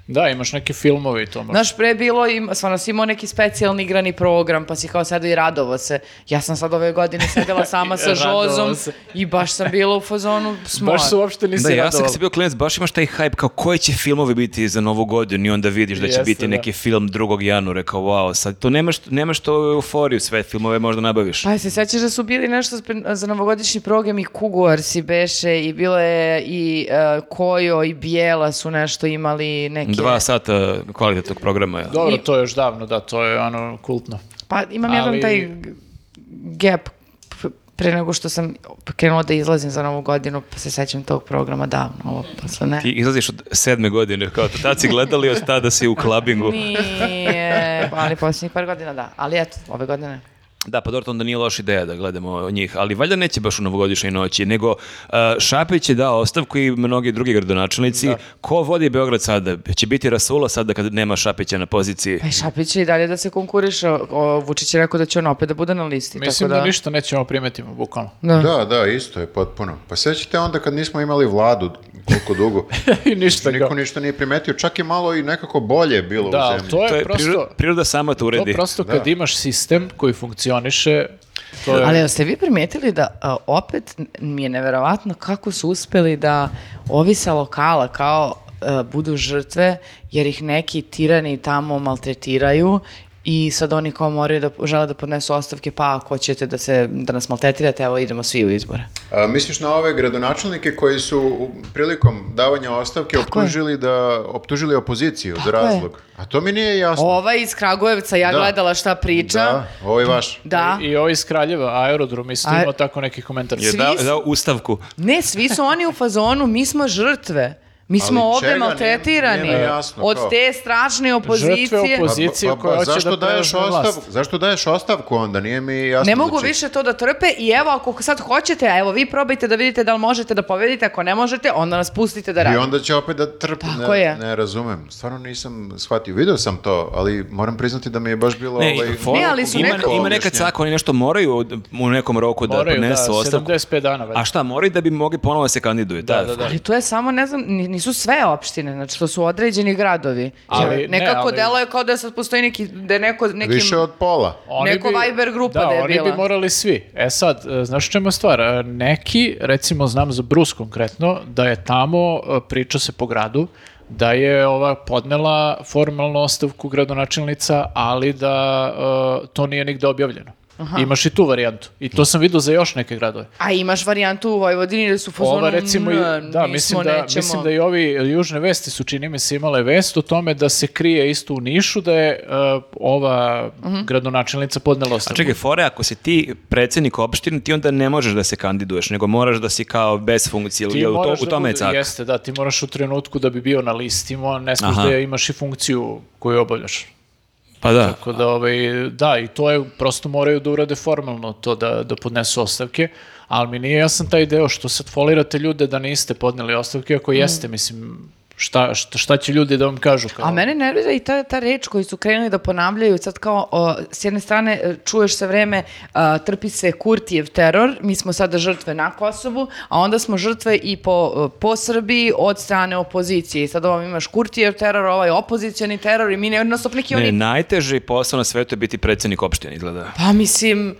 [SPEAKER 4] Da, imaš neke filmove i to možda.
[SPEAKER 2] Znaš, pre je bilo, im, stvarno si imao neki specijalni igrani program, pa si kao sada i radovo se. Ja sam sad ove godine sedela sama
[SPEAKER 4] (laughs)
[SPEAKER 2] sa
[SPEAKER 4] Radovao
[SPEAKER 2] Žozom
[SPEAKER 4] se.
[SPEAKER 2] i baš sam bila u fazonu smor.
[SPEAKER 4] Baš se uopšte nisi
[SPEAKER 3] Da, ja sam kad
[SPEAKER 4] radovala.
[SPEAKER 3] sam bio klinac, baš imaš taj hype kao koji će filmovi biti za novu godinu i onda vidiš da će
[SPEAKER 4] Jeste,
[SPEAKER 3] biti
[SPEAKER 4] da.
[SPEAKER 3] neki film 2. januara, kao wow, sad to nemaš, nemaš to euforiju, sve filmove možda nabaviš.
[SPEAKER 2] Pa jel se sećaš da su bili nešto spe- za novogodišnji program i Kuguar si beše i bilo je i e, Kojo i Bijela su nešto imali neke...
[SPEAKER 3] Dva sata kvalitetnog programa. jel?
[SPEAKER 4] Dobro, to je još davno, da, to je ono kultno.
[SPEAKER 2] Pa imam jedan
[SPEAKER 4] Ali-
[SPEAKER 2] taj g- gap p- pre nego što sam krenula da izlazim za novu godinu, pa se sećam tog programa davno, ovo posle ne.
[SPEAKER 3] Ti izlaziš od sedme godine, kao to, tad si gledali, od tada si u klabingu.
[SPEAKER 2] Nije, ali posljednjih par godina da. Ali eto, ove godine.
[SPEAKER 3] Da, pa dobro, to onda nije loša ideja da gledamo njih, ali valjda neće baš u novogodišnjoj noći, nego uh, Šapić je dao ostavku i mnogi drugi gradonačelnici. Ko vodi Beograd sada? Će biti Rasula sada kad nema Šapića na poziciji?
[SPEAKER 2] Pa i Šapić će i dalje da se konkuriše. O, o, Vučić je rekao da će on opet da bude na listi.
[SPEAKER 4] Mislim
[SPEAKER 2] tako
[SPEAKER 4] da
[SPEAKER 2] da,
[SPEAKER 4] ništa nećemo primetimo, bukvalno.
[SPEAKER 2] Da.
[SPEAKER 1] Da, da, isto je potpuno. Pa sećate onda kad nismo imali vladu koliko
[SPEAKER 4] (laughs)
[SPEAKER 1] dugo.
[SPEAKER 4] I ništa ga.
[SPEAKER 1] Niko ništa nije primetio. Čak i malo i nekako bolje je bilo
[SPEAKER 4] Da,
[SPEAKER 1] u
[SPEAKER 4] ali
[SPEAKER 1] zemlji.
[SPEAKER 4] to je,
[SPEAKER 3] To je
[SPEAKER 4] prosto...
[SPEAKER 3] priroda, priroda sama to
[SPEAKER 4] To
[SPEAKER 3] uredi.
[SPEAKER 4] prosto kad
[SPEAKER 1] Da.
[SPEAKER 4] imaš sistem koji funkcioniše, to je...
[SPEAKER 2] Ali jel ste vi primetili da a, opet mi je neverovatno kako su uspeli da ovi sa lokala kao a, budu žrtve jer ih neki tirani tamo maltretiraju i sad oni kao moraju da žele da podnesu ostavke pa ako ćete da, se, da nas maltretirate evo idemo svi u izbore.
[SPEAKER 1] A, misliš na ove gradonačelnike koji su u- prilikom davanja ostavke
[SPEAKER 2] je.
[SPEAKER 1] optužili, da, optužili opoziciju za
[SPEAKER 2] je.
[SPEAKER 1] razlog? A to mi nije jasno.
[SPEAKER 2] Ova iz Kragujevca, ja
[SPEAKER 1] Da.
[SPEAKER 2] gledala šta priča.
[SPEAKER 1] Da, ovo je vaš.
[SPEAKER 2] Da.
[SPEAKER 4] I ovo iz Kraljeva, aerodrom, isto
[SPEAKER 2] A-
[SPEAKER 4] ima tako neki komentar.
[SPEAKER 3] Je
[SPEAKER 2] Svi
[SPEAKER 3] dao,
[SPEAKER 2] su-
[SPEAKER 3] dao ustavku.
[SPEAKER 2] Ne, svi su oni u fazonu, mi smo žrtve. Mi smo
[SPEAKER 1] Ali
[SPEAKER 2] ovdje
[SPEAKER 1] čega? Nije-
[SPEAKER 2] maltretirani
[SPEAKER 1] nije mi jasno
[SPEAKER 2] od
[SPEAKER 1] kao.
[SPEAKER 2] te stražne opozicije.
[SPEAKER 4] opozicije. Pozicije koja hoće
[SPEAKER 1] pa- zašto
[SPEAKER 4] da
[SPEAKER 1] daješ
[SPEAKER 4] preuzme vlast.
[SPEAKER 1] ostavku? Zašto daješ ostavku onda? Nije mi jasno.
[SPEAKER 2] Ne mogu
[SPEAKER 1] znači-
[SPEAKER 2] više to da trpe i evo ako sad hoćete, a evo vi probajte da vidite da li možete da povedite, ako ne možete, onda nas pustite da
[SPEAKER 1] I
[SPEAKER 2] radimo.
[SPEAKER 1] onda će opet da trpi.
[SPEAKER 2] Tako
[SPEAKER 1] ne,
[SPEAKER 2] je.
[SPEAKER 1] ne razumem. Stvarno nisam shvatio. Video sam to, ali moram priznati da mi je baš bilo...
[SPEAKER 3] Ne,
[SPEAKER 1] ovaj,
[SPEAKER 3] for-
[SPEAKER 2] Ne, ali su
[SPEAKER 3] ima,
[SPEAKER 2] neko-
[SPEAKER 3] ima nekad
[SPEAKER 1] objašnjenje.
[SPEAKER 3] sako, oni nešto moraju od- u nekom roku da
[SPEAKER 4] Moraju, da, pa-
[SPEAKER 3] podnesu ostavku.
[SPEAKER 4] 75 dana. valjda.
[SPEAKER 3] A šta, moraju da bi mogli ponovo da se kandiduju. Da, da,
[SPEAKER 2] Ali to je samo, ne znam, ni- nisu sve opštine, znači to su određeni gradovi.
[SPEAKER 4] Ali-
[SPEAKER 2] Jer Nekako
[SPEAKER 4] ne, ali-
[SPEAKER 2] deluje kao da sad postoji neki, da je neko nekim...
[SPEAKER 1] Više od pola.
[SPEAKER 2] Neko Viber grupa
[SPEAKER 4] da,
[SPEAKER 2] da je
[SPEAKER 4] oni
[SPEAKER 2] bila.
[SPEAKER 4] bi morali svi. E sad, e, znaš u čemu je stvar? E, Neki, recimo znam za Brus konkretno, da je tamo, e, priča se po gradu, da je ova podnela formalnu ostavku gradonačelnica, ali da e, to nije nigde objavljeno. Imaš i tu varijantu. I to sam vidio za još neke gradove.
[SPEAKER 2] A imaš varijantu u Vojvodini da su fuzonu,
[SPEAKER 4] Ova recimo, i-
[SPEAKER 2] "N-
[SPEAKER 4] da,
[SPEAKER 2] nismo,
[SPEAKER 4] mislim da,
[SPEAKER 2] nećemo."
[SPEAKER 4] mislim da i ovi južne vesti su čini mi se imale vest o tome da se krije isto u Nišu da je e, ova
[SPEAKER 2] Mhm.
[SPEAKER 4] gradonačelnica podnela
[SPEAKER 3] A
[SPEAKER 4] ostavku.
[SPEAKER 3] čekaj, fore, ako si ti predsjednik opštine, ti onda ne možeš da se kandiduješ, nego moraš da si kao bez funkcije.
[SPEAKER 4] Ti
[SPEAKER 3] jel u, to,
[SPEAKER 4] moraš
[SPEAKER 3] u
[SPEAKER 4] da
[SPEAKER 3] tome je
[SPEAKER 4] bude-
[SPEAKER 3] cak.
[SPEAKER 4] Jeste, da, ti moraš u trenutku da bi bio na listi, mo- ne smiješ
[SPEAKER 3] Aha.
[SPEAKER 4] da imaš i funkciju koju obavljaš.
[SPEAKER 3] Pa da.
[SPEAKER 4] Tako da, ovaj, da, i to je, prosto moraju da urade formalno to da, da podnesu ostavke, ali mi nije jasan taj deo što sad folirate ljude da niste podneli ostavke, ako jeste, mislim, šta, šta, šta će ljudi da vam kažu? Kao,
[SPEAKER 2] A mene nervira i ta, ta reč koju su krenuli da ponavljaju, sad kao, o, s jedne strane e, čuješ se vreme, a, trpi se Kurtijev teror, mi smo sada žrtve na Kosovu, a onda smo žrtve i po, e, po Srbiji od strane opozicije. I sad ovom imaš Kurtijev teror, ovaj opozicioni teror i mi neodnostop neki
[SPEAKER 3] Ne,
[SPEAKER 2] oni...
[SPEAKER 3] najteži posao na svetu je biti predsjednik opštine, izgleda.
[SPEAKER 2] Pa mislim...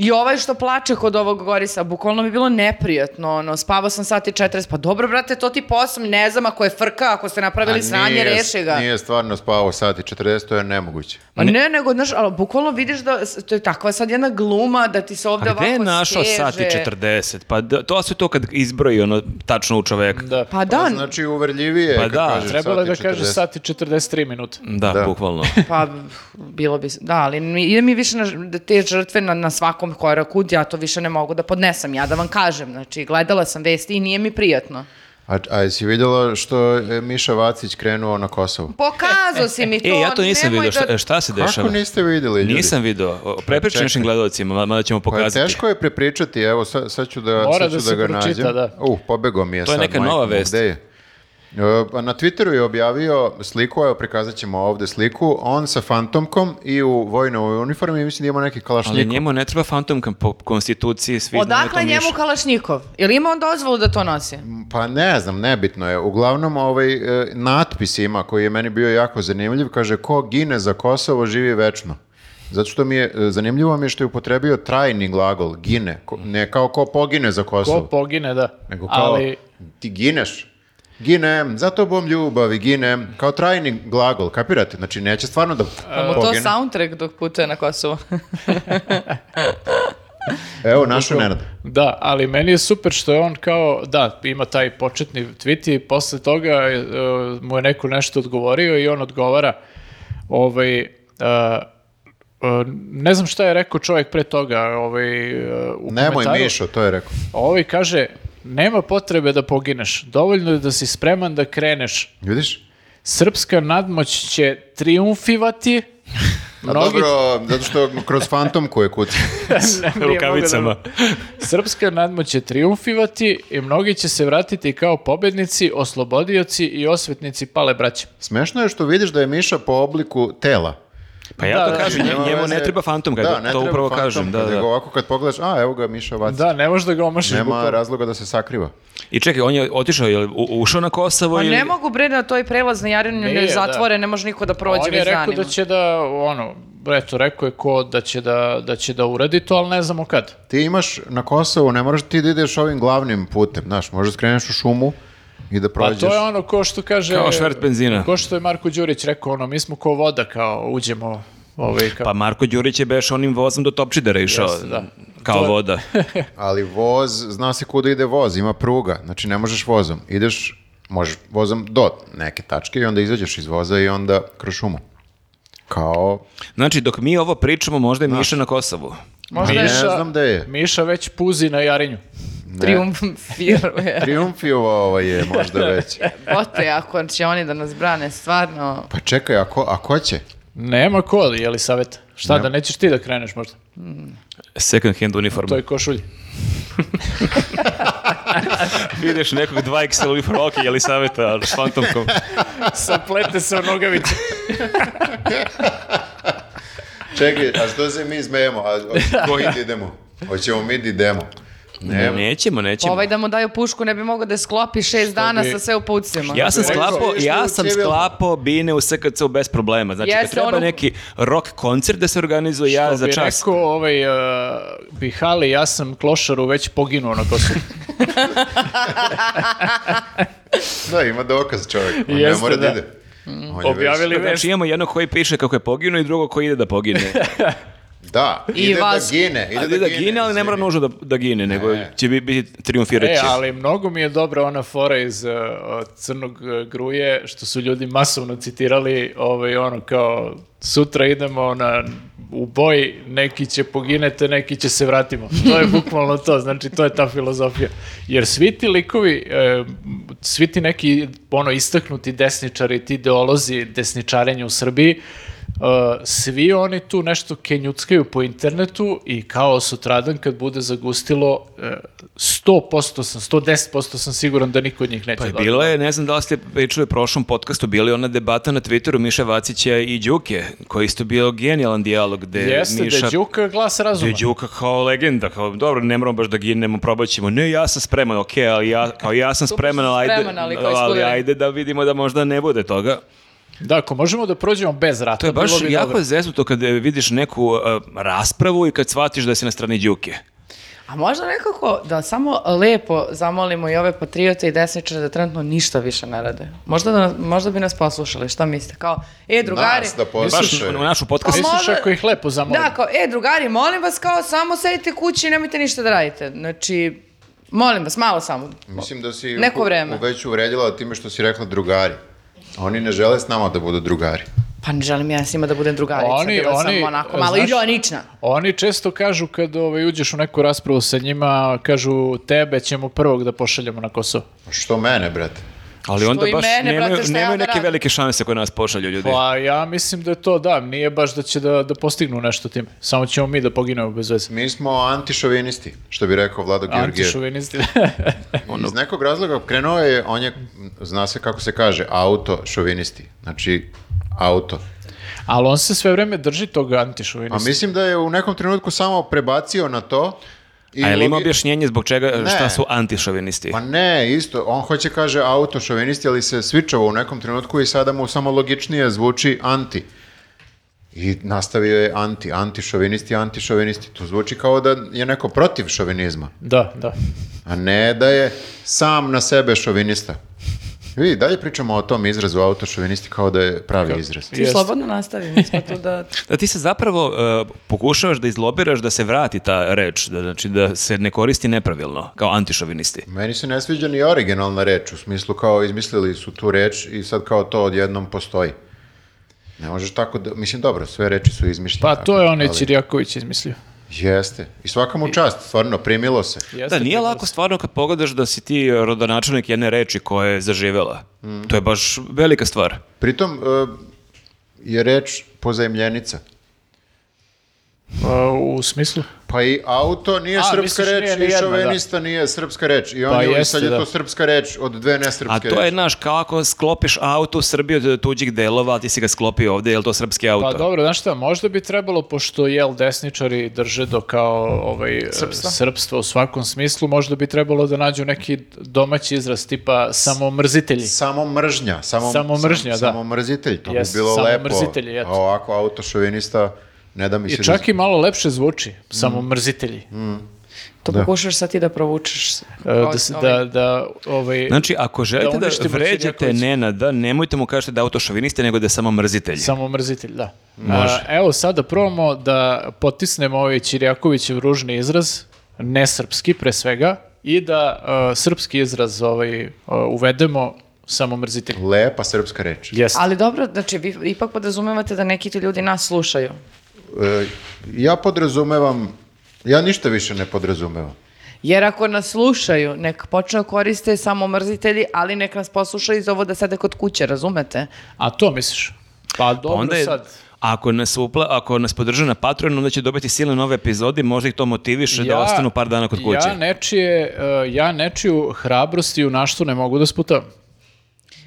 [SPEAKER 2] I ovaj što plače kod ovog Gorisa, bukvalno mi je bilo neprijatno, ono, spavao sam sat i 40, pa dobro, brate, to ti posao, ne znam, ako je frka, ako ste napravili
[SPEAKER 1] A
[SPEAKER 2] sranje,
[SPEAKER 1] nije-
[SPEAKER 2] reši ga.
[SPEAKER 1] Nije stvarno spavao sati 40, to je nemoguće.
[SPEAKER 2] Ma ne, nego, znaš, ali bukvalno vidiš da s- to je takva sad jedna gluma da ti se ovdje
[SPEAKER 3] A
[SPEAKER 2] ovako
[SPEAKER 3] gde
[SPEAKER 2] steže.
[SPEAKER 3] je našao sati 40? Pa da- to su to kad izbroji ono tačno u čoveka.
[SPEAKER 4] Da,
[SPEAKER 2] Pa da,
[SPEAKER 1] Znači uverljivije
[SPEAKER 3] Pa
[SPEAKER 1] kad
[SPEAKER 3] da,
[SPEAKER 1] kažeš
[SPEAKER 4] trebalo je da
[SPEAKER 1] sati
[SPEAKER 4] kaže
[SPEAKER 1] 40.
[SPEAKER 4] sati 43 minuta.
[SPEAKER 3] Da,
[SPEAKER 1] Da.
[SPEAKER 3] bukvalno.
[SPEAKER 2] pa bilo bi, s- da, ali mi- ide mi više na, ž- da te žrtve na, na svakom koraku, ja to više ne mogu da podnesam, ja da vam kažem, znači, gledala sam vesti i nije mi prijatno.
[SPEAKER 1] A, a jesi vidjela što je Miša Vacić krenuo na Kosovo?
[SPEAKER 2] Pokazao si mi to,
[SPEAKER 3] E, ja to nisam
[SPEAKER 2] nemoj
[SPEAKER 3] vidio,
[SPEAKER 2] da-
[SPEAKER 3] šta, šta se
[SPEAKER 1] Kako
[SPEAKER 3] dešava?
[SPEAKER 1] niste vidjeli ljudi?
[SPEAKER 3] Nisam video. Prepričaj
[SPEAKER 1] čekaj.
[SPEAKER 3] našim gledalcima, ma- mada ćemo
[SPEAKER 1] Pa je
[SPEAKER 3] pokazati.
[SPEAKER 1] teško je prepričati, evo sad, sad ću da,
[SPEAKER 4] Mora
[SPEAKER 1] sad ću
[SPEAKER 4] da
[SPEAKER 1] da,
[SPEAKER 4] se
[SPEAKER 1] ga
[SPEAKER 4] pročita,
[SPEAKER 1] nađem.
[SPEAKER 4] da.
[SPEAKER 1] Uh, pobegao mi je
[SPEAKER 3] To je
[SPEAKER 1] sad,
[SPEAKER 3] neka
[SPEAKER 1] majko
[SPEAKER 3] nova
[SPEAKER 1] mu,
[SPEAKER 3] vest.
[SPEAKER 1] gde je? E, pa Na Twitteru je objavio sliku, evo prikazat ćemo ovde sliku, on sa fantomkom i u vojnoj uniformi, mislim da ima neki
[SPEAKER 3] Ali
[SPEAKER 1] kalašnjikov.
[SPEAKER 3] njemu ne treba fantomka po konstituciji, svi znaju da je to
[SPEAKER 2] Odakle njemu
[SPEAKER 3] Miša.
[SPEAKER 2] Kalašnjikov? Ili ima on dozvolu da to nosi?
[SPEAKER 1] Pa ne znam, nebitno je. Uglavnom, ovaj e, natpis ima koji je meni bio jako zanimljiv, kaže ko gine za Kosovo živi večno. Zato što mi je, e, zanimljivo mi je što je upotrebio trajni glagol, gine, Ko- ne kao ko pogine za Kosovo.
[SPEAKER 4] Ko pogine, da.
[SPEAKER 1] Nego kao,
[SPEAKER 4] Ali,
[SPEAKER 1] ti gineš. Ginem, za tobom ljubavi, ginem. Kao trajni glagol, kapirate? Znači, neće stvarno
[SPEAKER 4] E,
[SPEAKER 1] da
[SPEAKER 2] Pa mu to
[SPEAKER 1] pogine.
[SPEAKER 2] soundtrack dok putuje na Kosovo.
[SPEAKER 1] Evo, našu Nenada.
[SPEAKER 4] Da, ali meni je super što je on kao, da, ima taj početni tweet i posle toga e, mu je neko nešto odgovorio i on odgovara, ovaj, e, e, ne znam šta je rekao čovjek pre toga, ovaj, e, u
[SPEAKER 1] Nemoj
[SPEAKER 4] komentaru.
[SPEAKER 1] Mišo, to je rekao.
[SPEAKER 4] Ovaj kaže, nema potrebe da pogineš, dovoljno je da si spreman da kreneš.
[SPEAKER 1] Vidiš?
[SPEAKER 4] Srpska nadmoć će
[SPEAKER 1] (laughs)
[SPEAKER 4] triumfivati,
[SPEAKER 1] A Pa dobro, zato što kroz fantom koje kuci.
[SPEAKER 4] Ne, nije
[SPEAKER 3] Rukavicama.
[SPEAKER 4] mogu da- Srpska nadmoć će triumfivati i mnogi će se vratiti kao pobednici, oslobodioci i osvetnici pale braće.
[SPEAKER 1] Smešno je što vidiš da je Miša po obliku tela. Znači,
[SPEAKER 3] Pa ja
[SPEAKER 4] Da,
[SPEAKER 3] to
[SPEAKER 4] da,
[SPEAKER 3] kažem,
[SPEAKER 1] Nema
[SPEAKER 3] njemu ne
[SPEAKER 1] veze.
[SPEAKER 3] treba fantomka,
[SPEAKER 1] Da,
[SPEAKER 3] to-
[SPEAKER 1] ne
[SPEAKER 3] to
[SPEAKER 1] treba
[SPEAKER 3] upravo
[SPEAKER 1] fantomka,
[SPEAKER 3] kažem. Da,
[SPEAKER 1] nego
[SPEAKER 3] da.
[SPEAKER 1] ovako kad pogledaš, a evo ga Miša Vacić.
[SPEAKER 4] Da, ne možeš da ga omašiš.
[SPEAKER 1] Nema
[SPEAKER 4] bukvalno.
[SPEAKER 1] razloga da se sakriva.
[SPEAKER 3] I čekaj, on je otišao, je li u- ušao na
[SPEAKER 2] (laughs)
[SPEAKER 3] Kosovo
[SPEAKER 2] Pa
[SPEAKER 3] ili...
[SPEAKER 2] ne mogu bre na toj prelaz na Jarinu
[SPEAKER 4] Nije,
[SPEAKER 2] ne
[SPEAKER 4] da.
[SPEAKER 2] zatvore, ne može niko da prođe
[SPEAKER 4] On je
[SPEAKER 2] već
[SPEAKER 4] rekao
[SPEAKER 2] danima.
[SPEAKER 4] da će da, ono, eto, rekao je ko da će da, da će da uradi to, ali ne znamo kad.
[SPEAKER 1] Ti imaš na Kosovu, ne moraš ti da ideš ovim glavnim putem, znaš, možeš da skreneš u šumu i da
[SPEAKER 4] Pa
[SPEAKER 1] prođeš.
[SPEAKER 4] to je ono ko što kaže...
[SPEAKER 3] Kao švert benzina.
[SPEAKER 4] Ko što je Marko Đurić rekao, ono, mi smo ko voda, kao uđemo... Ovaj, kao,
[SPEAKER 3] Pa Marko Đurić je beš onim vozom do Topčidera išao.
[SPEAKER 4] Jeste, da.
[SPEAKER 3] Kao
[SPEAKER 4] To je-
[SPEAKER 1] (laughs)
[SPEAKER 3] voda.
[SPEAKER 1] Ali voz, zna se kuda ide voz, ima pruga, znači ne možeš vozom. Ideš, možeš vozom do neke tačke i onda izađeš iz voza i onda kroz šumu. Kao,
[SPEAKER 3] Znači, dok mi ovo pričamo, možda je Miša na Kosovu.
[SPEAKER 1] Ma
[SPEAKER 4] Možda
[SPEAKER 1] ne
[SPEAKER 4] je ša-
[SPEAKER 1] znam gde je.
[SPEAKER 4] Miša već puzi na Jarinju.
[SPEAKER 2] Triumf firme.
[SPEAKER 1] Triumfiovo ovaj je možda već.
[SPEAKER 2] Bote, ako će oni da nas brane, stvarno...
[SPEAKER 1] Pa čekaj, ako, ako će?
[SPEAKER 4] Nema ko, je li savjet? Šta da nećeš ti da kreneš možda?
[SPEAKER 3] Second hand uniforma.
[SPEAKER 4] To je košulj.
[SPEAKER 3] Vidiš nekog 2XL uniforma, ok, je li savjeta s fantomkom?
[SPEAKER 4] Saplete se u nogavice.
[SPEAKER 1] Čekaj, a što se mi zmejemo? A,
[SPEAKER 3] (laughs)
[SPEAKER 1] a koji idemo? Hoćemo mi da idemo? Ne,
[SPEAKER 3] Nećemo, nećemo.
[SPEAKER 2] Ovaj da mu daju pušku ne bi mogao da je sklopi šest dana
[SPEAKER 4] bi-
[SPEAKER 2] sa sve upucima.
[SPEAKER 3] Ja sam
[SPEAKER 1] Rekao,
[SPEAKER 3] sklapao,
[SPEAKER 1] išli
[SPEAKER 3] ja
[SPEAKER 1] u
[SPEAKER 3] sam
[SPEAKER 1] civilno.
[SPEAKER 3] sklapao bine u SKC u bez problema. Znači, kad
[SPEAKER 2] Jeste,
[SPEAKER 3] treba
[SPEAKER 2] ono-
[SPEAKER 3] neki rock koncert da se organizuje ja
[SPEAKER 4] Što
[SPEAKER 3] za
[SPEAKER 4] bi
[SPEAKER 3] čas.
[SPEAKER 4] rekao, ovaj, uh, Bihali, ja sam klošaru već poginuo na
[SPEAKER 3] (laughs)
[SPEAKER 4] Kosovu.
[SPEAKER 1] Da, ima dokaz čovjek. On ne
[SPEAKER 4] Jeste,
[SPEAKER 1] mora da
[SPEAKER 4] da.
[SPEAKER 1] ide.
[SPEAKER 3] Mm.
[SPEAKER 1] On je
[SPEAKER 4] Objavili vest.
[SPEAKER 3] Znači, imamo jednog koji piše kako je poginuo i drugog koji ide da pogine.
[SPEAKER 1] već- Da,
[SPEAKER 2] I
[SPEAKER 1] ide
[SPEAKER 2] vas-
[SPEAKER 1] da gine. Ide
[SPEAKER 3] Ali da gine, ali ne mora
[SPEAKER 1] izvini.
[SPEAKER 3] nužno da, da gine, nego
[SPEAKER 1] Ne.
[SPEAKER 3] će bi- biti triumfiraći.
[SPEAKER 4] E, ali mnogo mi je dobra ona fora iz uh, od crnog uh, gruje, što su ljudi masovno citirali, ovaj, ono kao, sutra idemo na, u boj, neki će poginete, neki će se vratimo.
[SPEAKER 3] (laughs)
[SPEAKER 4] To je bukvalno to, znači to je ta filozofija. Jer svi ti likovi, e, svi ti neki ono, istaknuti desničari, ti ideolozi desničarenja u Srbiji, Uh, svi oni tu nešto kenjuckaju po internetu i kao sutradan kad bude zagustilo uh, 100% sam, 110% sam siguran da niko od njih neće
[SPEAKER 3] Pa je
[SPEAKER 4] dobiti.
[SPEAKER 3] bila je, ne znam da li ste pričali u prošlom podcastu, bila je ona debata na Twitteru Miše Vacića i Đuke, koji je isto bio genijalan dijalog gde
[SPEAKER 4] Jeste
[SPEAKER 3] Miša...
[SPEAKER 4] da je Đuka glas razuma.
[SPEAKER 3] gde e, je Đuka kao legenda, kao dobro, ne moramo baš da ginemo, probat ćemo. Ne, ja sam spreman, okej, ali ja, kao ja sam spreman, ali ajde,
[SPEAKER 2] spreman, ali kao
[SPEAKER 3] ali
[SPEAKER 2] iskulirani.
[SPEAKER 3] ajde da vidimo da možda ne bude toga.
[SPEAKER 4] Da, ako možemo da prođemo bez rata,
[SPEAKER 3] To je baš
[SPEAKER 4] bilo bi
[SPEAKER 3] jako
[SPEAKER 4] dobro.
[SPEAKER 3] zeznuto kad e, vidiš neku e, raspravu i kad shvatiš da si na strani Đuke.
[SPEAKER 2] A možda nekako da samo lepo zamolimo i ove patriote i desničare da trenutno ništa više ne rade. Možda, da, možda bi nas poslušali, šta mislite? Kao, e, drugari...
[SPEAKER 1] Nas da
[SPEAKER 3] Baš
[SPEAKER 1] poslušaju.
[SPEAKER 3] u našu podcastu.
[SPEAKER 2] Pa
[SPEAKER 4] Misliš
[SPEAKER 2] može-
[SPEAKER 4] ako ih lepo zamolim?
[SPEAKER 2] Da, kao, e, drugari, molim vas, kao, samo sedite kući i nemojte ništa da radite. Znači, molim vas, malo samo.
[SPEAKER 1] Mislim da si
[SPEAKER 2] Neko
[SPEAKER 1] u-
[SPEAKER 2] vreme.
[SPEAKER 1] u- već uvredila time što si rekla drugari. Oni ne žele s nama da budu drugari.
[SPEAKER 2] Pa ne želim ja s njima da budem drugarica,
[SPEAKER 4] Oni-
[SPEAKER 2] bila
[SPEAKER 4] oni,
[SPEAKER 2] sam onako malo
[SPEAKER 4] znaš-
[SPEAKER 2] ironična.
[SPEAKER 4] Oni često kažu kad ovaj, uđeš u neku raspravu sa njima, kažu tebe ćemo prvog da pošaljemo na Kosovo.
[SPEAKER 1] Pa Što mene, brate?
[SPEAKER 3] Ali onda
[SPEAKER 2] i
[SPEAKER 3] baš
[SPEAKER 2] mene,
[SPEAKER 3] nemaju,
[SPEAKER 2] brate, šta ja
[SPEAKER 3] nemaju
[SPEAKER 2] da
[SPEAKER 3] neke
[SPEAKER 2] radim?
[SPEAKER 3] velike šanse koje nas pošalju ljudi.
[SPEAKER 4] Pa ja mislim da je to da, nije baš da će da, da postignu nešto time. Samo ćemo mi da poginemo bez veze.
[SPEAKER 1] Mi smo antišovinisti, što bi rekao Vlado Georgijev.
[SPEAKER 4] Antišovinisti. (laughs)
[SPEAKER 1] Iz nekog razloga krenuo je, on je, m, zna se kako se kaže, auto šovinisti. Znači, auto.
[SPEAKER 4] Ali on se sve vreme drži tog
[SPEAKER 1] A
[SPEAKER 4] antišovinista.
[SPEAKER 1] mislim da je u nekom trenutku samo prebacio na to. I
[SPEAKER 3] A je li ima
[SPEAKER 1] logi-
[SPEAKER 3] objašnjenje zbog čega,
[SPEAKER 1] Ne.
[SPEAKER 3] šta su antišovinisti?
[SPEAKER 1] Pa ne, isto, on hoće kaže auto šovinisti, ali se svičao u nekom trenutku i sada mu samo logičnije zvuči anti. I nastavio je anti, anti šovinisti, anti šovinisti. To zvuči kao da je neko protiv šovinizma,
[SPEAKER 4] Da, da.
[SPEAKER 1] a ne da je sam na sebe šovinista. Vidi, dalje pričamo o tom izrazu auto šovinisti kao da je pravi izraz.
[SPEAKER 2] Ti
[SPEAKER 4] Jeste.
[SPEAKER 2] slobodno nastavi, mi smo tu da...
[SPEAKER 3] Da ti se zapravo e, pokušavaš da izlobiraš da se vrati ta reč, da, znači da se ne koristi nepravilno, kao antišovinisti.
[SPEAKER 1] Meni se ne sviđa ni originalna reč, u smislu kao izmislili su tu reč i sad kao to odjednom postoji. Ne možeš tako da, mislim dobro, sve reči su izmišljene.
[SPEAKER 4] Pa to je onaj
[SPEAKER 1] ali-
[SPEAKER 4] Čirjaković izmislio.
[SPEAKER 1] Jeste. I svaka mu čast, stvarno, primilo se.
[SPEAKER 4] Jeste,
[SPEAKER 3] Da, nije
[SPEAKER 4] to je
[SPEAKER 3] lako stvarno kad pogledaš da si ti rodonačelnik jedne reči koja je zaživela. To je baš velika stvar.
[SPEAKER 1] Pritom, e, je reč pozajemljenica.
[SPEAKER 4] Pa, u smislu?
[SPEAKER 1] Pa i auto nije
[SPEAKER 4] A,
[SPEAKER 1] srpska
[SPEAKER 4] misliš,
[SPEAKER 1] reč,
[SPEAKER 4] nije
[SPEAKER 1] ni
[SPEAKER 4] nijedna, da.
[SPEAKER 1] šovenista nije srpska reč. I on
[SPEAKER 4] Pa
[SPEAKER 1] je, i
[SPEAKER 4] jeste,
[SPEAKER 1] sad je
[SPEAKER 4] da.
[SPEAKER 1] to srpska reč od dve
[SPEAKER 3] A
[SPEAKER 1] nesrpske
[SPEAKER 3] to je,
[SPEAKER 1] reči.
[SPEAKER 3] znaš, kao ako sklopiš auto u Srbiji od tuđih delova, a ti si ga sklopio ovdje, je li to srpski auto?
[SPEAKER 4] Pa dobro, znaš šta, možda bi trebalo, pošto jel desničari drže do kao ovaj, srpstva. u svakom smislu, možda bi trebalo da nađu neki domaći izraz tipa samomrzitelji.
[SPEAKER 1] Samo mržnja. Samo,
[SPEAKER 4] Samo mržnja, da.
[SPEAKER 1] Samo mrzitelj, to bi
[SPEAKER 4] Jeste,
[SPEAKER 1] bilo
[SPEAKER 4] samo
[SPEAKER 1] lepo.
[SPEAKER 4] mrzitelji, eto.
[SPEAKER 1] A ovako auto šovinista, ne da Mm. mi se...
[SPEAKER 4] I čak i malo lepše zvuči, samomrzitelji. (laughs)
[SPEAKER 2] To pokušaš sad ti da provučeš.
[SPEAKER 4] E, Da, se- da, da, ovaj,
[SPEAKER 3] Znači, ako želite da,
[SPEAKER 4] uništimo
[SPEAKER 3] vređate
[SPEAKER 4] Sirjakovića.
[SPEAKER 3] Nenada, nemojte mu kažete da je autošoviniste, nego da je samo mrzitelj.
[SPEAKER 4] Samo mrzitelj, da. A, evo sada probamo da potisnemo ovaj Čirjakovićev ružni izraz, nesrpski pre svega, i da e, srpski izraz ovaj, e, uvedemo samo mrzitelj.
[SPEAKER 1] Lepa srpska reč.
[SPEAKER 4] Jeste.
[SPEAKER 2] Ali dobro, znači, vi ipak podrazumevate da neki ti ljudi nas slušaju.
[SPEAKER 1] E, ja podrazumevam, ja ništa više ne podrazumevam.
[SPEAKER 2] Jer ako nas slušaju, nek počne da koriste samo mrzitelji, ali nek nas poslušaju iz ovo da sede kod kuće, razumete?
[SPEAKER 4] A to misliš? Pa dobro
[SPEAKER 3] onda je,
[SPEAKER 4] sad.
[SPEAKER 3] Ako nas, upla, ako nas podrže na Patreon, onda će dobiti silne nove epizode, možda ih to motiviše da ostanu par dana kod kuće.
[SPEAKER 4] Ja, nečije, uh, ja nečiju hrabrost i junaštvo ne mogu da sputam.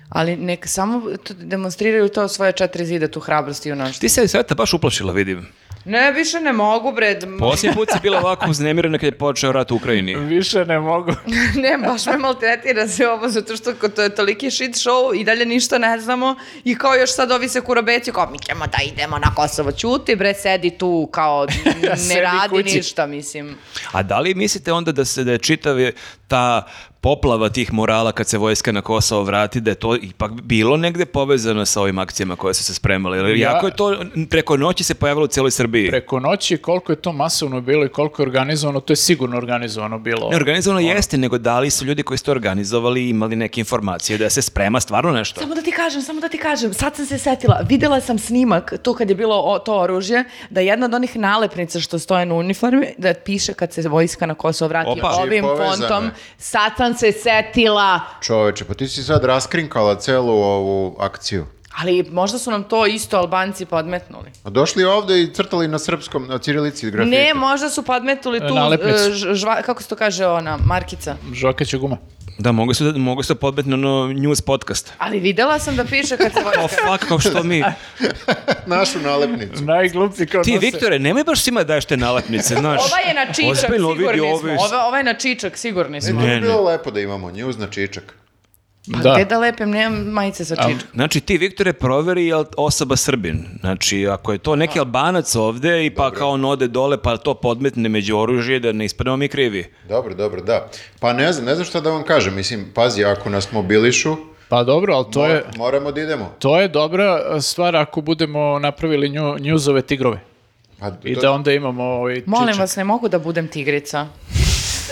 [SPEAKER 2] Ali nek samo t- demonstriraju to svoje četiri zida, tu hrabrost i ono što.
[SPEAKER 3] Ti se sveta baš uplašila,
[SPEAKER 4] (laughs)
[SPEAKER 3] vidim.
[SPEAKER 2] Ne, više ne mogu, bre. d-
[SPEAKER 3] Posljednji put si bila ovako uznemirena kad je počeo rat u Ukrajini.
[SPEAKER 4] Više ne
[SPEAKER 3] (laughs)
[SPEAKER 4] mogu.
[SPEAKER 2] (laughs) ne, baš me maltretira sve ovo, zato što ko- to je toliki shit show i dalje ništa ne znamo. I kao još sad ovi se kurabeci, kao mi ćemo da idemo na Kosovo. Ćuti, bre, sedi tu, (laughs) kao ne
[SPEAKER 4] Sedi
[SPEAKER 2] radi
[SPEAKER 4] kući.
[SPEAKER 2] ništa, mislim.
[SPEAKER 3] A da li mislite onda da se da je čitave ta poplava tih morala kad se vojska na Kosovo vrati, da je to ipak bilo negde povezano sa ovim akcijama koje su se spremale? Jer
[SPEAKER 4] Ja-
[SPEAKER 3] jako je to preko noći se pojavilo u cijeloj Srbiji.
[SPEAKER 4] Preko noći koliko je to masovno bilo i koliko je organizovano, to je sigurno organizovano bilo.
[SPEAKER 3] Ne, organizovano jeste, nego da li su ljudi koji su to organizovali imali neke informacije da se sprema stvarno nešto?
[SPEAKER 2] Samo da ti kažem, samo da ti kažem, sad sam se setila, videla sam snimak tu kad je bilo o- to oružje, da jedna od onih nalepnica što stoje na uniformi, da piše kad se vojska na Kosovo vrati
[SPEAKER 3] Opa.
[SPEAKER 2] ovim
[SPEAKER 1] Znači, povezano
[SPEAKER 2] fontom,
[SPEAKER 1] je.
[SPEAKER 2] sad sam se setila.
[SPEAKER 1] Čoveče, pa ti si sad raskrinkala celu ovu akciju.
[SPEAKER 2] Ali možda su nam to isto Albanci podmetnuli.
[SPEAKER 1] A došli ovde i crtali na srpskom, na cirilici grafite.
[SPEAKER 2] Ne, možda su podmetnuli tu,
[SPEAKER 4] Nalepnicu.
[SPEAKER 2] e, ž- žva- kako se to kaže ona, markica.
[SPEAKER 4] Žokeća guma.
[SPEAKER 3] Da, mogu su, mogu su podmetno ono news podcast.
[SPEAKER 2] Ali videla sam da piše kad se
[SPEAKER 3] O,
[SPEAKER 2] vojska...
[SPEAKER 3] fuck, kao što
[SPEAKER 4] (laughs)
[SPEAKER 3] mi...
[SPEAKER 1] (laughs) Našu nalepnicu.
[SPEAKER 4] Najgluplji kao da
[SPEAKER 3] Ti,
[SPEAKER 4] nose-
[SPEAKER 3] Viktore, nemoj baš svima da daješ te nalepnice, znaš.
[SPEAKER 2] Ova Ovaj je na čičak,
[SPEAKER 3] Ozbiljno, vidi,
[SPEAKER 2] sigurni smo. Ovaj
[SPEAKER 3] ovi-
[SPEAKER 2] Ova, ova je na čičak, sigurni smo.
[SPEAKER 1] To
[SPEAKER 3] Ne,
[SPEAKER 1] bi
[SPEAKER 3] ne.
[SPEAKER 1] bilo lepo da imamo njuz na čičak.
[SPEAKER 2] Pa
[SPEAKER 4] Da.
[SPEAKER 2] gde da lepim, nemam majice sa čičkom.
[SPEAKER 3] Znači, ti, Viktore, proveri je li osoba Srbin. Znači, ako je to neki Albanac ovde i pa kao on ode dole pa to podmetne među oružje da ne ispademo mi krivi.
[SPEAKER 1] Dobro, dobro, da. Pa ne znam, ne znam šta da vam kažem. Mislim, pazi, ako nas mobilišu,
[SPEAKER 4] Pa dobro, ali to je...
[SPEAKER 1] moramo da idemo.
[SPEAKER 4] To je dobra e, stvar ako budemo napravili nju, njuzove tigrove.
[SPEAKER 1] Pa,
[SPEAKER 4] I
[SPEAKER 1] to-
[SPEAKER 4] da onda imamo ovaj
[SPEAKER 2] Molim
[SPEAKER 4] čičak.
[SPEAKER 2] vas, ne mogu da budem tigrica.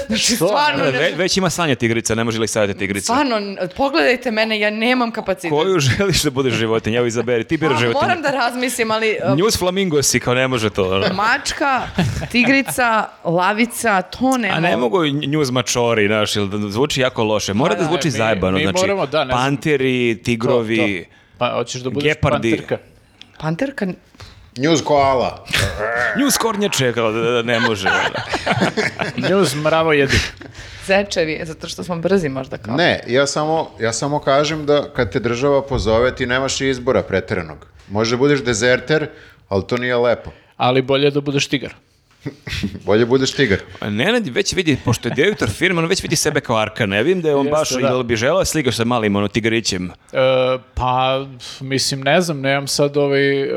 [SPEAKER 2] Znači, stvarno, ne-
[SPEAKER 3] Ve- već ima Sanja tigrica, ne može li sada tigrica?
[SPEAKER 2] stvarno, n- pogledajte mene, ja nemam kapacitet.
[SPEAKER 3] Koju želiš da budeš životinja? Evo izaberi, ti
[SPEAKER 2] Pa,
[SPEAKER 3] biraš životinja.
[SPEAKER 2] moram da razmislim, ali uh,
[SPEAKER 3] News flamingo si, kao ne može to. ono.
[SPEAKER 2] mačka, tigrica, lavica, to ne
[SPEAKER 3] A ne mogu i news mačori, znaš, ili da zvuči jako loše. Mora da
[SPEAKER 4] da,
[SPEAKER 3] zvuči
[SPEAKER 4] mi-
[SPEAKER 3] zajebano,
[SPEAKER 4] mi
[SPEAKER 3] znači
[SPEAKER 4] moramo, da, ne znam.
[SPEAKER 3] panteri,
[SPEAKER 4] To, to.
[SPEAKER 3] tigrovi.
[SPEAKER 4] Pa hoćeš da budeš
[SPEAKER 3] Gepardi.
[SPEAKER 4] panterka.
[SPEAKER 2] Panterka,
[SPEAKER 1] Njuz koala.
[SPEAKER 3] News kornjače, kao da, da ne može. ono.
[SPEAKER 4] Njuz mravo jedi.
[SPEAKER 2] zečevi, zato što smo brzi možda kao.
[SPEAKER 1] Ne, ja samo, ja samo kažem da kad te država pozove, ti nemaš izbora pretrenog. Može da budeš dezerter, ali to nije lepo.
[SPEAKER 4] Ali bolje da budeš tigar.
[SPEAKER 1] Bolje budeš tigar.
[SPEAKER 3] A Pa Nenad već vidi, pošto je direktor firme, on već vidi sebe kao arkana. Ja vidim da je on
[SPEAKER 4] Jeste,
[SPEAKER 3] baš,
[SPEAKER 4] da.
[SPEAKER 3] jel bi želao sligaš sa malim ono, tigrićem.
[SPEAKER 4] E, pa, pf, mislim, ne znam, nemam sad ovaj, e,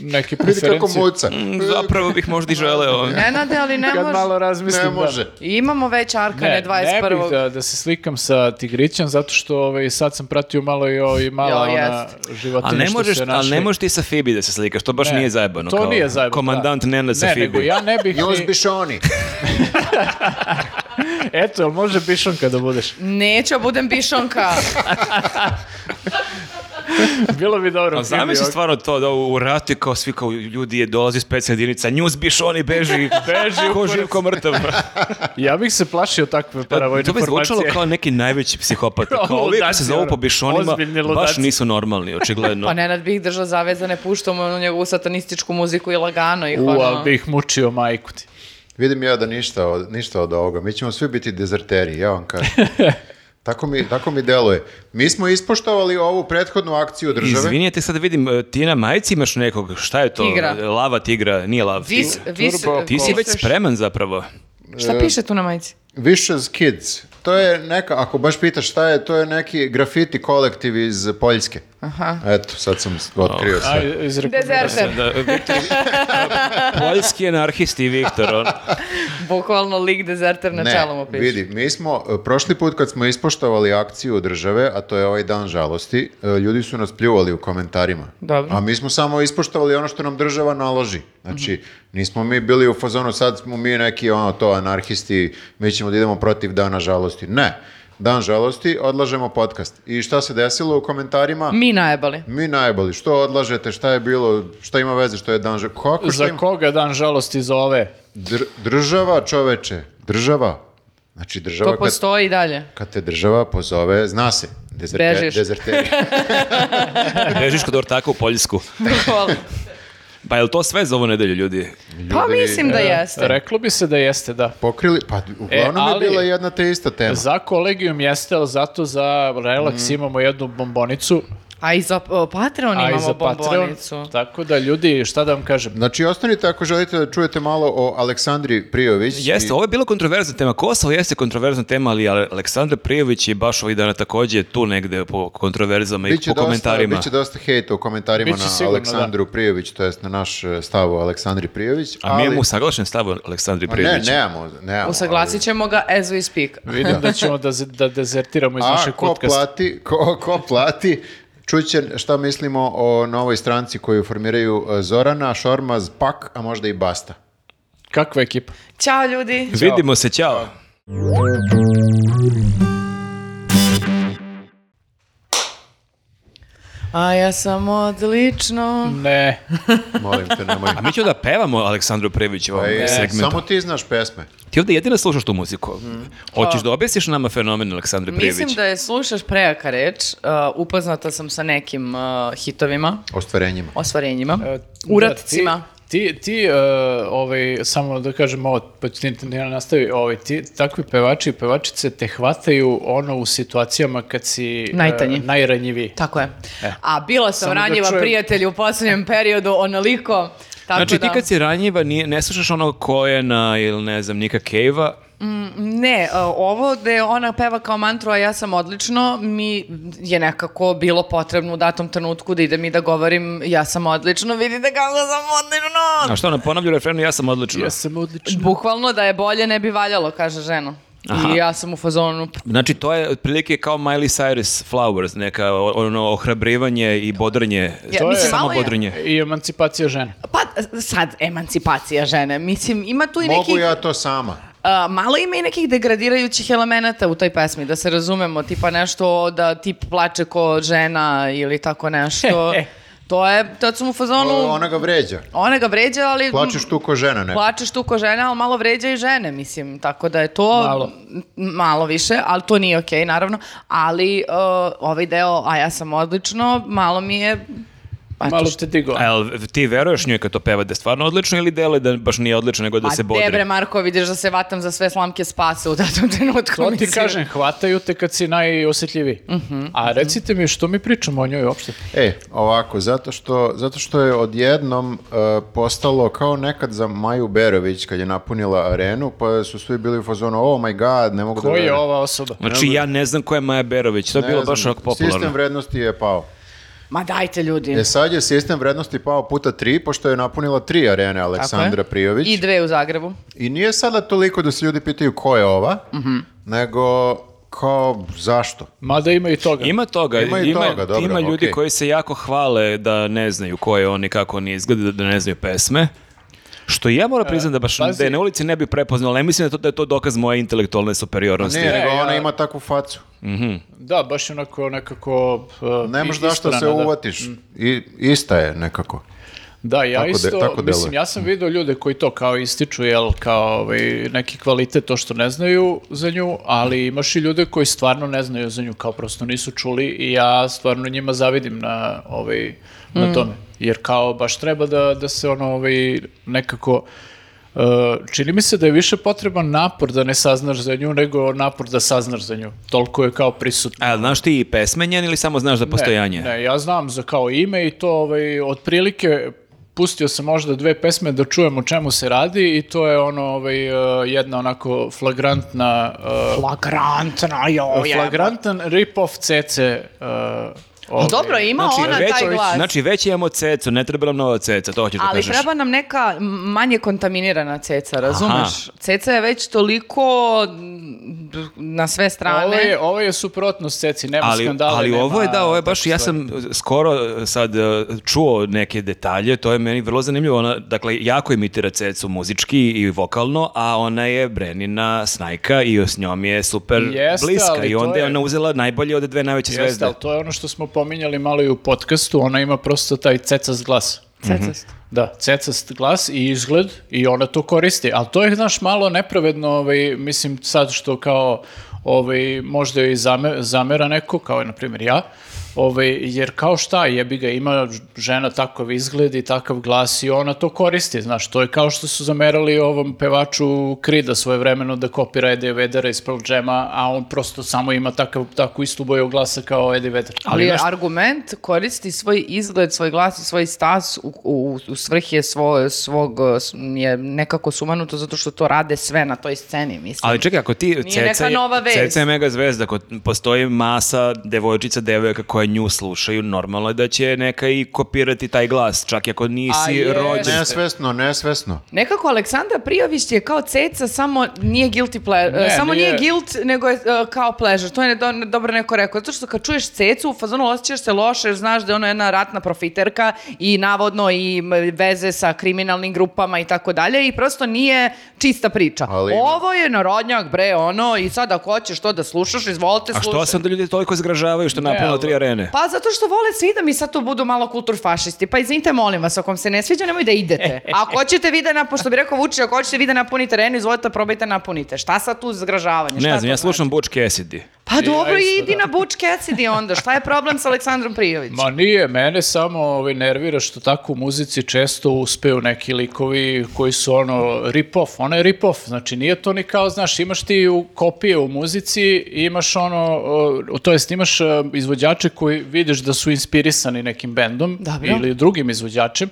[SPEAKER 4] neke
[SPEAKER 1] Vidi
[SPEAKER 4] preferencije.
[SPEAKER 1] kako muca.
[SPEAKER 3] (laughs) Mm, Zapravo bih možda i
[SPEAKER 4] (laughs)
[SPEAKER 3] želeo.
[SPEAKER 2] Nenade, ali ne
[SPEAKER 4] Kad
[SPEAKER 2] može.
[SPEAKER 4] malo razmislim.
[SPEAKER 1] Ne
[SPEAKER 4] da.
[SPEAKER 1] može.
[SPEAKER 2] Imamo već Arkane
[SPEAKER 4] Ne,
[SPEAKER 2] 21.
[SPEAKER 4] ne bih da, da se slikam sa tigrićem, zato što ovaj, sad sam pratio malo i ovaj, mala
[SPEAKER 2] Jo,
[SPEAKER 4] ona
[SPEAKER 2] jest.
[SPEAKER 4] životinja
[SPEAKER 3] Ali ne,
[SPEAKER 4] što
[SPEAKER 3] možeš,
[SPEAKER 4] se
[SPEAKER 3] ali
[SPEAKER 4] našli.
[SPEAKER 3] ne možeš ti sa Fibi da se slikaš, to baš
[SPEAKER 4] Ne,
[SPEAKER 3] nije zajebano.
[SPEAKER 4] To
[SPEAKER 3] kao
[SPEAKER 4] nije zajebano.
[SPEAKER 3] Komandant
[SPEAKER 4] da.
[SPEAKER 3] Nenad sa
[SPEAKER 4] ne,
[SPEAKER 3] Fibi.
[SPEAKER 4] nego ja ne bih...
[SPEAKER 1] Njuz
[SPEAKER 4] ni-
[SPEAKER 1] bišoni.
[SPEAKER 4] Eto, jel može bišonka da budeš?
[SPEAKER 2] Neću, budem
[SPEAKER 4] (laughs)
[SPEAKER 2] bišonka.
[SPEAKER 4] Da. Bilo bi dobro.
[SPEAKER 3] A zamisli
[SPEAKER 4] Fibi,
[SPEAKER 3] stvarno to da u ratu je kao svi kao ljudi je dolazi specijalna jedinica, njuz biš oni beži,
[SPEAKER 4] (laughs) Beži u
[SPEAKER 3] ko
[SPEAKER 4] kurac.
[SPEAKER 3] živ ko mrtav.
[SPEAKER 4] (laughs) Ja bih se plašio takve paravojne
[SPEAKER 3] Pa, to bi zvučalo
[SPEAKER 4] formacije.
[SPEAKER 3] kao neki najveći psihopat.
[SPEAKER 4] (laughs)
[SPEAKER 3] Kao
[SPEAKER 4] Ovo
[SPEAKER 3] ovi koji
[SPEAKER 4] ludaci,
[SPEAKER 3] se zovu
[SPEAKER 4] ono,
[SPEAKER 3] po bišonima,
[SPEAKER 4] ozbiljni
[SPEAKER 3] baš
[SPEAKER 4] ludaci.
[SPEAKER 3] nisu normalni,
[SPEAKER 4] (laughs)
[SPEAKER 3] očigledno. (laughs)
[SPEAKER 2] Pa Nenad bih držao zavezane, puštao mu onu njegovu satanističku muziku i lagano ih.
[SPEAKER 4] U,
[SPEAKER 2] ono-
[SPEAKER 4] ali bi ih mučio majku ti.
[SPEAKER 1] Vidim ja da ništa od, ništa od ovoga. Mi ćemo svi biti dezerteri, ja vam kažem. Tako mi, tako mi deluje. Mi smo ispoštovali ovu prethodnu akciju države.
[SPEAKER 3] Izvinite, sad vidim, e, ti na majici imaš nekog, šta je to?
[SPEAKER 2] Tigra.
[SPEAKER 3] Lava tigra, nije lav.
[SPEAKER 2] Vis, vis,
[SPEAKER 4] Turbo
[SPEAKER 3] Ti si već
[SPEAKER 2] viseš-
[SPEAKER 3] spreman zapravo.
[SPEAKER 2] Šta piše tu na majici?
[SPEAKER 1] Vicious Kids. To je neka, ako baš pitaš šta je, to je neki grafiti kolektiv iz Poljske.
[SPEAKER 2] Aha.
[SPEAKER 1] Eto, sad sam otkrio sve.
[SPEAKER 4] Aj, izrekom.
[SPEAKER 2] Dezerter.
[SPEAKER 3] Da, Viktor, poljski anarhist i Viktor. on.
[SPEAKER 2] Bukvalno lik dezerter na čelu mu piše.
[SPEAKER 1] vidi, mi smo, e, prošli put kad smo ispoštovali akciju države, a to je ovaj dan žalosti, e, ljudi su nas pljuvali u komentarima.
[SPEAKER 2] Dobro.
[SPEAKER 1] A mi smo samo ispoštovali ono što nam država naloži. Znači, nismo mi bili u fazonu, sad smo mi neki ono to anarhisti, mi ćemo da idemo protiv dana žalosti. Ne, dan žalosti, odlažemo podcast. I šta se desilo u komentarima?
[SPEAKER 2] Mi najebali.
[SPEAKER 1] Mi najbolji, što odlažete, šta je bilo, šta ima veze što je dan žalosti? Kako šta
[SPEAKER 4] Za
[SPEAKER 1] ima?
[SPEAKER 4] koga dan žalosti za ove?
[SPEAKER 1] Dr- država čoveče, država. Znači država
[SPEAKER 2] To
[SPEAKER 1] kad,
[SPEAKER 2] postoji i dalje.
[SPEAKER 1] kad te država pozove, zna se, dezerte,
[SPEAKER 2] Bežiš. (laughs)
[SPEAKER 1] dezerteri. Pa
[SPEAKER 3] Bežiš kod ortaka u Poljsku.
[SPEAKER 2] Hvala.
[SPEAKER 3] Pa je li to sve za ovu nedelju, ljudi?
[SPEAKER 1] Znači-
[SPEAKER 2] pa mislim da
[SPEAKER 1] e.
[SPEAKER 2] jeste.
[SPEAKER 4] Reklo bi se da jeste, da.
[SPEAKER 1] Pokrili, pa
[SPEAKER 3] E,
[SPEAKER 1] uglavnom
[SPEAKER 4] ali-
[SPEAKER 1] je bila jedna te ista tema.
[SPEAKER 4] Za kolegijum jeste, ali zato za relaks
[SPEAKER 3] Mm.
[SPEAKER 4] imamo jednu bombonicu.
[SPEAKER 2] A i za o, Patreon
[SPEAKER 4] a i
[SPEAKER 2] imamo
[SPEAKER 4] za Patreon.
[SPEAKER 2] bombonicu.
[SPEAKER 4] Tako da ljudi, šta da vam kažem,
[SPEAKER 1] Znači, ostanite ako želite da čujete malo o Aleksandri Prijović.
[SPEAKER 3] Jeste, ovo je bila kontroverzna tema. Kosovo jeste kontroverzna tema, ali Ale- Aleksandar Prijović je baš ovih dana takođe tu negde po kontroverzama i po komentarima. da.
[SPEAKER 1] Biće dosta hejta u komentarima
[SPEAKER 4] Biće
[SPEAKER 1] na
[SPEAKER 4] sigurno,
[SPEAKER 1] Aleksandru Prijović, to jest na naš eh, stav o Aleksandri Prijović.
[SPEAKER 3] A mi
[SPEAKER 1] ali-
[SPEAKER 3] imamo usaglašen stav Aleksandri
[SPEAKER 1] Ma Ne,
[SPEAKER 3] Prijović.
[SPEAKER 1] nemamo, nemamo.
[SPEAKER 2] Usaglasit ćemo ga as we speak.
[SPEAKER 4] vidim da ćemo da, z- da dezertiramo iz
[SPEAKER 1] ali- A
[SPEAKER 4] našeg
[SPEAKER 1] ko
[SPEAKER 4] kutka.
[SPEAKER 1] plati, ko, ko plati, čuće šta mislimo o novoj stranci koju formiraju eh, Zorana, Šormaz, Pak, a možda i Basta.
[SPEAKER 4] Kakva ekipa?
[SPEAKER 2] Ćao ljudi!
[SPEAKER 3] Vidimo se, ćao.
[SPEAKER 2] A ja sam odlično.
[SPEAKER 4] Ne,
[SPEAKER 1] Molim te, nemoj.
[SPEAKER 3] A mi ćemo da pevamo Aleksandru Prijeviću u ovom
[SPEAKER 1] E,
[SPEAKER 3] Pa segmentu.
[SPEAKER 1] samo ti znaš pesme.
[SPEAKER 3] Ti ovde jedina slušaš tu muziku. Hoćeš da objasniš nama fenomen Aleksandre Prijević?
[SPEAKER 2] Pa. Mislim da je slušaš prejaka reč. Uh, upoznata sam sa nekim uh, hitovima,
[SPEAKER 1] Ostvarenjima.
[SPEAKER 2] ostvarenjima,
[SPEAKER 4] E,
[SPEAKER 2] uratcima.
[SPEAKER 4] da, ti, ti, ti, e, ovaj, samo da kažem ovo, pa ću ti ne nastavi, ovaj, ti, takvi pevači i pevačice te hvataju ono u situacijama kad si e,
[SPEAKER 2] Najtanji.
[SPEAKER 4] najranjiviji.
[SPEAKER 2] Tako je. A bila sam
[SPEAKER 4] Samo da
[SPEAKER 2] ranjiva
[SPEAKER 4] čujem.
[SPEAKER 2] prijatelju u posljednjem periodu, onoliko. Tako
[SPEAKER 3] Znači
[SPEAKER 2] da,
[SPEAKER 3] ti kad si ranjiva nije, ne slušaš ono Kojena ili ne znam Nika Kejva,
[SPEAKER 2] Mm, Ne, a, ovo da ona peva kao mantru, a ja sam odlično, mi je nekako bilo potrebno u datom trenutku da idem i da govorim ja sam odlično, vidite kako sam odlično.
[SPEAKER 3] a što ona ponavlja u refrenu ja sam odlično.
[SPEAKER 4] Ja sam odličan.
[SPEAKER 2] Bukvalno da je bolje ne bi valjalo, kaže žena. I ja sam u fazonu, p-
[SPEAKER 3] Znači to je otprilike kao Miley Cyrus Flowers, neka o- ono ohrabrivanje i bodranje,
[SPEAKER 2] Ja, mislim,
[SPEAKER 3] samo
[SPEAKER 2] malo je-
[SPEAKER 3] bodranje.
[SPEAKER 4] I emancipacija žena.
[SPEAKER 2] pa sad emancipacija žene, mislim ima tu i
[SPEAKER 1] Mogu
[SPEAKER 2] nekih,
[SPEAKER 1] ja to sama.
[SPEAKER 2] a, malo ima i nekih degradirajućih elemenata u toj pesmi, da se razumemo, tipa nešto da tip plače ko žena ili tako
[SPEAKER 1] (laughs)
[SPEAKER 2] nešto. To je, tad sam u fazonu...
[SPEAKER 1] O, Ona ga vređa.
[SPEAKER 2] Ona ga vređa, ali...
[SPEAKER 1] Plačeš tu ko žena neka.
[SPEAKER 2] Plačeš tu ko žena, ali malo vređa i žene, mislim. Tako da je to
[SPEAKER 4] Malo.
[SPEAKER 2] m, malo više, ali to nije okej, naravno. Ali uh, ovaj deo, a ja sam odlično, malo mi je... Pa,
[SPEAKER 4] Malo te digo.
[SPEAKER 3] A jel ti veruješ njoj kad to peva da je stvarno odlično ili dele da baš nije odlično nego da
[SPEAKER 2] pa
[SPEAKER 3] se
[SPEAKER 2] Debre
[SPEAKER 3] bodri?
[SPEAKER 2] Marko, vidiš da se vatam za sve slamke spasa u datom trenutku.
[SPEAKER 4] To ti
[SPEAKER 2] mislim.
[SPEAKER 4] kažem, hvataju te kad si najosjetljiviji.
[SPEAKER 3] Mhm.
[SPEAKER 4] A recite mi, što mi pričamo o njoj uopšte?
[SPEAKER 1] E, ovako, zato što, zato što je odjednom e, postalo kao nekad za Maju Berović kad je napunila arenu, pa su svi bili u fazonu, oh my god, ne mogu da...
[SPEAKER 4] Ko je
[SPEAKER 1] verujem."
[SPEAKER 4] ova osoba?
[SPEAKER 3] Znači ja ne znam ko je Maja Berović, to je
[SPEAKER 1] Ne
[SPEAKER 3] bilo
[SPEAKER 1] znam,
[SPEAKER 3] baš onako popularno.
[SPEAKER 1] Sistem vrednosti je pao.
[SPEAKER 2] Ma dajte ljudi.
[SPEAKER 1] E sad je sistem vrednosti pao puta tri, pošto je napunila tri arene
[SPEAKER 2] Tako je.
[SPEAKER 1] Aleksandra Prijović.
[SPEAKER 2] I
[SPEAKER 1] I,
[SPEAKER 2] dve u Zagrebu.
[SPEAKER 1] nije sada toliko da se ljudi pitaju ko je ova, nego kao zašto.
[SPEAKER 4] Mada ima i toga.
[SPEAKER 3] Ima toga,
[SPEAKER 1] Da. Ima
[SPEAKER 3] ima,
[SPEAKER 1] i
[SPEAKER 3] ima,
[SPEAKER 1] toga, dobro,
[SPEAKER 3] ljudi
[SPEAKER 1] okej.
[SPEAKER 3] koji se jako hvale da ne znaju ko je on i kako on izgleda, da ne znaju pesme. Što i ja moram
[SPEAKER 1] E,
[SPEAKER 3] priznati da baš
[SPEAKER 4] pazi.
[SPEAKER 3] da je na ulici ne bi prepoznao, ali mislim da, je to, da je to dokaz moje intelektualne superiornosti.
[SPEAKER 1] Ne, nego
[SPEAKER 4] ja-
[SPEAKER 1] ona ima takvu facu.
[SPEAKER 4] Da, baš je onako nekako... uh,
[SPEAKER 1] Ne
[SPEAKER 4] i-
[SPEAKER 1] možeš da što se
[SPEAKER 4] isturana, da.
[SPEAKER 1] uvatiš.
[SPEAKER 3] Mm.
[SPEAKER 1] I, ista je nekako.
[SPEAKER 4] Da, ja
[SPEAKER 1] Tako de-
[SPEAKER 4] isto,
[SPEAKER 1] tako deluje.
[SPEAKER 4] mislim, ja sam vidio ljude koji to kao ističu, jel, kao ovaj, neki kvalitet, to što ne znaju za nju, ali imaš i ljude koji stvarno ne znaju za nju, kao prosto nisu čuli i ja stvarno njima zavidim na, ovaj, na tome. Jer kao baš treba da, da se ono ovaj, nekako... e, čini mi se da je više potreban napor da ne saznaš za nju nego napor da saznaš za nju. Toliko je kao prisutno.
[SPEAKER 3] A, znaš ti i pesme njen ili samo znaš da za postojanje?
[SPEAKER 4] E, Ne, ne, ja znam za kao ime i to ovaj, otprilike pustio sam možda dve pesme da čujem o čemu se radi i to je ono ovaj, eh, jedna onako flagrantna... eh,
[SPEAKER 2] Flagrantna, jo,
[SPEAKER 4] Flagrantan rip-off CC. eh, ovaj.
[SPEAKER 2] Dobro, ima ona
[SPEAKER 3] Znači, već,
[SPEAKER 2] taj glas.
[SPEAKER 3] Znači, već imamo cecu, ne treba nam nova ceca, to hoćeš da
[SPEAKER 2] Ali
[SPEAKER 3] kažeš.
[SPEAKER 2] treba nam neka m- manje kontaminirana ceca, razumeš?
[SPEAKER 3] Aha.
[SPEAKER 2] Ceca je već toliko m, na sve strane.
[SPEAKER 4] Ovo je, ovo je suprotnost ceci, nema
[SPEAKER 3] ali,
[SPEAKER 4] skandala.
[SPEAKER 3] ali
[SPEAKER 4] nema
[SPEAKER 3] ovo je da, ovo je baš,
[SPEAKER 4] takve
[SPEAKER 3] ja
[SPEAKER 4] stvari.
[SPEAKER 3] sam skoro sad eh, čuo neke detalje, to je meni vrlo zanimljivo, ona, dakle, jako imitira cecu muzički i vokalno, a ona je Brenina snajka i s njom je super
[SPEAKER 4] Jeste,
[SPEAKER 3] bliska
[SPEAKER 4] ali
[SPEAKER 3] i
[SPEAKER 4] to
[SPEAKER 3] onda je
[SPEAKER 4] je-
[SPEAKER 3] ona uzela najbolje od dve najveće
[SPEAKER 4] Jeste,
[SPEAKER 3] zvezde. Mhm.
[SPEAKER 4] ali to je ono što smo pominjali malo i u podcastu, ona ima prosto taj cecas glas.
[SPEAKER 2] Cecast.
[SPEAKER 4] Da, cecast glas i izgled i ona to koristi, ali to je, znaš, malo nepravedno, ovaj, mislim, sad što kao, ovaj, možda i zame, zamera neko, kao je, na primjer, ja, ovaj, jer kao šta, jebi ga, ima žena takav izgled i takav glas i ona to koristi, znaš, to je kao što su zamerali ovom pevaču Krida svoje vremeno da kopira Eddie Vedera iz Pearl Jam-a, a on prosto samo ima takav, takvu istu boju glasa kao Eddie Vedder.
[SPEAKER 2] Ali
[SPEAKER 4] znaš,
[SPEAKER 2] argument koristi svoj izgled, svoj glas i svoj stas u, u, u svrhe svog, svog eh, s- je nekako sumanuto zato što to rade sve na toj sceni, mislim.
[SPEAKER 3] Ali čekaj, ako ti...
[SPEAKER 2] Nije neka
[SPEAKER 3] je-
[SPEAKER 2] nova vest.
[SPEAKER 3] Ceca je mega zvezda, ako postoji masa devojčica, devojaka koje nju slušaju, normalno je da će neka i kopirati taj glas, čak i ako
[SPEAKER 4] A
[SPEAKER 3] nisi
[SPEAKER 4] je.
[SPEAKER 3] rođen.
[SPEAKER 1] Nesvesno, nesvesno.
[SPEAKER 2] Nekako Aleksandra Prijović je kao ceca, samo nije guilty pleasure,
[SPEAKER 4] Ne,
[SPEAKER 2] samo nije,
[SPEAKER 4] nije.
[SPEAKER 2] guilt, nego je eh, kao pleasure. To je do- ne- dobro neko rekao. Zato što kad čuješ cecu, u fazonu osjećaš se loše, jer znaš da je ona jedna ratna profiterka i navodno i m, veze sa kriminalnim grupama i tako dalje i prosto nije čista priča.
[SPEAKER 1] Ali ima-
[SPEAKER 2] Ovo je narodnjak, bre, ono, i sad ako hoćeš to da slušaš, izvolite
[SPEAKER 3] A
[SPEAKER 2] slušaj.
[SPEAKER 3] što se onda ljudi toliko zgražavaju što je napunilo
[SPEAKER 4] ali-
[SPEAKER 3] tri arene?
[SPEAKER 2] Pa zato što vole svi da mi sad tu budu malo kulturfašisti. Pa izvinite, molim vas, ako vam se ne sviđa, nemoj da
[SPEAKER 4] (laughs)
[SPEAKER 2] idete. A Ako hoćete vi da, na, pošto bi rekao Vučić, ako hoćete vi da napunite arenu, izvolite, da probajte da napunite. Šta sad tu
[SPEAKER 4] E,
[SPEAKER 2] zgražavanje?
[SPEAKER 3] Ne
[SPEAKER 2] Šta
[SPEAKER 3] znam,
[SPEAKER 2] to znači?
[SPEAKER 3] ja
[SPEAKER 4] znači?
[SPEAKER 3] slušam Butch Cassidy.
[SPEAKER 2] Pa dobro,
[SPEAKER 4] Ja isto,
[SPEAKER 2] idi
[SPEAKER 4] da.
[SPEAKER 2] na Butch Cassidy onda. Šta je problem sa Aleksandrom Prijović?
[SPEAKER 4] Ma nije, mene samo ovaj, nervira što tako u muzici često uspeju neki likovi koji su ono rip-off, ona je rip-off, znači nije to ni kao, znaš, imaš ti u kopije u muzici, i imaš ono, o, to jest imaš e, izvođače koji vidiš da su inspirisani nekim bendom
[SPEAKER 2] Dobro.
[SPEAKER 4] ili drugim izvođačem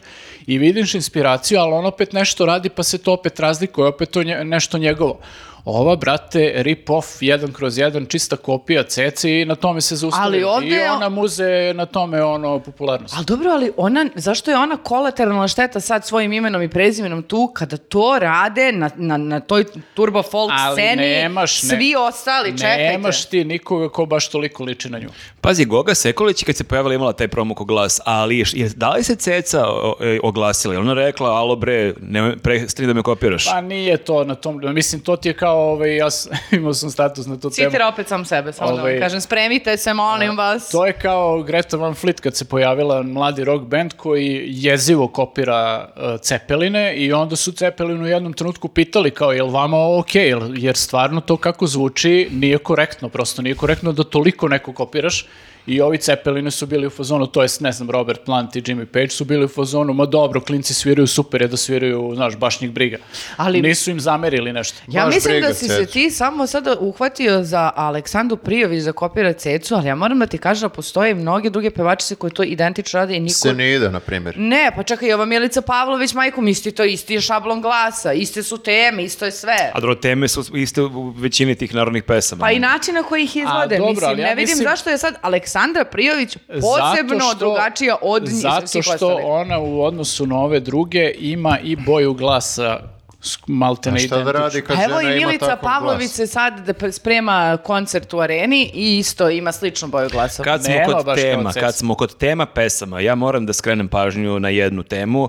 [SPEAKER 4] i vidiš inspiraciju, ali on opet nešto radi pa se to opet razlikuje, opet to nje- nešto njegovo. Ova, brate, rip-off, jedan kroz jedan, čista kopija ceci i na tome se zaustavila.
[SPEAKER 2] ovde
[SPEAKER 4] I
[SPEAKER 2] je-
[SPEAKER 4] ona muze na tome ono popularnost.
[SPEAKER 2] Ali dobro, ali ona, zašto je ona kolateralna šteta sad svojim imenom i prezimenom tu kada to rade na, na, na toj turbo folk
[SPEAKER 4] Ali
[SPEAKER 2] sceni
[SPEAKER 4] nemaš, ne-
[SPEAKER 2] svi ostali, čekajte.
[SPEAKER 4] Nemaš ti nikoga ko baš toliko liči na nju.
[SPEAKER 3] Pazi, Goga Sekolić je kad se pojavila imala taj promoko glas, ali je, da li se Ceca o- e, oglasila? Je Ona rekla, alo bre, nemoj, prestani da me kopiraš.
[SPEAKER 4] Pa nije to na tom, mislim, to ti je kao, ovaj, ja s- (laughs) imao sam status na tu temu.
[SPEAKER 2] Citira opet sam sebe, samo da vam
[SPEAKER 4] Ovaj-
[SPEAKER 2] kažem, spremite se, molim vas.
[SPEAKER 4] To je kao Greta Van Fleet kad se pojavila mladi rock band koji jezivo kopira uh, Cepeline i onda su Cepelin u jednom trenutku pitali kao jel vama ovo okej, Jel- jer stvarno to kako zvuči nije korektno, prosto nije korektno da toliko neko kopiraš i ovi Cepeline su bili u fazonu, to jest ne znam Robert Plant i Jimmy Page su bili u fazonu, ma dobro, klinci sviraju super je da sviraju, znaš, baš njih briga.
[SPEAKER 2] Ali-
[SPEAKER 4] Ali... Nisu im zamerili nešto.
[SPEAKER 2] Ja
[SPEAKER 1] Baš
[SPEAKER 2] mislim
[SPEAKER 1] briga,
[SPEAKER 2] da si se
[SPEAKER 1] Cecu.
[SPEAKER 2] ti samo sada uhvatio za Aleksandru Prijović da kopira Cecu, ali ja moram da ti kažem da postoje mnoge druge pevačice koje to identično rade i niko...
[SPEAKER 1] Se ne ide, na primjer.
[SPEAKER 2] Ne, pa čekaj, i ova Milica Pavlović, majkom, isti to, isti je šablon glasa, iste su teme, isto je sve.
[SPEAKER 3] A dobro, teme su iste u većini tih narodnih pesama.
[SPEAKER 2] Pa i način na koji ih izvode,
[SPEAKER 4] dobro,
[SPEAKER 2] mislim,
[SPEAKER 4] ali ja
[SPEAKER 2] ne vidim
[SPEAKER 4] mislim-
[SPEAKER 2] zašto je sad Aleksandra Prijović
[SPEAKER 4] Zato
[SPEAKER 2] posebno
[SPEAKER 4] što-
[SPEAKER 2] drugačija od njih
[SPEAKER 4] Zato
[SPEAKER 2] svih
[SPEAKER 4] što
[SPEAKER 2] ostalih.
[SPEAKER 4] ona u odnosu na ove druge ima i boju glasa sk- malte
[SPEAKER 1] A
[SPEAKER 4] ne
[SPEAKER 1] šta da
[SPEAKER 4] identičnu.
[SPEAKER 1] radi kad
[SPEAKER 2] A evo
[SPEAKER 1] žena
[SPEAKER 2] i
[SPEAKER 1] ima
[SPEAKER 2] Milica
[SPEAKER 1] takav
[SPEAKER 2] Pavlović
[SPEAKER 1] glas?
[SPEAKER 2] se sad da pre- sprema koncert u areni i isto ima sličnu boju glasa.
[SPEAKER 3] Kad smo
[SPEAKER 4] Nema
[SPEAKER 3] kod
[SPEAKER 4] baš kao
[SPEAKER 3] tema,
[SPEAKER 4] Ceca.
[SPEAKER 3] kad smo kod tema pesama, ja moram da skrenem pažnju na jednu temu.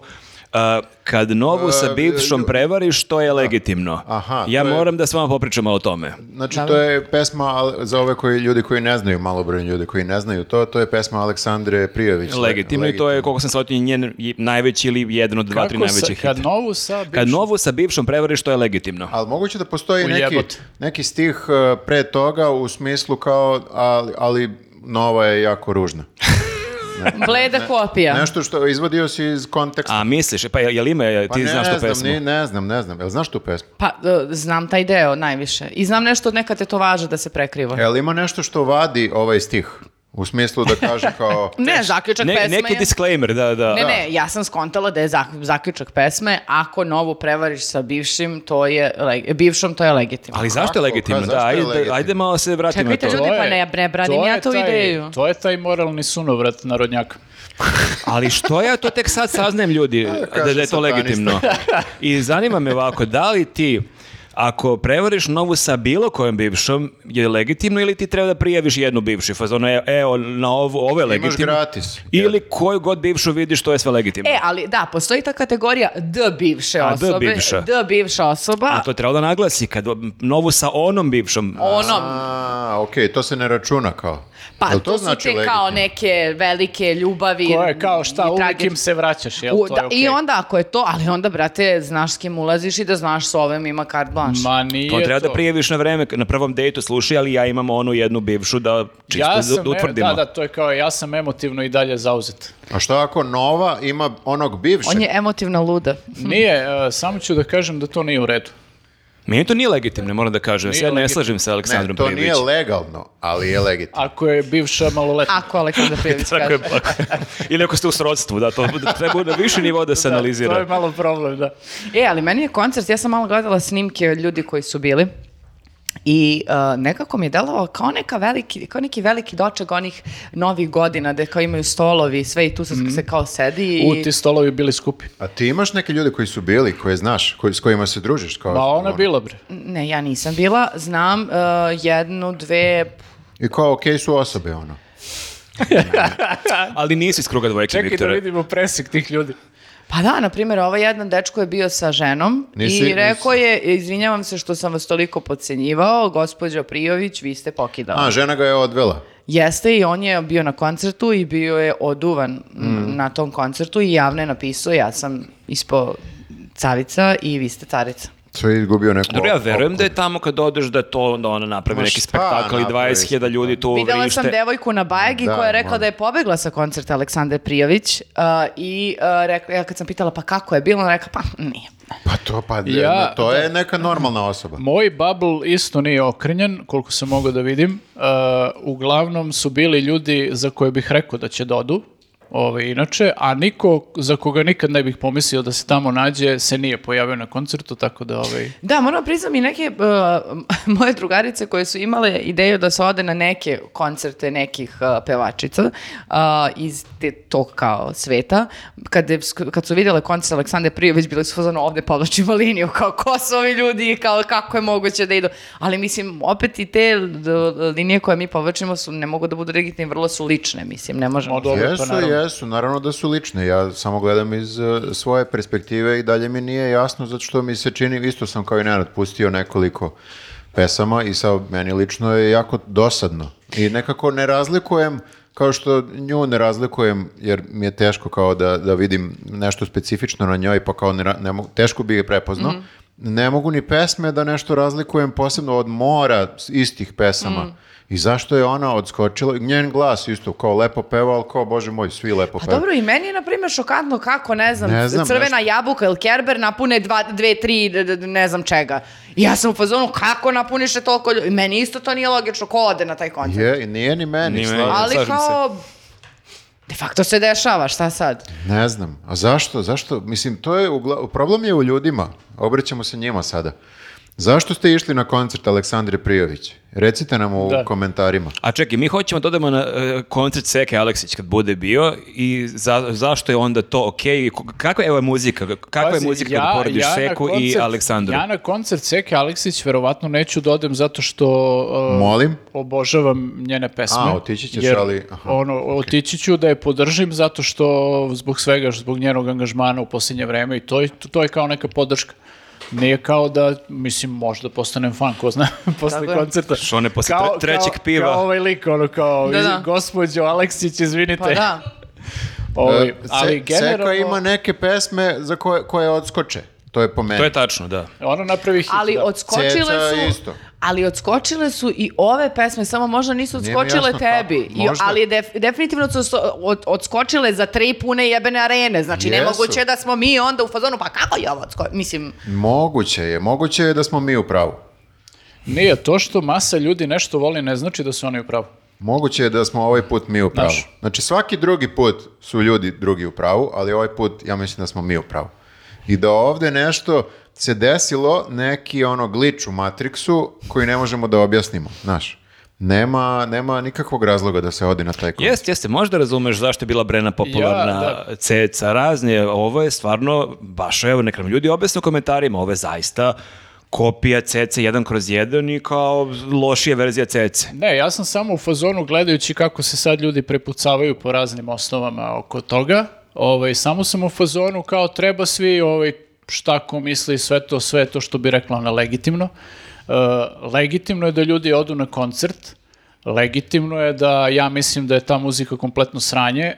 [SPEAKER 3] Uh, kad novu sa
[SPEAKER 1] E,
[SPEAKER 3] bivšom
[SPEAKER 1] ju-
[SPEAKER 3] prevariš, to je legitimno.
[SPEAKER 1] Aha,
[SPEAKER 3] ja
[SPEAKER 1] to je-
[SPEAKER 3] moram da s vama popričam malo o tome.
[SPEAKER 1] Znači,
[SPEAKER 2] Da.
[SPEAKER 1] to je pesma al- za ove koji, ljudi koji ne znaju, malobrojni ljudi koji ne znaju to, to je pesma Aleksandre Prijović.
[SPEAKER 3] Legitimno i to je, koliko sam shvatio, njen i- najveći ili jedan od dva, tri
[SPEAKER 4] Kako sa-
[SPEAKER 3] najvećih
[SPEAKER 4] Kad
[SPEAKER 3] hita.
[SPEAKER 4] novu sa bivšom-
[SPEAKER 3] Kad novu sa bivšom prevariš, to je legitimno.
[SPEAKER 1] Ali moguće da postoji neki,
[SPEAKER 4] Ujebote.
[SPEAKER 1] neki stih eh, pre toga u smislu kao, ali, ali nova je jako ružna.
[SPEAKER 2] Bleda kopija.
[SPEAKER 1] Nešto što izvodio si iz konteksta.
[SPEAKER 3] A misliš, e, pa jel jel ima, jel ti
[SPEAKER 1] ne
[SPEAKER 3] znaš tu
[SPEAKER 1] znam,
[SPEAKER 3] pesmu?
[SPEAKER 1] ni- ne znam, ne znam. Jel znaš tu pesmu?
[SPEAKER 2] Pa, e, znam taj deo najviše. I znam nešto od neka tetovaža da se prekriva.
[SPEAKER 1] Jel E, ima nešto što vadi ovaj stih? U smislu da kaže
[SPEAKER 2] (laughs)
[SPEAKER 1] kao...
[SPEAKER 2] ne, zaključak
[SPEAKER 3] Ne-
[SPEAKER 2] pesme
[SPEAKER 3] neki
[SPEAKER 2] je...
[SPEAKER 3] disclaimer, da, da.
[SPEAKER 2] Ne, ne, ja sam skontala da je zak- zaključak pesme ako novu prevariš sa bivšim, to je, leg- bivšom, to je legitimno.
[SPEAKER 3] Ali zašto
[SPEAKER 1] Kako?
[SPEAKER 3] je legitimno?
[SPEAKER 1] Ka-
[SPEAKER 3] Da,
[SPEAKER 1] zašto je
[SPEAKER 3] ajde,
[SPEAKER 1] legitimno?
[SPEAKER 3] ajde malo se vratimo na
[SPEAKER 2] Čekajte,
[SPEAKER 3] to.
[SPEAKER 2] ljudi, pa
[SPEAKER 4] je-
[SPEAKER 2] ne, ne branim
[SPEAKER 4] to
[SPEAKER 2] ja
[SPEAKER 4] je
[SPEAKER 2] tu
[SPEAKER 4] taj-
[SPEAKER 2] ideju.
[SPEAKER 4] To je taj moralni sunovrat narodnjaka.
[SPEAKER 3] Ali što ja to tek sad saznajem ljudi da, da je
[SPEAKER 1] (laughs) kaže
[SPEAKER 3] to
[SPEAKER 1] satanista.
[SPEAKER 3] legitimno? I zanima me ovako, da li ti Ako prevariš novu sa bilo kojom bivšom, je legitimno ili ti treba da prijaviš jednu bivšu? Fazono je, e, o- na ovu, ovo je
[SPEAKER 1] Imaš
[SPEAKER 3] legitimno.
[SPEAKER 1] gratis.
[SPEAKER 3] Ili koju god bivšu vidiš, to je sve legitimno.
[SPEAKER 2] E, ali da, postoji ta kategorija D bivše
[SPEAKER 3] A, D
[SPEAKER 2] osobe.
[SPEAKER 3] bivša.
[SPEAKER 2] D bivša osoba.
[SPEAKER 3] A to je trebalo da naglasi, kad m, novu sa onom bivšom.
[SPEAKER 2] Ono,
[SPEAKER 1] A, okej, to se ne računa kao.
[SPEAKER 2] pa
[SPEAKER 1] Jel znači
[SPEAKER 2] to, su te
[SPEAKER 1] legitimno?
[SPEAKER 2] kao neke velike ljubavi.
[SPEAKER 4] Ko je kao šta,
[SPEAKER 2] i
[SPEAKER 4] uvijek
[SPEAKER 2] trage-
[SPEAKER 4] im se vraćaš, jel
[SPEAKER 2] U,
[SPEAKER 4] to
[SPEAKER 2] da,
[SPEAKER 4] je
[SPEAKER 2] I
[SPEAKER 4] okej?
[SPEAKER 2] onda ako je to, ali onda, brate, znaš s kim ulaziš i da znaš s ovim ima carte blanche.
[SPEAKER 4] Ma nije
[SPEAKER 3] To treba da
[SPEAKER 4] to.
[SPEAKER 3] prijaviš na vreme, na prvom dejtu, slušaj, ali ja imam onu jednu bivšu da čisto
[SPEAKER 4] Ja
[SPEAKER 3] da-
[SPEAKER 4] sam,
[SPEAKER 3] da
[SPEAKER 4] e,
[SPEAKER 3] utvrdimo.
[SPEAKER 4] Da, da, to je kao, ja sam emotivno i dalje zauzet.
[SPEAKER 1] A šta ako nova ima onog bivšeg?
[SPEAKER 2] On je emotivna luda.
[SPEAKER 4] Nije, e, samo ću da kažem da to nije u redu.
[SPEAKER 3] Meni to nije legitimno, moram da kažem.
[SPEAKER 4] Nije
[SPEAKER 3] Ja ne
[SPEAKER 4] legitimno.
[SPEAKER 3] slažem se
[SPEAKER 1] Ne,
[SPEAKER 3] Aleksandrom
[SPEAKER 1] to
[SPEAKER 3] Prijevićem.
[SPEAKER 1] nije
[SPEAKER 3] (laughs)
[SPEAKER 1] legalno, ali je legitimno.
[SPEAKER 4] Ako je bivša maloletna.
[SPEAKER 2] Ako Aleksandar
[SPEAKER 1] (laughs)
[SPEAKER 2] Prijević
[SPEAKER 3] Tako
[SPEAKER 2] kaže.
[SPEAKER 3] je,
[SPEAKER 4] (laughs)
[SPEAKER 3] ako- Ili ako ste u srodstvu, da, to treba na više nivo da se analizira.
[SPEAKER 4] To je malo problem, da.
[SPEAKER 2] E, ali meni je koncert, ja sam malo gledala snimke ljudi koji su bili i uh, nekako mi je delovao kao, neka veliki, kao neki veliki doček onih novih godina gde kao imaju stolovi i sve i tu se,
[SPEAKER 1] Mhm.
[SPEAKER 2] se kao sedi i...
[SPEAKER 4] U, ti stolovi bili skupi.
[SPEAKER 1] A ti imaš neke ljude koji su bili, koje znaš, koji, s kojima se družiš?
[SPEAKER 3] Pa,
[SPEAKER 1] Kao,
[SPEAKER 4] Ma ona
[SPEAKER 1] ono?
[SPEAKER 4] bila, bre.
[SPEAKER 2] Ne, ja nisam bila, znam uh, jednu, dve...
[SPEAKER 1] I kao, okej su osobe, ono.
[SPEAKER 3] Ali nisi iz kruga dvojke,
[SPEAKER 4] Čekaj da
[SPEAKER 3] Viktore.
[SPEAKER 4] vidimo presek tih ljudi.
[SPEAKER 2] Pa da, na primjer, ovaj jedan dečko je bio sa ženom
[SPEAKER 1] Nisi-
[SPEAKER 2] i rekao je, izvinjavam se što sam vas toliko podcenjivao, gospođo Prijović, vi ste pokidali.
[SPEAKER 1] A, žena ga je odvela.
[SPEAKER 2] Jeste i on je bio na koncertu i bio je oduvan m, na tom koncertu i javno je napisao ja sam ispo cavica i vi ste carica.
[SPEAKER 1] Sve je izgubio neku...
[SPEAKER 3] Dobro, ja
[SPEAKER 1] op-
[SPEAKER 3] verujem da
[SPEAKER 1] opkladu.
[SPEAKER 3] je tamo kad odeš da to onda ona napravi
[SPEAKER 1] Ma
[SPEAKER 3] neki
[SPEAKER 1] šta
[SPEAKER 3] spektakl i
[SPEAKER 1] napravi,
[SPEAKER 3] 20.000 ljudi tu
[SPEAKER 2] Videla
[SPEAKER 3] vrište.
[SPEAKER 2] sam devojku na bajegi
[SPEAKER 1] Da,
[SPEAKER 2] koja je rekla
[SPEAKER 1] moram.
[SPEAKER 2] da je pobegla sa koncerta Aleksandre Prijović uh, i uh, rekla, ja kad sam pitala pa kako je bilo, ona rekla pa nije.
[SPEAKER 1] Pa to, pa,
[SPEAKER 4] Ja-
[SPEAKER 1] to je neka normalna osoba.
[SPEAKER 4] Moj bubble isto nije okrenjen, koliko sam mogao da vidim. E, uglavnom su bili ljudi za koje bih rekao da će da odu, ovaj, inače, a niko za koga nikad ne bih pomislio da se tamo nađe se nije pojavio na koncertu, tako da ovaj...
[SPEAKER 2] Da, moram priznam i neke uh, (laughs) moje drugarice koje su imale ideju da se ode na neke koncerte nekih uh, pevačica uh, iz te, tog kao sveta. Kad, je sk- kad su vidjele koncert Aleksandre Prijović, bili su fazano ovde povlačimo liniju, (laughs) kao ko su ovi ljudi, kao kako je moguće da idu. Ali mislim, opet i te l- d- linije koje mi povlačimo su, ne mogu da budu legitimne, vrlo su lične, mislim, ne možemo.
[SPEAKER 4] Ma dobro, to
[SPEAKER 1] jesu,
[SPEAKER 4] naravno.
[SPEAKER 1] jesu, naravno da su lične. Ja samo gledam iz eh, svoje perspektive i dalje mi nije jasno, zato što mi se čini, isto sam kao i Nenad pustio nekoliko pesama i sad meni lično je jako dosadno. I nekako ne razlikujem, kao što nju ne razlikujem, jer mi je teško kao da, da vidim nešto specifično na njoj, pa kao ne, ra- ne mogu, teško bi je prepoznao.
[SPEAKER 4] Mhm.
[SPEAKER 1] Ne mogu ni pesme da nešto razlikujem posebno od mora s- istih pesama. I zašto je ona odskočila? Njen glas isto kao lepo peva, ali kao, bože moj, svi lepo
[SPEAKER 2] Pa
[SPEAKER 1] peva.
[SPEAKER 2] dobro, i meni je, na primjer, šokantno kako, ne znam,
[SPEAKER 1] Ne znam,
[SPEAKER 2] crvena
[SPEAKER 1] nešto.
[SPEAKER 2] jabuka ili kerber napune dva, dve, tri, d- d- d- ne znam čega. I ja sam u fazonu, kako napuniše toliko ljudi? Meni isto to nije logično, ko ode na taj koncert?
[SPEAKER 1] Je, i nije ni meni,
[SPEAKER 3] Ni meni.
[SPEAKER 1] slažem
[SPEAKER 2] Ali
[SPEAKER 3] slažem
[SPEAKER 2] kao, de facto se dešava, šta sad?
[SPEAKER 1] se. Ne znam. A zašto? Zašto? Mislim, to je, ugla- problem je u ljudima. Obraćamo se njima sada. Zašto ste išli na koncert Aleksandre Prijović? Recite nam u
[SPEAKER 4] Da.
[SPEAKER 1] komentarima.
[SPEAKER 3] A čekaj, mi hoćemo da odemo na e, koncert Seke Aleksić kad bude bio i za- zašto je onda to okej? i ko- Kako je evo muzika? Kako je
[SPEAKER 4] Pazi,
[SPEAKER 3] muzika kad porediš
[SPEAKER 4] na
[SPEAKER 3] Seku i
[SPEAKER 4] koncert-
[SPEAKER 3] Aleksandru?
[SPEAKER 4] Ja na koncert Seke Aleksić verovatno neću da odem zato što... uh,
[SPEAKER 1] Molim?
[SPEAKER 4] Obožavam njene pesme.
[SPEAKER 1] A, otići ćeš,
[SPEAKER 4] jer,
[SPEAKER 1] ali- aha.
[SPEAKER 4] ono, otići ću da je podržim zato što zbog svega, zbog njenog angažmana u posljednje vreme i to, je- to je kao neka podrška. Nije kao da, mislim, možda postanem fan, ko zna, (laughs) posle
[SPEAKER 2] Tako je.
[SPEAKER 4] koncerta.
[SPEAKER 3] Što ne, posle tre- trećeg
[SPEAKER 4] kao-
[SPEAKER 3] piva.
[SPEAKER 4] Kao ovaj lik, ono kao,
[SPEAKER 2] Da, da.
[SPEAKER 4] gospođo Aleksić, izvinite.
[SPEAKER 2] Pa da.
[SPEAKER 4] Ovaj,
[SPEAKER 1] E, Se-
[SPEAKER 4] ali generalno,
[SPEAKER 1] Seko ima neke pesme za koje, koje odskoče. To je po meni.
[SPEAKER 3] To je tačno, da.
[SPEAKER 4] ono napravi hit.
[SPEAKER 2] Ali
[SPEAKER 4] da.
[SPEAKER 2] odskočile
[SPEAKER 1] Ceca
[SPEAKER 2] su...
[SPEAKER 1] isto.
[SPEAKER 2] Ali odskočile su i ove pesme, samo možda nisu
[SPEAKER 1] Nije mi
[SPEAKER 2] odskočile
[SPEAKER 1] jasno kako,
[SPEAKER 2] tebi. I,
[SPEAKER 1] možda.
[SPEAKER 2] ali def- definitivno su so- od- odskočile za tri pune jebene arene. Znači,
[SPEAKER 1] Jesu.
[SPEAKER 2] nemoguće je da smo mi onda u fazonu, pa kako je ovo odskočilo? Mislim,
[SPEAKER 1] Moguće je. Moguće je da smo mi u pravu.
[SPEAKER 4] Nije, to što masa ljudi nešto voli ne znači da su oni u pravu.
[SPEAKER 1] Moguće je da smo ovaj put mi u pravu.
[SPEAKER 4] Znaš.
[SPEAKER 1] Znači svaki drugi put su ljudi drugi u pravu, ali ovaj put ja mislim da smo mi u pravu. I da ovde nešto se desilo, neki ono glitch u Matrixu koji ne možemo da objasnimo, znaš. Nema, nema nikakvog razloga da se odi na taj koncert.
[SPEAKER 3] Jeste, jeste, možda razumeš zašto je bila Brena popularna,
[SPEAKER 4] Ja, da.
[SPEAKER 3] ceca, razne, ovo je stvarno, baš evo, nek nam ljudi objasne u komentarima, ovo je zaista kopija CC 1 kroz 1 i kao lošija verzija CC.
[SPEAKER 4] Ne, ja sam samo u fazonu gledajući kako se sad ljudi prepucavaju po raznim osnovama oko toga. Ovaj, samo sam u fazonu kao treba svi ovaj, šta ko misli sve to, sve to što bi rekla ona legitimno. E, legitimno je da ljudi odu na koncert, legitimno je da ja mislim da je ta muzika kompletno sranje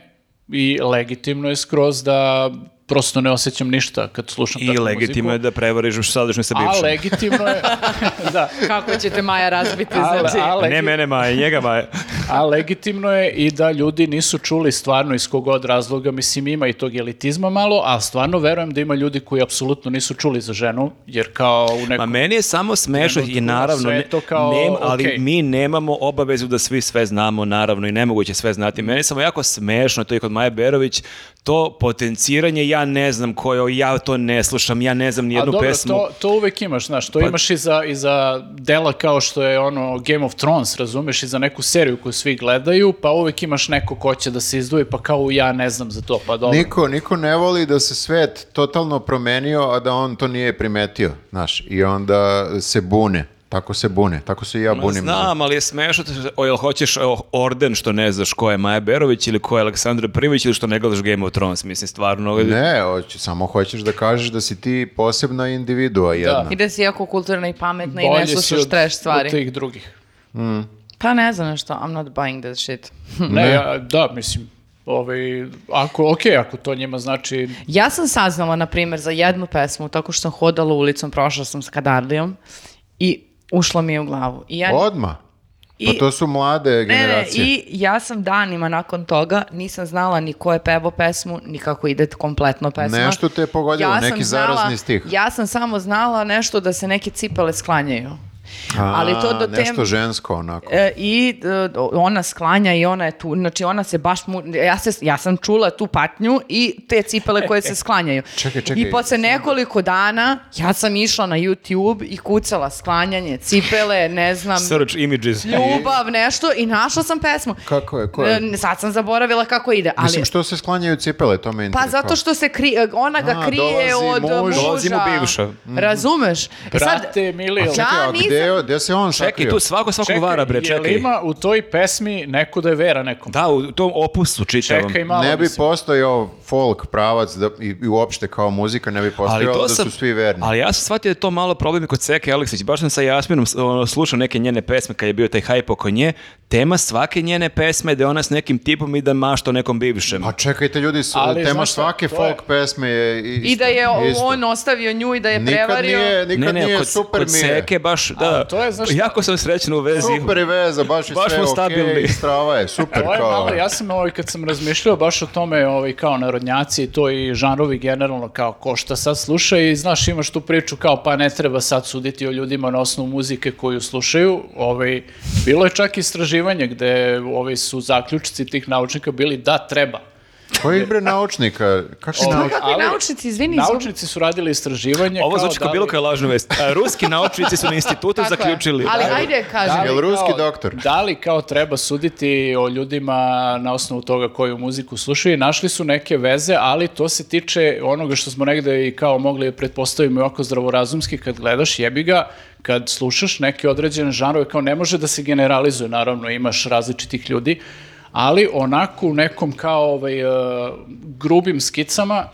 [SPEAKER 4] i legitimno je skroz da prosto ne osjećam ništa kad slušam
[SPEAKER 3] I
[SPEAKER 4] takvu
[SPEAKER 3] legitimno je
[SPEAKER 4] muziku.
[SPEAKER 3] da prevariš sadašnje sa
[SPEAKER 4] A
[SPEAKER 3] bivšim.
[SPEAKER 4] legitimno je, (laughs) da,
[SPEAKER 5] Kako ćete Maja razbiti,
[SPEAKER 4] a,
[SPEAKER 5] znači?
[SPEAKER 4] a,
[SPEAKER 3] Pa Ne
[SPEAKER 4] legi-
[SPEAKER 3] mene Maja, njega
[SPEAKER 4] (laughs)
[SPEAKER 3] Maja.
[SPEAKER 4] A legitimno je i da ljudi nisu čuli stvarno iz kog god razloga, mislim ima i tog elitizma malo, a stvarno verujem da ima ljudi koji apsolutno nisu čuli za ženu, jer kao u
[SPEAKER 3] Ma
[SPEAKER 4] nekom...
[SPEAKER 3] meni je samo smešno i
[SPEAKER 4] trenutku
[SPEAKER 3] naravno,
[SPEAKER 4] sve
[SPEAKER 3] ne,
[SPEAKER 4] to kao,
[SPEAKER 3] nema- ali
[SPEAKER 4] okej.
[SPEAKER 3] mi nemamo obavezu da svi sve znamo, naravno, i nemoguće je sve znati. Meni je samo jako smešno, to je kod Maje Berović, to potenciranje, ja ne znam ko je, ja to ne slušam, ja ne znam ni
[SPEAKER 4] A
[SPEAKER 3] jednu
[SPEAKER 4] dobro,
[SPEAKER 3] pesmu. Pa-
[SPEAKER 4] to, to uvek imaš, znaš, to imaš i za, i za dela kao što je ono Game of Thrones, razumeš, i za neku seriju koju svi gledaju, pa uvek imaš neko ko će da se izdvoji, pa kao ja ne znam za to, pa dobro.
[SPEAKER 1] Niko, niko ne voli da se svet totalno promenio, a da on to nije primetio, znaš, i onda se bune, tako se bune, tako se i ja
[SPEAKER 3] Ma,
[SPEAKER 1] bunim.
[SPEAKER 3] Znam, ali je smešno, to- o, jel hoćeš o, orden što ne znaš ko je Maja Berović ili ko je Aleksandar Privić ili što ne gledaš Game of Thrones, mislim, stvarno.
[SPEAKER 1] Ne, hoće- samo hoćeš da kažeš da si ti posebna individua jedna.
[SPEAKER 2] I da si jako kulturna i pametna i
[SPEAKER 4] Bolje
[SPEAKER 2] ne
[SPEAKER 4] si
[SPEAKER 2] slušaš
[SPEAKER 4] od-
[SPEAKER 2] trash
[SPEAKER 4] Od
[SPEAKER 2] stvari.
[SPEAKER 4] tih drugih.
[SPEAKER 2] Pa ne znam što, I'm not buying that shit.
[SPEAKER 4] Ne, ja, da, mislim, ovaj, ako, okej, ako to njima znači
[SPEAKER 2] Ja sam saznala, na primjer, za jednu pesmu, tako što sam hodala ulicom, prošla sam s Kadarlijom i ušla mi je u glavu. I ja,
[SPEAKER 1] Odma. Pa
[SPEAKER 2] i-
[SPEAKER 1] to su mlade
[SPEAKER 2] Ne, ne,
[SPEAKER 1] generacije.
[SPEAKER 2] i ja sam danima nakon toga nisam znala ni ko je pevao pesmu, ni kako ide kompletno pesma.
[SPEAKER 1] Nešto te je pogodilo,
[SPEAKER 2] sam
[SPEAKER 1] neki zarazni stih.
[SPEAKER 2] Ja sam samo znala nešto da se neke cipele sklanjaju.
[SPEAKER 1] A,
[SPEAKER 2] ali to do tem-
[SPEAKER 1] Nešto žensko onako.
[SPEAKER 2] E, I e, ona sklanja i ona je tu, znači ona se baš, mu, ja, se, ja sam čula tu patnju i te cipele koje
[SPEAKER 1] (laughs)
[SPEAKER 2] se sklanjaju.
[SPEAKER 1] Čekaj, čekaj.
[SPEAKER 2] I posle nekoliko dana ja sam išla na YouTube i kucala sklanjanje cipele, ne znam,
[SPEAKER 3] Search images.
[SPEAKER 2] ljubav, nešto i našla sam pesmu.
[SPEAKER 1] Kako je, ko je?
[SPEAKER 2] E, Sad sam zaboravila kako ide, ali...
[SPEAKER 1] Mislim, što se sklanjaju cipele, to me
[SPEAKER 2] Pa
[SPEAKER 1] interesuje.
[SPEAKER 2] zato što se kri, e, ona ga
[SPEAKER 1] A,
[SPEAKER 2] krije
[SPEAKER 1] dolazi
[SPEAKER 2] od
[SPEAKER 1] muž.
[SPEAKER 2] muža.
[SPEAKER 3] Dolazi mu bivša.
[SPEAKER 2] Razumeš? E, Sad,
[SPEAKER 4] Brate, mili,
[SPEAKER 2] Ja
[SPEAKER 1] Čekaj, a
[SPEAKER 2] nisam-
[SPEAKER 1] gde, gde se on
[SPEAKER 3] Čekaj,
[SPEAKER 1] sakrio?
[SPEAKER 3] tu svako svakog vara, bre,
[SPEAKER 4] jel
[SPEAKER 3] čekaj.
[SPEAKER 4] ima u toj pesmi neko da je vera nekom?
[SPEAKER 3] Da, u tom opusu čitavom.
[SPEAKER 4] Čekaj malo,
[SPEAKER 1] ne bi
[SPEAKER 4] mislim.
[SPEAKER 1] postojao folk pravac da, i, i uopšte kao muzika ne bi postojao da su svi verni.
[SPEAKER 3] Ali ja sam shvatio da je to malo problem i kod Seke Aleksić. Baš sam sa Jasminom s- ono, slušao neke njene pesme kad je bio taj hajp oko nje. Tema svake njene pesme je da je ona s nekim tipom i da mašta o nekom bivšem.
[SPEAKER 1] Pa čekajte ljudi, s-
[SPEAKER 4] Ali,
[SPEAKER 1] tema
[SPEAKER 4] znaš šta,
[SPEAKER 1] svake
[SPEAKER 4] to je-
[SPEAKER 1] folk pesme je isto.
[SPEAKER 2] I da je o-
[SPEAKER 1] isto.
[SPEAKER 2] on ostavio nju i da je
[SPEAKER 1] Nikad
[SPEAKER 2] prevario.
[SPEAKER 1] nije, nikad nije,
[SPEAKER 3] kod,
[SPEAKER 1] super
[SPEAKER 3] kod
[SPEAKER 1] mi je.
[SPEAKER 3] Seke baš, da,
[SPEAKER 4] to je, znaš šta-
[SPEAKER 3] jako sam srećen u vezi.
[SPEAKER 1] Super je veza, baš je
[SPEAKER 3] Baš
[SPEAKER 1] sve
[SPEAKER 3] smo
[SPEAKER 1] okej,
[SPEAKER 3] stabilni.
[SPEAKER 1] strava je, super
[SPEAKER 4] To je
[SPEAKER 1] kao.
[SPEAKER 4] malo, ja sam ovaj, kad sam razmišljao baš o tome ovaj, kao narodnjaci i to i žanrovi generalno kao ko šta sad sluša i znaš imaš tu priču kao pa ne treba sad suditi o ljudima na osnovu muzike koju slušaju. Ovaj, bilo je čak istraživanje gde ovaj, su zaključci tih naučnika bili da treba.
[SPEAKER 1] Kojih bre naučnika? Kakvi
[SPEAKER 4] Ovo-
[SPEAKER 1] naučnici?
[SPEAKER 2] Kakvi
[SPEAKER 4] Ali-
[SPEAKER 2] Pa naučnici, izvini, izvini.
[SPEAKER 4] Naučnici su radili istraživanje.
[SPEAKER 3] Ovo
[SPEAKER 4] kao
[SPEAKER 3] zvuči kao
[SPEAKER 4] da
[SPEAKER 3] bilo
[SPEAKER 4] li-
[SPEAKER 3] koja lažna vest. A, Ruski naučnici su na institutu
[SPEAKER 2] Tako je.
[SPEAKER 3] zaključili.
[SPEAKER 2] Ali
[SPEAKER 3] Da.
[SPEAKER 2] ajde, kažem.
[SPEAKER 1] Jel
[SPEAKER 4] kao-
[SPEAKER 1] ruski doktor?
[SPEAKER 4] Da li kao treba suditi o ljudima na osnovu toga koju muziku slušaju? Našli su neke veze, ali to se tiče onoga što smo negde i kao mogli da pretpostavimo i oko zdravorazumski kad gledaš jebi ga, kad slušaš neke određene žanrove, kao ne može da se generalizuje, naravno imaš različitih ljudi, ali onako u nekom kao ovaj, e, grubim skicama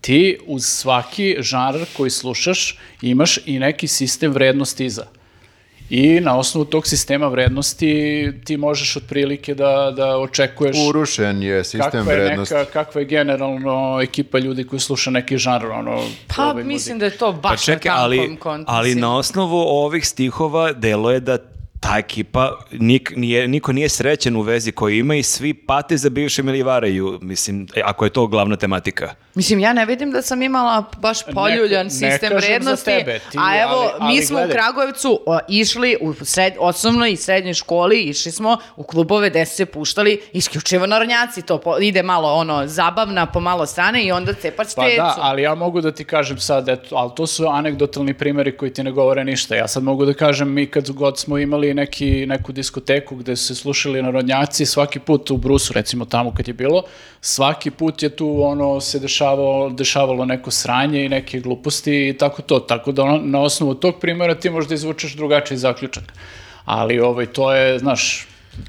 [SPEAKER 4] ti uz svaki žanr koji slušaš imaš i neki sistem vrednosti iza. I na osnovu tog sistema vrednosti ti možeš otprilike da, da očekuješ
[SPEAKER 1] Urušen je sistem
[SPEAKER 4] kakva je,
[SPEAKER 1] vrednosti.
[SPEAKER 4] neka, kakva je generalno ekipa ljudi koji sluša neki žanr. Ono,
[SPEAKER 2] Pa
[SPEAKER 4] ovaj,
[SPEAKER 2] mislim
[SPEAKER 4] muzike.
[SPEAKER 2] da je to baš
[SPEAKER 3] Pa čekaj,
[SPEAKER 2] na tankom
[SPEAKER 3] ali,
[SPEAKER 2] kontu,
[SPEAKER 3] ali
[SPEAKER 2] mislim.
[SPEAKER 3] na osnovu ovih stihova delo je da ta ekipa, nik, nije, niko nije srećen u vezi koju ima i svi pate za bivšim ili varaju, mislim, e, ako je to glavna tematika.
[SPEAKER 2] Mislim, ja ne vidim da sam imala baš poljuljan
[SPEAKER 4] ne
[SPEAKER 2] sistem
[SPEAKER 4] kažem za
[SPEAKER 2] vrednosti,
[SPEAKER 4] tebe, ti,
[SPEAKER 2] a evo,
[SPEAKER 4] ali- ali
[SPEAKER 2] mi smo
[SPEAKER 4] gledaj.
[SPEAKER 2] u Kragujevcu o, išli u sred, osnovnoj i srednjoj školi, išli smo u klubove gde su se puštali isključivo narodnjaci, to po- ide malo ono zabavna po malo strane i onda cepaš
[SPEAKER 4] Pa
[SPEAKER 2] tecu.
[SPEAKER 4] da, ali ja mogu da ti kažem sad, eto, ali to su anegdotalni primjeri koji ti ne govore ništa. Ja sad mogu da kažem, mi kad god smo imali imali neki, neku diskoteku gde su se slušali narodnjaci svaki put u Brusu, recimo tamo kad je bilo, svaki put je tu ono se dešavalo, dešavalo neko sranje i neke gluposti i tako to. Tako da ono, na osnovu tog primjera ti možda izvučeš drugačiji zaključak. Ali ovaj, to je, znaš,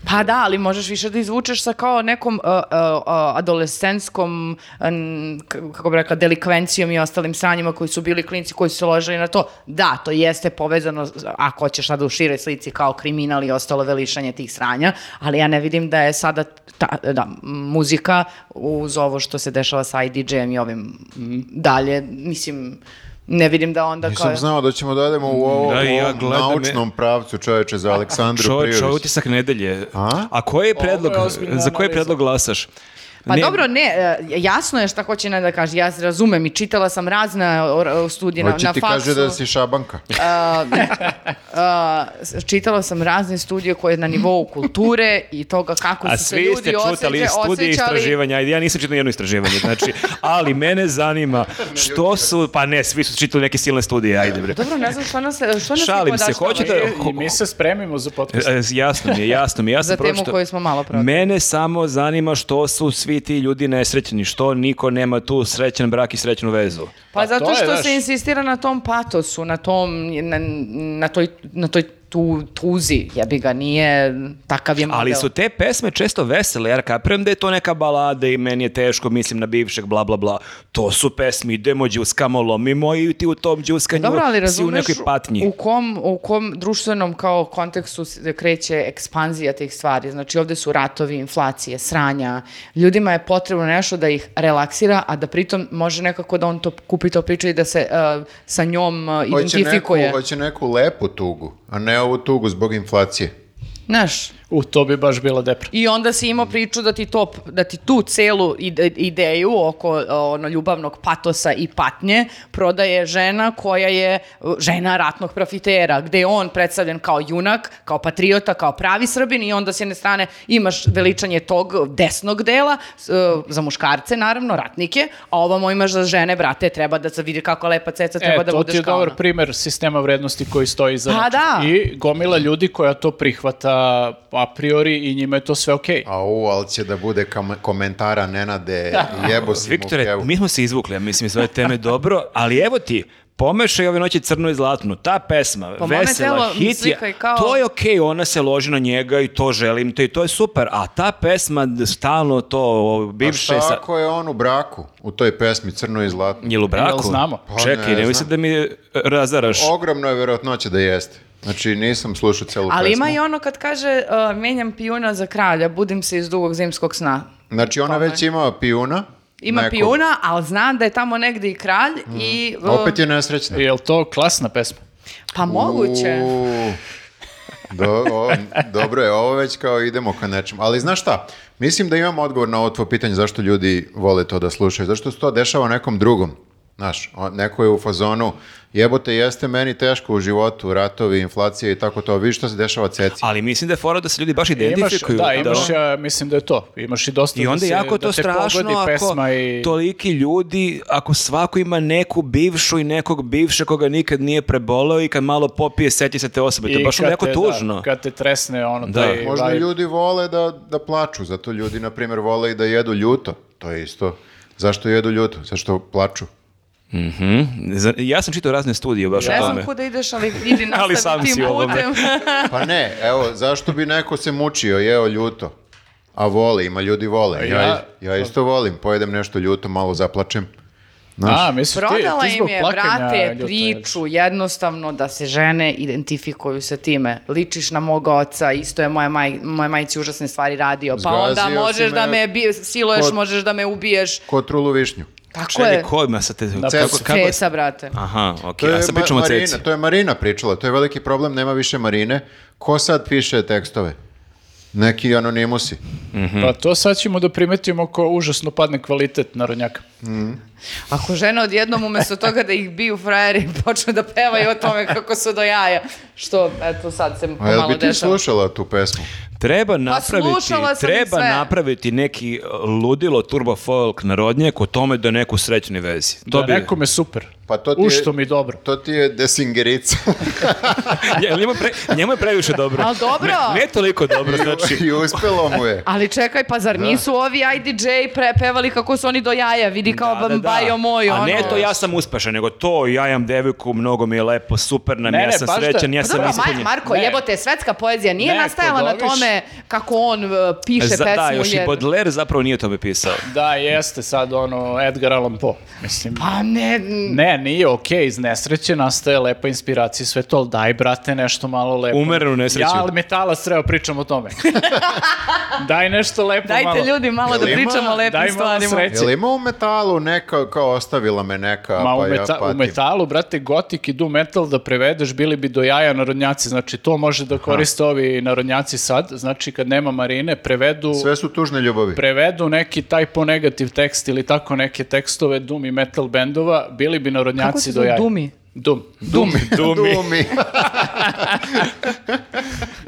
[SPEAKER 2] Pa da, ali možeš više da izvučeš sa kao nekom uh, uh, uh, adolescenskom, um, k- kako bih rekla, delikvencijom i ostalim sranjima koji su bili klinci koji su se ložili na to. Da, to jeste povezano, s- ako hoćeš sada u široj slici, kao kriminal i ostalo velišanje tih sranja, ali ja ne vidim da je sada ta, da, muzika uz ovo što se dešava sa IDJ-em i ovim dalje, mislim, ne vidim da onda kao...
[SPEAKER 1] Nisam znao da ćemo da odemo u ovom
[SPEAKER 3] Da, i ja gledam-
[SPEAKER 1] naučnom pravcu čoveče za Aleksandru
[SPEAKER 3] Čo,
[SPEAKER 1] Prijović.
[SPEAKER 3] čo utisak nedelje.
[SPEAKER 1] A?
[SPEAKER 3] A, koji je
[SPEAKER 4] Ovo je
[SPEAKER 3] predlog,
[SPEAKER 4] ozbiljna
[SPEAKER 3] za koji
[SPEAKER 4] analiza.
[SPEAKER 3] predlog glasaš?
[SPEAKER 2] Pa
[SPEAKER 3] Ne,
[SPEAKER 2] dobro, ne, e, jasno je šta hoće ne da kaže, ja se razumem i čitala sam razne o- o studije na,
[SPEAKER 1] Hoće
[SPEAKER 2] na
[SPEAKER 1] ti
[SPEAKER 2] faksu.
[SPEAKER 1] kaže da si šabanka.
[SPEAKER 2] A, s- čitala sam razne studije koje na nivou kulture i toga kako
[SPEAKER 3] A
[SPEAKER 2] su se
[SPEAKER 3] svi
[SPEAKER 2] ljudi
[SPEAKER 3] ste
[SPEAKER 2] osjeća-
[SPEAKER 3] čutali studije i
[SPEAKER 2] osjećali.
[SPEAKER 3] istraživanja. Ajde, ja nisam čitao nijedno istraživanje, znači, ali mene zanima što su, pa ne, svi su čitali neke silne studije, ajde bre.
[SPEAKER 2] Dobro, ne znam što nas, što nas
[SPEAKER 3] Šalim se,
[SPEAKER 2] nipodaštava.
[SPEAKER 3] hoću da-
[SPEAKER 4] e, i mi se spremimo za podcast.
[SPEAKER 3] E, Jasno mi je, jasno mi je. Ja sam
[SPEAKER 2] Za temu
[SPEAKER 3] pročitao-
[SPEAKER 2] koju smo malo prošli.
[SPEAKER 3] Mene samo zanima što su svi ti ljudi nesrećni, što niko nema tu srećan brak i srećnu vezu.
[SPEAKER 2] Pa,
[SPEAKER 4] Pa to
[SPEAKER 2] zato
[SPEAKER 4] je,
[SPEAKER 2] što
[SPEAKER 4] znaš-
[SPEAKER 2] se insistira na tom patosu, na tom, na, na toj, na toj tu, tuzi, jebi ga, nije takav je model.
[SPEAKER 3] Ali su te pesme često vesele, jer kapiram da je to neka balada i meni je teško, mislim na bivšeg, bla, bla, bla. To su pesmi, idemo, đuskamo, lomimo i ti u tom đuskanju
[SPEAKER 2] Dobro, ali
[SPEAKER 3] si u
[SPEAKER 2] razumeš
[SPEAKER 3] nekoj patnji.
[SPEAKER 2] u kom, u kom društvenom kao kontekstu se kreće ekspanzija tih stvari. Znači ovde su ratovi, inflacije, sranja. Ljudima je potrebno nešto da ih relaksira, a da pritom može nekako da on to kupi to priča i da se eh, sa njom eh,
[SPEAKER 1] Hoće neku,
[SPEAKER 2] identifikuje.
[SPEAKER 1] hoće neku lepu tugu, a ne ovu tugu zbog inflacije.
[SPEAKER 2] Znaš,
[SPEAKER 4] U, to bi baš bila depra.
[SPEAKER 2] I onda si imao priču da ti, to, da ti tu celu ide- ideju oko o, ono, ljubavnog patosa i patnje prodaje žena koja je uh, žena ratnog profitera, gde je on predstavljen kao junak, kao patriota, kao pravi srbin i onda s jedne strane imaš veličanje tog desnog dela, s- e, za muškarce naravno, ratnike, a ovamo imaš za žene, brate, treba da se vidi kako lepa ceca, treba
[SPEAKER 4] E,
[SPEAKER 2] da
[SPEAKER 4] to ti
[SPEAKER 2] budeš
[SPEAKER 4] je
[SPEAKER 2] kao
[SPEAKER 4] dobar
[SPEAKER 2] ona.
[SPEAKER 4] primer sistema vrednosti koji stoji za
[SPEAKER 2] Pa
[SPEAKER 4] nečim.
[SPEAKER 2] da.
[SPEAKER 4] I gomila ljudi koja to prihvata a priori i njima je to sve okej.
[SPEAKER 1] A u, ali će da bude kam- komentara Nenade, jebo si mu
[SPEAKER 3] Viktore,
[SPEAKER 1] kevu.
[SPEAKER 3] mi smo se izvukli, ja mislim, iz ove teme dobro, ali evo ti, pomešaj ove noći crnu i zlatnu, ta pesma,
[SPEAKER 4] Pa
[SPEAKER 2] Po mome
[SPEAKER 3] vesela,
[SPEAKER 2] telo
[SPEAKER 3] hit je,
[SPEAKER 2] slikaj kao-
[SPEAKER 3] to je okej, ona se loži na njega i to želim te i to je super, a ta pesma d- stalno to o,
[SPEAKER 1] A
[SPEAKER 3] bivše
[SPEAKER 1] šta
[SPEAKER 3] sa...
[SPEAKER 1] ako Pa je on u braku, u toj pesmi Crno i Zlatno?
[SPEAKER 3] Jel u braku?
[SPEAKER 4] Jel znamo?
[SPEAKER 1] Pa
[SPEAKER 3] Čekaj,
[SPEAKER 1] ne
[SPEAKER 3] ne
[SPEAKER 1] znam.
[SPEAKER 3] mislim da mi e, razaraš.
[SPEAKER 1] Znači, Ogromno je verovatnoća da jeste. Znači, nisam slušao celu
[SPEAKER 2] Ali
[SPEAKER 1] pesmu.
[SPEAKER 2] ima i ono kad kaže uh, menjam pijuna za kralja, budim se iz dugog zimskog sna.
[SPEAKER 1] Znači, ona već ima pijuna.
[SPEAKER 2] Ima
[SPEAKER 1] nekog. Mm.
[SPEAKER 2] pijuna, ali znam da je tamo negde i kralj i... uh,
[SPEAKER 1] Opet je nesrećna.
[SPEAKER 3] da.
[SPEAKER 4] Jel to klasna pesma?
[SPEAKER 2] Pa moguće.
[SPEAKER 1] Uuu. Do, o, dobro je, ovo već kao idemo ka nečemu. Ali znaš šta, mislim da imam odgovor na ovo tvoje pitanje zašto ljudi vole to da slušaju, zašto se to dešava nekom drugom. Znaš, o- neko je u fazonu, jebote, jeste meni teško u životu, ratovi, inflacija i tako to, vidiš što se dešava ceci.
[SPEAKER 3] Ali mislim da je fora da se ljudi baš
[SPEAKER 4] Imaš,
[SPEAKER 3] identifikuju.
[SPEAKER 4] da, imaš,
[SPEAKER 3] da-
[SPEAKER 4] ja mislim da je to. Imaš i dosta
[SPEAKER 3] I
[SPEAKER 4] da
[SPEAKER 3] onda je
[SPEAKER 4] se-
[SPEAKER 3] jako
[SPEAKER 4] da
[SPEAKER 3] to
[SPEAKER 4] te
[SPEAKER 3] strašno
[SPEAKER 4] pogodi
[SPEAKER 3] ako
[SPEAKER 4] pesma i...
[SPEAKER 3] toliki ljudi, ako svako ima neku bivšu i nekog bivša koga nikad nije preboleo i kad malo popije seti se te osobe. To je
[SPEAKER 4] i
[SPEAKER 3] baš
[SPEAKER 4] kad
[SPEAKER 3] onako
[SPEAKER 4] te, da,
[SPEAKER 3] tužno.
[SPEAKER 4] kad te tresne ono
[SPEAKER 3] Da.
[SPEAKER 4] taj
[SPEAKER 1] Možda
[SPEAKER 4] vibe.
[SPEAKER 1] ljudi vole da, da plaču, zato ljudi, na primjer, vole i da jedu ljuto. To je isto. Zašto jedu ljuto? Zašto plaču?
[SPEAKER 3] Mhm. Za- Ja sam čitao razne studije baš
[SPEAKER 2] Ne
[SPEAKER 3] o
[SPEAKER 2] znam
[SPEAKER 3] tome.
[SPEAKER 2] kuda ideš, ali
[SPEAKER 1] (laughs)
[SPEAKER 2] idi
[SPEAKER 3] Ali sam
[SPEAKER 2] nastavi tim
[SPEAKER 3] si ovo, bre.
[SPEAKER 2] putem.
[SPEAKER 1] Pa ne, evo, zašto bi neko se mučio, jeo ljuto? A voli, ima ljudi vole. Ja, ja,
[SPEAKER 4] ja-
[SPEAKER 1] isto volim, pojedem nešto ljuto, malo zaplačem. Znaš,
[SPEAKER 4] A, misliš, ti,
[SPEAKER 2] Prodala
[SPEAKER 4] ti
[SPEAKER 2] im
[SPEAKER 4] zbog
[SPEAKER 2] je,
[SPEAKER 4] plakanja
[SPEAKER 2] brate,
[SPEAKER 4] ljuta jedeš.
[SPEAKER 2] priču jednostavno da se žene identifikuju sa time. Ličiš na moga oca, isto je moja, maj, moja majici užasne stvari radio. Pa
[SPEAKER 1] Zgazio si
[SPEAKER 2] onda možeš da
[SPEAKER 1] me
[SPEAKER 2] me bi, siluješ,
[SPEAKER 1] kod-
[SPEAKER 2] možeš da me ubiješ.
[SPEAKER 1] ko trulu višnju.
[SPEAKER 2] Tako
[SPEAKER 3] Čekaj,
[SPEAKER 2] je.
[SPEAKER 3] ko ima sad te...
[SPEAKER 1] Cecu.
[SPEAKER 2] Ceca, brate.
[SPEAKER 3] Aha,
[SPEAKER 1] To
[SPEAKER 3] okej,
[SPEAKER 1] je,
[SPEAKER 3] a sad
[SPEAKER 1] Ma-
[SPEAKER 3] pričamo o
[SPEAKER 1] Marina,
[SPEAKER 3] ceci.
[SPEAKER 1] to je Marina pričala, to je veliki problem, nema više Marine. Ko sad piše tekstove? Neki anonimusi.
[SPEAKER 3] Mhm.
[SPEAKER 4] Pa to sad ćemo da primetimo ko užasno padne kvalitet narodnjaka.
[SPEAKER 2] (laughs) da Ako žene odjednom umesto toga da ih biju frajeri počne da pevaju o tome kako su do jaja, Što, eto, sad se
[SPEAKER 1] A jel
[SPEAKER 2] pomalo
[SPEAKER 1] bi ti
[SPEAKER 2] Pa dešava.
[SPEAKER 1] slušala tu pesmu?
[SPEAKER 3] Treba
[SPEAKER 4] Pa
[SPEAKER 3] napraviti,
[SPEAKER 2] slušala sam
[SPEAKER 3] treba
[SPEAKER 2] sve.
[SPEAKER 3] napraviti neki uh, ludilo turbo folk narodnjak o tome da neku srećni vezi. To
[SPEAKER 4] Da
[SPEAKER 3] bi...
[SPEAKER 4] nekome super.
[SPEAKER 1] Pa to ti je-
[SPEAKER 4] Ušto mi dobro.
[SPEAKER 1] To ti je desingerica.
[SPEAKER 3] (laughs) Ja, njemu, je pre- njemu je previše dobro.
[SPEAKER 2] Ali dobro.
[SPEAKER 3] Ne, ne toliko dobro, znači...
[SPEAKER 1] I uspelo mu
[SPEAKER 4] (laughs)
[SPEAKER 1] je.
[SPEAKER 2] Ali čekaj, pa
[SPEAKER 1] Da.
[SPEAKER 2] zar nisu ovi IDJ prepevali kako su oni do jaja, vidi kao
[SPEAKER 3] Da, da, da.
[SPEAKER 2] bambajo mojo.
[SPEAKER 3] A ne
[SPEAKER 2] ono.
[SPEAKER 3] to ja sam uspešan, nego to ja imam devojku, mnogo mi je lepo, super nam,
[SPEAKER 4] Ne,
[SPEAKER 3] je, ja
[SPEAKER 4] ne,
[SPEAKER 3] sam
[SPEAKER 4] baš da-
[SPEAKER 3] srećan, ja
[SPEAKER 2] Pa
[SPEAKER 3] sam
[SPEAKER 2] dobro,
[SPEAKER 3] ispunjen.
[SPEAKER 2] Ma- Marko,
[SPEAKER 4] Ne.
[SPEAKER 2] jebote, svetska poezija nije
[SPEAKER 4] Ne,
[SPEAKER 2] nastajala na
[SPEAKER 4] podoviš.
[SPEAKER 2] tome kako on e, piše
[SPEAKER 3] Za-
[SPEAKER 2] pesmu.
[SPEAKER 3] da, još i
[SPEAKER 2] jer-
[SPEAKER 3] Baudelaire zapravo nije tome pisao.
[SPEAKER 4] Da, jeste sad ono Edgar Allan Poe, mislim.
[SPEAKER 2] Pa ne,
[SPEAKER 4] Ne, nije okej, iz nesreće nastaje lepa inspiracija i sve to, ali daj, brate, nešto malo lepo.
[SPEAKER 3] Umerenu nesreću.
[SPEAKER 4] Ja, ali metala sreo, pričam o
[SPEAKER 2] (laughs)
[SPEAKER 4] tome. daj nešto lepo malo.
[SPEAKER 2] dajte ljudi malo da
[SPEAKER 1] Jel ima-
[SPEAKER 2] pričamo o
[SPEAKER 4] daj
[SPEAKER 2] lepim
[SPEAKER 4] malo
[SPEAKER 2] stvarima.
[SPEAKER 4] sreće.
[SPEAKER 1] Jel ima u metalu neka, kao ostavila me neka,
[SPEAKER 4] Ma u,
[SPEAKER 1] pa ja
[SPEAKER 4] meta- u
[SPEAKER 1] patim.
[SPEAKER 4] metalu, brate, gotik i doom metal da prevedeš, bili bi do jaja narodnjaci. Znači, to može da koriste ovi narodnjaci sad. Znači, kad nema marine, prevedu...
[SPEAKER 1] Sve su tužne ljubavi.
[SPEAKER 4] prevedu neki taj po negativ tekst ili tako neke tekstove doom i metal bendova, bili bi
[SPEAKER 2] Kako
[SPEAKER 4] narodnjaci
[SPEAKER 2] se
[SPEAKER 4] do
[SPEAKER 2] zove,
[SPEAKER 4] jaja.
[SPEAKER 2] Dumi?
[SPEAKER 4] Doom.
[SPEAKER 3] Dumi.
[SPEAKER 4] (laughs)
[SPEAKER 1] Dumi.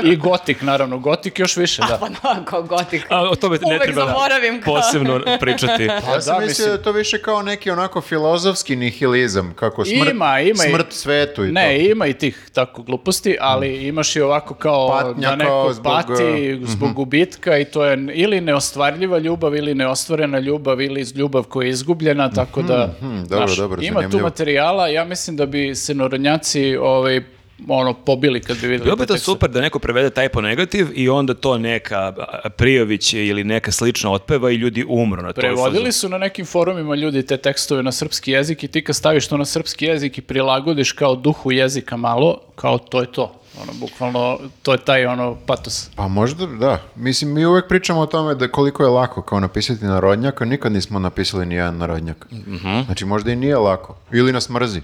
[SPEAKER 4] I gotik, naravno. Gotik još više, da.
[SPEAKER 2] Pa da, (laughs) kao gotik.
[SPEAKER 3] A, o tome ne
[SPEAKER 2] Uvek
[SPEAKER 3] treba
[SPEAKER 2] zaboravim kao-
[SPEAKER 3] posebno
[SPEAKER 2] (laughs)
[SPEAKER 3] pričati.
[SPEAKER 1] Ja sam mislio
[SPEAKER 4] da, mislim-
[SPEAKER 1] da je to više kao neki onako filozofski nihilizam, kako smrt,
[SPEAKER 4] Ima, ima i-
[SPEAKER 1] smrt svetu i
[SPEAKER 4] Ne,
[SPEAKER 1] to.
[SPEAKER 4] ima i tih tako gluposti, ali imaš i ovako kao
[SPEAKER 1] Mm. Patnja
[SPEAKER 4] da neko
[SPEAKER 1] kao zbog, e, mhm.
[SPEAKER 4] pati zbog gubitka i to je n- ili neostvarljiva ljubav ili neostvarena ljubav ili iz- ljubav koja je izgubljena, tako da
[SPEAKER 1] mhm, dobro,
[SPEAKER 4] znaš,
[SPEAKER 1] dobro,
[SPEAKER 4] ima tu
[SPEAKER 1] zanimljivo.
[SPEAKER 4] materijala, ja mislim da bi se narodnjaci ovaj, ono, pobili kad bi videli.
[SPEAKER 3] Bilo bi
[SPEAKER 4] te
[SPEAKER 3] to
[SPEAKER 4] tekste.
[SPEAKER 3] super da neko prevede taj ponegativ i onda to neka a, Prijović ili neka slična otpeva i ljudi umru na to.
[SPEAKER 4] Prevodili su na nekim forumima ljudi te tekstove na srpski jezik i ti kad staviš to na srpski jezik i prilagodiš kao duhu jezika malo, kao to je to. Ono, bukvalno, to je taj ono patos.
[SPEAKER 1] Pa možda, da. Mislim, mi uvek pričamo o tome da koliko je lako kao napisati narodnjak, a nikad nismo napisali ni jedan narodnjak.
[SPEAKER 3] Mhm.
[SPEAKER 1] Znači, možda i nije lako. Ili nas mrzi.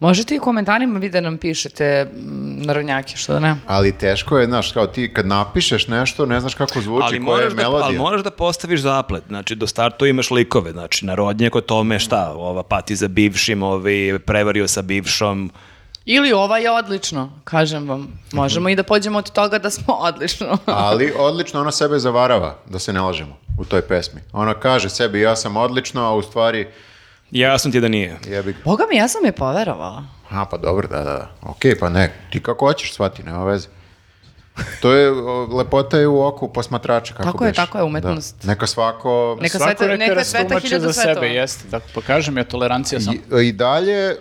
[SPEAKER 2] Možete i u komentarima vi da nam pišete mm, narodnjake, što da ne.
[SPEAKER 1] Ali teško je, znaš, kao ti kad napišeš nešto, ne znaš kako zvuči,
[SPEAKER 3] ali
[SPEAKER 1] koja je
[SPEAKER 3] moraš, da,
[SPEAKER 1] melodija.
[SPEAKER 3] ali moraš da postaviš zaplet, znači do startu imaš likove, znači narodnjak o tome šta, ova pati za bivšim, ovi prevario sa bivšom,
[SPEAKER 2] Ili ova je odlično, kažem vam. Možemo i da pođemo od toga da smo
[SPEAKER 1] (laughs)
[SPEAKER 2] odlično.
[SPEAKER 1] Ali odlično ona sebe zavarava, da se ne lažemo, u toj pesmi. Ona kaže sebi ja sam odlično, a u stvari
[SPEAKER 3] jasno ti je da nije.
[SPEAKER 1] jebi ga.
[SPEAKER 2] Boga mi, ja sam je poverovala.
[SPEAKER 1] A pa dobro, da, da, da. Okej, pa ne, ti kako hoćeš shvati, nema veze. To je, o, lepota je u oku posmatrača, kako
[SPEAKER 2] Tako je,
[SPEAKER 1] biš.
[SPEAKER 2] tako je,
[SPEAKER 1] Da.
[SPEAKER 2] umetnost.
[SPEAKER 1] Neka svako...
[SPEAKER 2] Neka
[SPEAKER 4] Svako
[SPEAKER 2] sveta,
[SPEAKER 4] neka
[SPEAKER 2] neka sveta
[SPEAKER 4] rastumači
[SPEAKER 2] hiljadu
[SPEAKER 4] za
[SPEAKER 2] svetova.
[SPEAKER 4] sebe, jeste. Tako, pa kažem ja, tolerancija sam.
[SPEAKER 1] I, I dalje, e,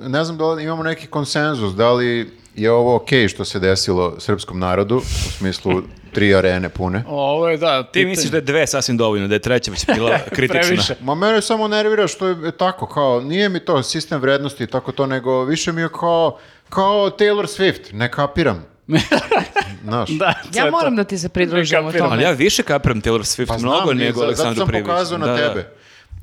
[SPEAKER 1] ne znam da li imamo neki konsenzus, da li je ovo okej što se desilo srpskom narodu, u smislu tri arene pune.
[SPEAKER 4] Ovo je, da,
[SPEAKER 3] Ti misliš da je dve sasvim dovoljno, da je treća već
[SPEAKER 4] (laughs)
[SPEAKER 3] bila kritična.
[SPEAKER 4] Previše.
[SPEAKER 1] Ma mene samo nervira što je e, tako, kao, nije mi to sistem vrednosti i tako to, nego više mi je kao, kao Taylor Swift, ne
[SPEAKER 4] (laughs)
[SPEAKER 1] kapiram. Znaš,
[SPEAKER 4] Da, to
[SPEAKER 2] Ja
[SPEAKER 4] je
[SPEAKER 2] moram
[SPEAKER 4] to.
[SPEAKER 2] da ti se pridružim u
[SPEAKER 4] Kapiram.
[SPEAKER 2] tome.
[SPEAKER 3] Ali ja više kapiram Taylor Swift
[SPEAKER 1] pa znam,
[SPEAKER 3] mnogo
[SPEAKER 1] i
[SPEAKER 3] nego
[SPEAKER 1] za-
[SPEAKER 3] Aleksandru
[SPEAKER 1] zato sam
[SPEAKER 3] Prijeviću.
[SPEAKER 1] pokazao na
[SPEAKER 3] Da, da.
[SPEAKER 1] tebe.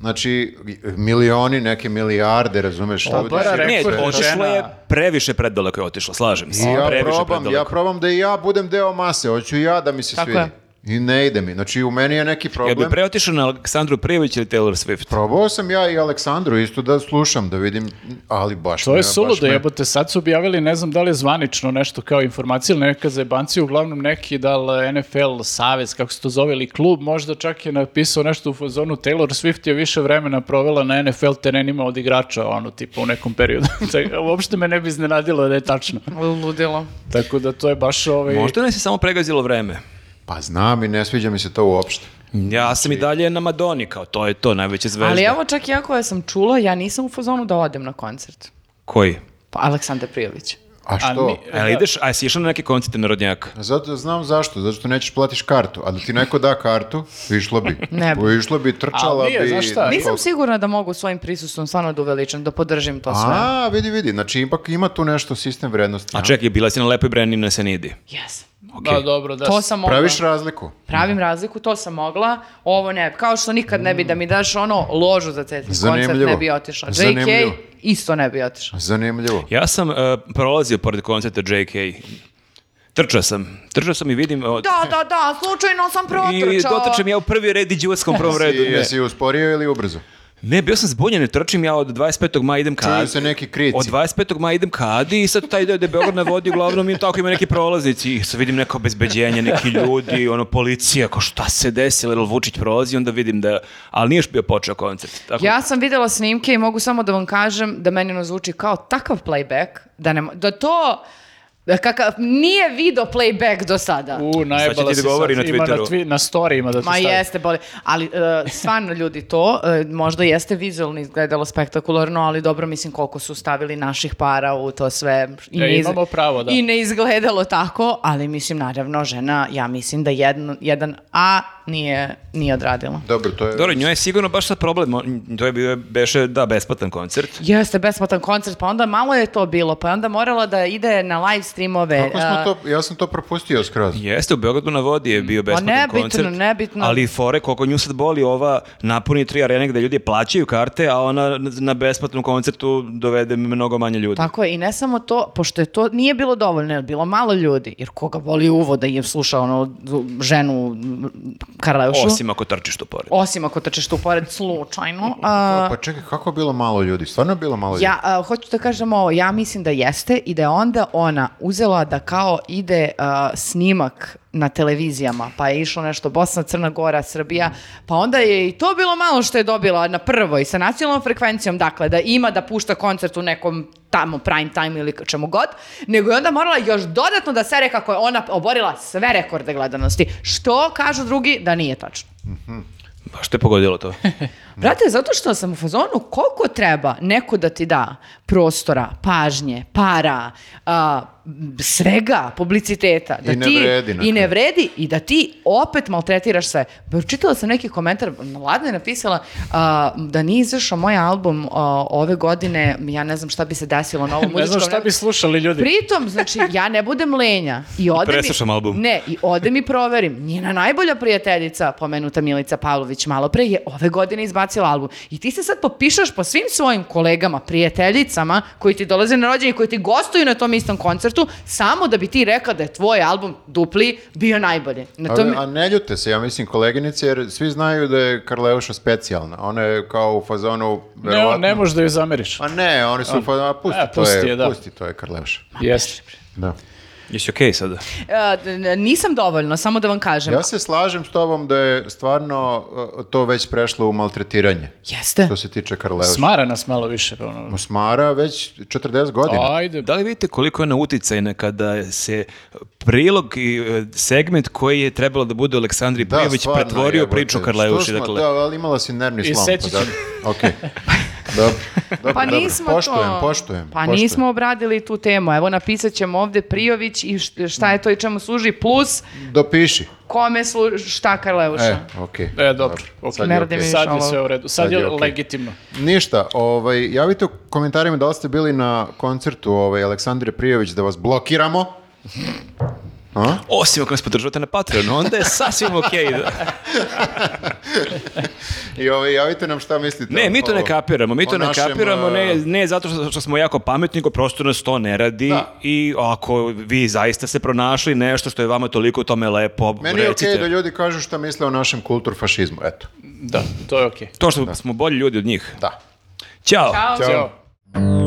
[SPEAKER 1] Znači, milioni, neke milijarde, razumeš? ovdje
[SPEAKER 4] bara
[SPEAKER 1] širom
[SPEAKER 3] Ne,
[SPEAKER 4] Pa Rekord
[SPEAKER 1] sveta.
[SPEAKER 3] otišla je
[SPEAKER 4] žena.
[SPEAKER 3] previše predaleko je otišla, slažem se.
[SPEAKER 1] I ja
[SPEAKER 3] previše
[SPEAKER 1] probam, ja probam da i ja budem deo mase, hoću i ja da mi se
[SPEAKER 2] Tako
[SPEAKER 1] svidi.
[SPEAKER 2] je.
[SPEAKER 1] I ne ide mi. Znači, u meni je neki
[SPEAKER 3] Jel bi
[SPEAKER 1] problem.
[SPEAKER 3] pre otišao na Aleksandru Prijević ili Taylor Swift?
[SPEAKER 1] Probao sam ja i Aleksandru isto da slušam, da vidim, ali baš
[SPEAKER 4] To
[SPEAKER 1] me-
[SPEAKER 4] je
[SPEAKER 1] baš
[SPEAKER 4] suludo,
[SPEAKER 1] me-
[SPEAKER 4] jebote, sad su objavili, ne znam da li je zvanično nešto kao informacija ili neka zajebancija, uglavnom neki da li NFL savez, kako se to zove, ili klub, možda čak je napisao nešto u fazonu Taylor Swift je više vremena provela na NFL terenima od igrača, ono, tipa u nekom periodu. (laughs) Tako, Uopšte me ne bi iznenadilo da je tačno.
[SPEAKER 2] (laughs) Ludilo.
[SPEAKER 4] Tako da to je baš ovaj...
[SPEAKER 3] Možda nas je samo pregazilo vreme.
[SPEAKER 1] Pa znam i ne sviđa mi se to uopšte.
[SPEAKER 3] Ja sam i
[SPEAKER 1] Znači-
[SPEAKER 3] dalje na Madoni, kao to je to, najveća zvezda.
[SPEAKER 2] Ali evo čak ja koja sam čula, ja nisam u fazonu da odem na koncert.
[SPEAKER 3] Koji?
[SPEAKER 2] Pa Aleksandar Prijović.
[SPEAKER 1] A
[SPEAKER 4] A
[SPEAKER 1] što?
[SPEAKER 4] mi-
[SPEAKER 3] Ali ideš, a jesi išao na neke koncerte narodnjaka?
[SPEAKER 1] Pa Zato da znam zašto, zato što nećeš platiš kartu, a da ti neko da kartu, išlo bi.
[SPEAKER 2] (laughs)
[SPEAKER 1] Pa
[SPEAKER 2] Ne bi.
[SPEAKER 1] Išlo bi, trčala
[SPEAKER 4] Ali nije,
[SPEAKER 1] bi.
[SPEAKER 4] znaš šta?
[SPEAKER 2] Nisam sigurna da mogu svojim prisustvom stvarno da uveličam, da podržim to sve.
[SPEAKER 1] A, vidi, vidi, znači ipak ima tu nešto sistem vrednosti.
[SPEAKER 3] A
[SPEAKER 1] A?
[SPEAKER 3] čekaj, bila si na Lepoj Breni na Senidi.
[SPEAKER 2] Yes.
[SPEAKER 4] Da, dobro, da.
[SPEAKER 2] To sam mogla.
[SPEAKER 1] Praviš razliku.
[SPEAKER 2] Pravim razliku, to sam mogla, ovo ne. Kao što nikad ne bi da mi daš ono ložu za tetris koncert,
[SPEAKER 1] Zanimljivo.
[SPEAKER 2] ne bi otišla. JK
[SPEAKER 1] Zanimljivo.
[SPEAKER 2] isto ne bi otišla.
[SPEAKER 1] Zanimljivo.
[SPEAKER 3] Ja sam e, prolazio pored koncerta JK. Trčao sam. Trčao sam i vidim... o,
[SPEAKER 2] Da, da, da, slučajno sam protrčao.
[SPEAKER 3] I dotrčem ja u prvi red i đuvatskom prvom redu.
[SPEAKER 1] I
[SPEAKER 3] Ne.
[SPEAKER 1] jesi usporio ili ubrzo?
[SPEAKER 3] Ne, bio sam zbunjen, ne trčim ja od 25. maja idem ka
[SPEAKER 1] Čuju
[SPEAKER 3] Adi.
[SPEAKER 1] se neki krici.
[SPEAKER 3] Od 25. maja idem ka Adi i sad taj deo gde je Beograd na vodi, uglavnom im tako ima neki prolaznici. I sad vidim neko obezbeđenje, neki ljudi, ono policija, kao šta se desilo, jer Vučić prolazi, onda vidim da, ali nije još bio počeo koncert. Tako, da-
[SPEAKER 2] Ja sam videla snimke i mogu samo da vam kažem da meni ono zvuči kao takav playback, da, ne, mo- da to da kakav, nije video playback do sada.
[SPEAKER 4] U,
[SPEAKER 3] Sad će
[SPEAKER 4] najebala
[SPEAKER 3] ti da
[SPEAKER 4] si
[SPEAKER 3] govori
[SPEAKER 4] sad.
[SPEAKER 3] na
[SPEAKER 4] Ima na,
[SPEAKER 3] Twitteru.
[SPEAKER 4] twi- na story ima da te
[SPEAKER 2] Ma
[SPEAKER 4] stavi.
[SPEAKER 2] jeste, boli. Ali, e, stvarno, ljudi, to e, možda jeste vizualno izgledalo spektakularno, ali dobro, mislim, koliko su stavili naših para u to sve. I
[SPEAKER 4] E,
[SPEAKER 2] ne iz-
[SPEAKER 4] imamo pravo, da.
[SPEAKER 2] I ne izgledalo tako, ali mislim, naravno, žena, ja mislim da jedno, jedan A nije, nije odradila.
[SPEAKER 1] Dobro, to je...
[SPEAKER 3] Dobro, njoj je sigurno baš sad problem. on- To je bio, beše, da, besplatan koncert.
[SPEAKER 2] Jeste, besplatan koncert, pa onda malo je to bilo, pa je onda morala da ide na live streamove.
[SPEAKER 1] Kako smo
[SPEAKER 2] E, a-
[SPEAKER 1] to, ja sam to propustio skroz.
[SPEAKER 3] Jeste, u Beogradu na vodi je bio besplatan
[SPEAKER 2] Mm. Pa nebitno,
[SPEAKER 3] koncert.
[SPEAKER 2] nebitno.
[SPEAKER 3] Ali fore, koliko nju sad boli ova napuni tri arene gde ljudi plaćaju karte, a ona na besplatnom koncertu dovede mnogo manje ljudi.
[SPEAKER 2] Tako je, i ne samo to, pošto je to nije bilo dovoljno, jer bilo malo ljudi, jer koga boli uvo da je slušao ono du- ženu m, Karleušu.
[SPEAKER 3] Osim ako trčiš tu pored.
[SPEAKER 2] Osim ako trčeš tu pored slučajno. a,
[SPEAKER 1] Pa čekaj, kako je bilo malo ljudi? Stvarno je bilo malo
[SPEAKER 2] ja a, hoću da kažem ovo, ja mislim da jeste i da je onda ona uzela da kao ide a, snimak na televizijama, pa je išlo nešto Bosna, Crna Gora, Srbija, pa onda je i to bilo malo što je dobila na prvoj sa nacionalnom frekvencijom, dakle da ima da pušta koncert u nekom tamo prime time ili čemu god, nego je onda morala još dodatno da sere kako je ona oborila sve rekorde gledanosti, što kažu drugi da nije tačno.
[SPEAKER 3] Baš te
[SPEAKER 2] (laughs)
[SPEAKER 3] pogodilo to.
[SPEAKER 2] Brate, zato što sam u fazonu koliko treba neko da ti da prostora, pažnje, para, a, m, svega, publiciteta. Da
[SPEAKER 1] I ne
[SPEAKER 2] ti,
[SPEAKER 1] vredi na
[SPEAKER 2] I ne
[SPEAKER 1] kraju.
[SPEAKER 2] vredi i da ti opet maltretiraš sve. Ba, Čitala sam neki komentar, Ladna je napisala a, da nije izašao moj album a, ove godine, ja ne znam šta bi se desilo na ovom
[SPEAKER 4] (laughs) Ne znam
[SPEAKER 2] muzičkom
[SPEAKER 4] šta bi slušali ljudi.
[SPEAKER 2] Pritom, znači, ja ne budem lenja. I odem
[SPEAKER 3] preslušam album.
[SPEAKER 2] Ne, i odem i proverim. Njena najbolja prijateljica, pomenuta Milica Pavlović malo pre, je ove godine izbacila album. I ti se sad popišaš po svim svojim kolegama, prijateljicama, koji ti dolaze na rođenje, koji ti gostuju na tom istom koncertu, samo da bi ti rekao da je tvoj album dupli bio najbolji. Na
[SPEAKER 1] A,
[SPEAKER 2] tome...
[SPEAKER 1] a ne ljute se, ja mislim, koleginice, jer svi znaju da je Karleuša specijalna. Ona je kao u fazonu,
[SPEAKER 4] Ne,
[SPEAKER 1] verovatno...
[SPEAKER 4] ne možeš da ju zameriš.
[SPEAKER 1] A Pa ne, oni su u fazonu, a pusti,
[SPEAKER 4] E,
[SPEAKER 1] to
[SPEAKER 4] pusti
[SPEAKER 1] je,
[SPEAKER 4] je, da.
[SPEAKER 1] pusti, to je Karleuša.
[SPEAKER 4] Jeste.
[SPEAKER 1] Da.
[SPEAKER 3] Jesi okej sada?
[SPEAKER 2] E, d- n- nisam dovoljno, samo da vam kažem.
[SPEAKER 1] Ja se slažem s tobom da je stvarno uh, to već prešlo u maltretiranje,
[SPEAKER 2] Jeste.
[SPEAKER 1] što se tiče Karleuša.
[SPEAKER 4] Smara nas malo više. Ono.
[SPEAKER 1] Smara već 40 godina.
[SPEAKER 4] Ajde,
[SPEAKER 3] Da li vidite koliko je ona uticajna kada se prilog i e, segment koji je trebalo da bude u Aleksandri
[SPEAKER 1] Da,
[SPEAKER 3] Prijević
[SPEAKER 1] stvarno,
[SPEAKER 3] pretvorio
[SPEAKER 1] jebote.
[SPEAKER 3] priču Karleuši.
[SPEAKER 1] Što smo-
[SPEAKER 3] Dakle,
[SPEAKER 1] Da, ali imala si nervni
[SPEAKER 4] I
[SPEAKER 1] slom.
[SPEAKER 4] seći
[SPEAKER 1] Pa,
[SPEAKER 4] ću.
[SPEAKER 1] da. (laughs) Okej. Dobro, dobro,
[SPEAKER 2] Pa
[SPEAKER 1] dobro.
[SPEAKER 2] nismo
[SPEAKER 1] poštujem,
[SPEAKER 2] to.
[SPEAKER 1] Poštujem,
[SPEAKER 2] Pa
[SPEAKER 1] poštujem.
[SPEAKER 2] nismo obradili tu temu. Evo napisat ćemo ovde Prijović i št- šta je to i čemu služi plus
[SPEAKER 1] Dopiši.
[SPEAKER 2] kome služi šta Karleuša.
[SPEAKER 1] E, okej.
[SPEAKER 4] E, dobro. ok.
[SPEAKER 1] Sad je
[SPEAKER 2] Ne radi
[SPEAKER 1] okej.
[SPEAKER 2] mi
[SPEAKER 4] Sad je
[SPEAKER 2] Išalo.
[SPEAKER 4] sve u redu. Sad,
[SPEAKER 1] Sad
[SPEAKER 4] je,
[SPEAKER 1] je okej.
[SPEAKER 4] legitimno.
[SPEAKER 1] Ništa, ovaj, javite u komentarima da li ste bili na koncertu ovaj, Aleksandre Prijović da vas blokiramo. A?
[SPEAKER 3] osim ako nas podržavate na Patreonu, onda je sasvim okej. da.
[SPEAKER 1] I ovaj, javite nam šta mislite.
[SPEAKER 3] Ne, mi to
[SPEAKER 1] o-
[SPEAKER 3] ne kapiramo, mi
[SPEAKER 1] o
[SPEAKER 3] to ne
[SPEAKER 1] našem,
[SPEAKER 3] kapiramo, ne,
[SPEAKER 1] e,
[SPEAKER 3] ne zato što, što smo jako pametni, nego prosto nas to ne radi
[SPEAKER 1] Da.
[SPEAKER 3] i ako vi zaista ste pronašli nešto što je vama toliko u tome lepo,
[SPEAKER 1] Meni je okej
[SPEAKER 3] recite.
[SPEAKER 1] da ljudi kažu šta misle o našem kulturfašizmu, eto.
[SPEAKER 4] Da, to je okej.
[SPEAKER 3] To što smo bolji ljudi od njih.
[SPEAKER 1] Da.
[SPEAKER 3] Ćao!
[SPEAKER 1] Ćao.
[SPEAKER 4] Ćao.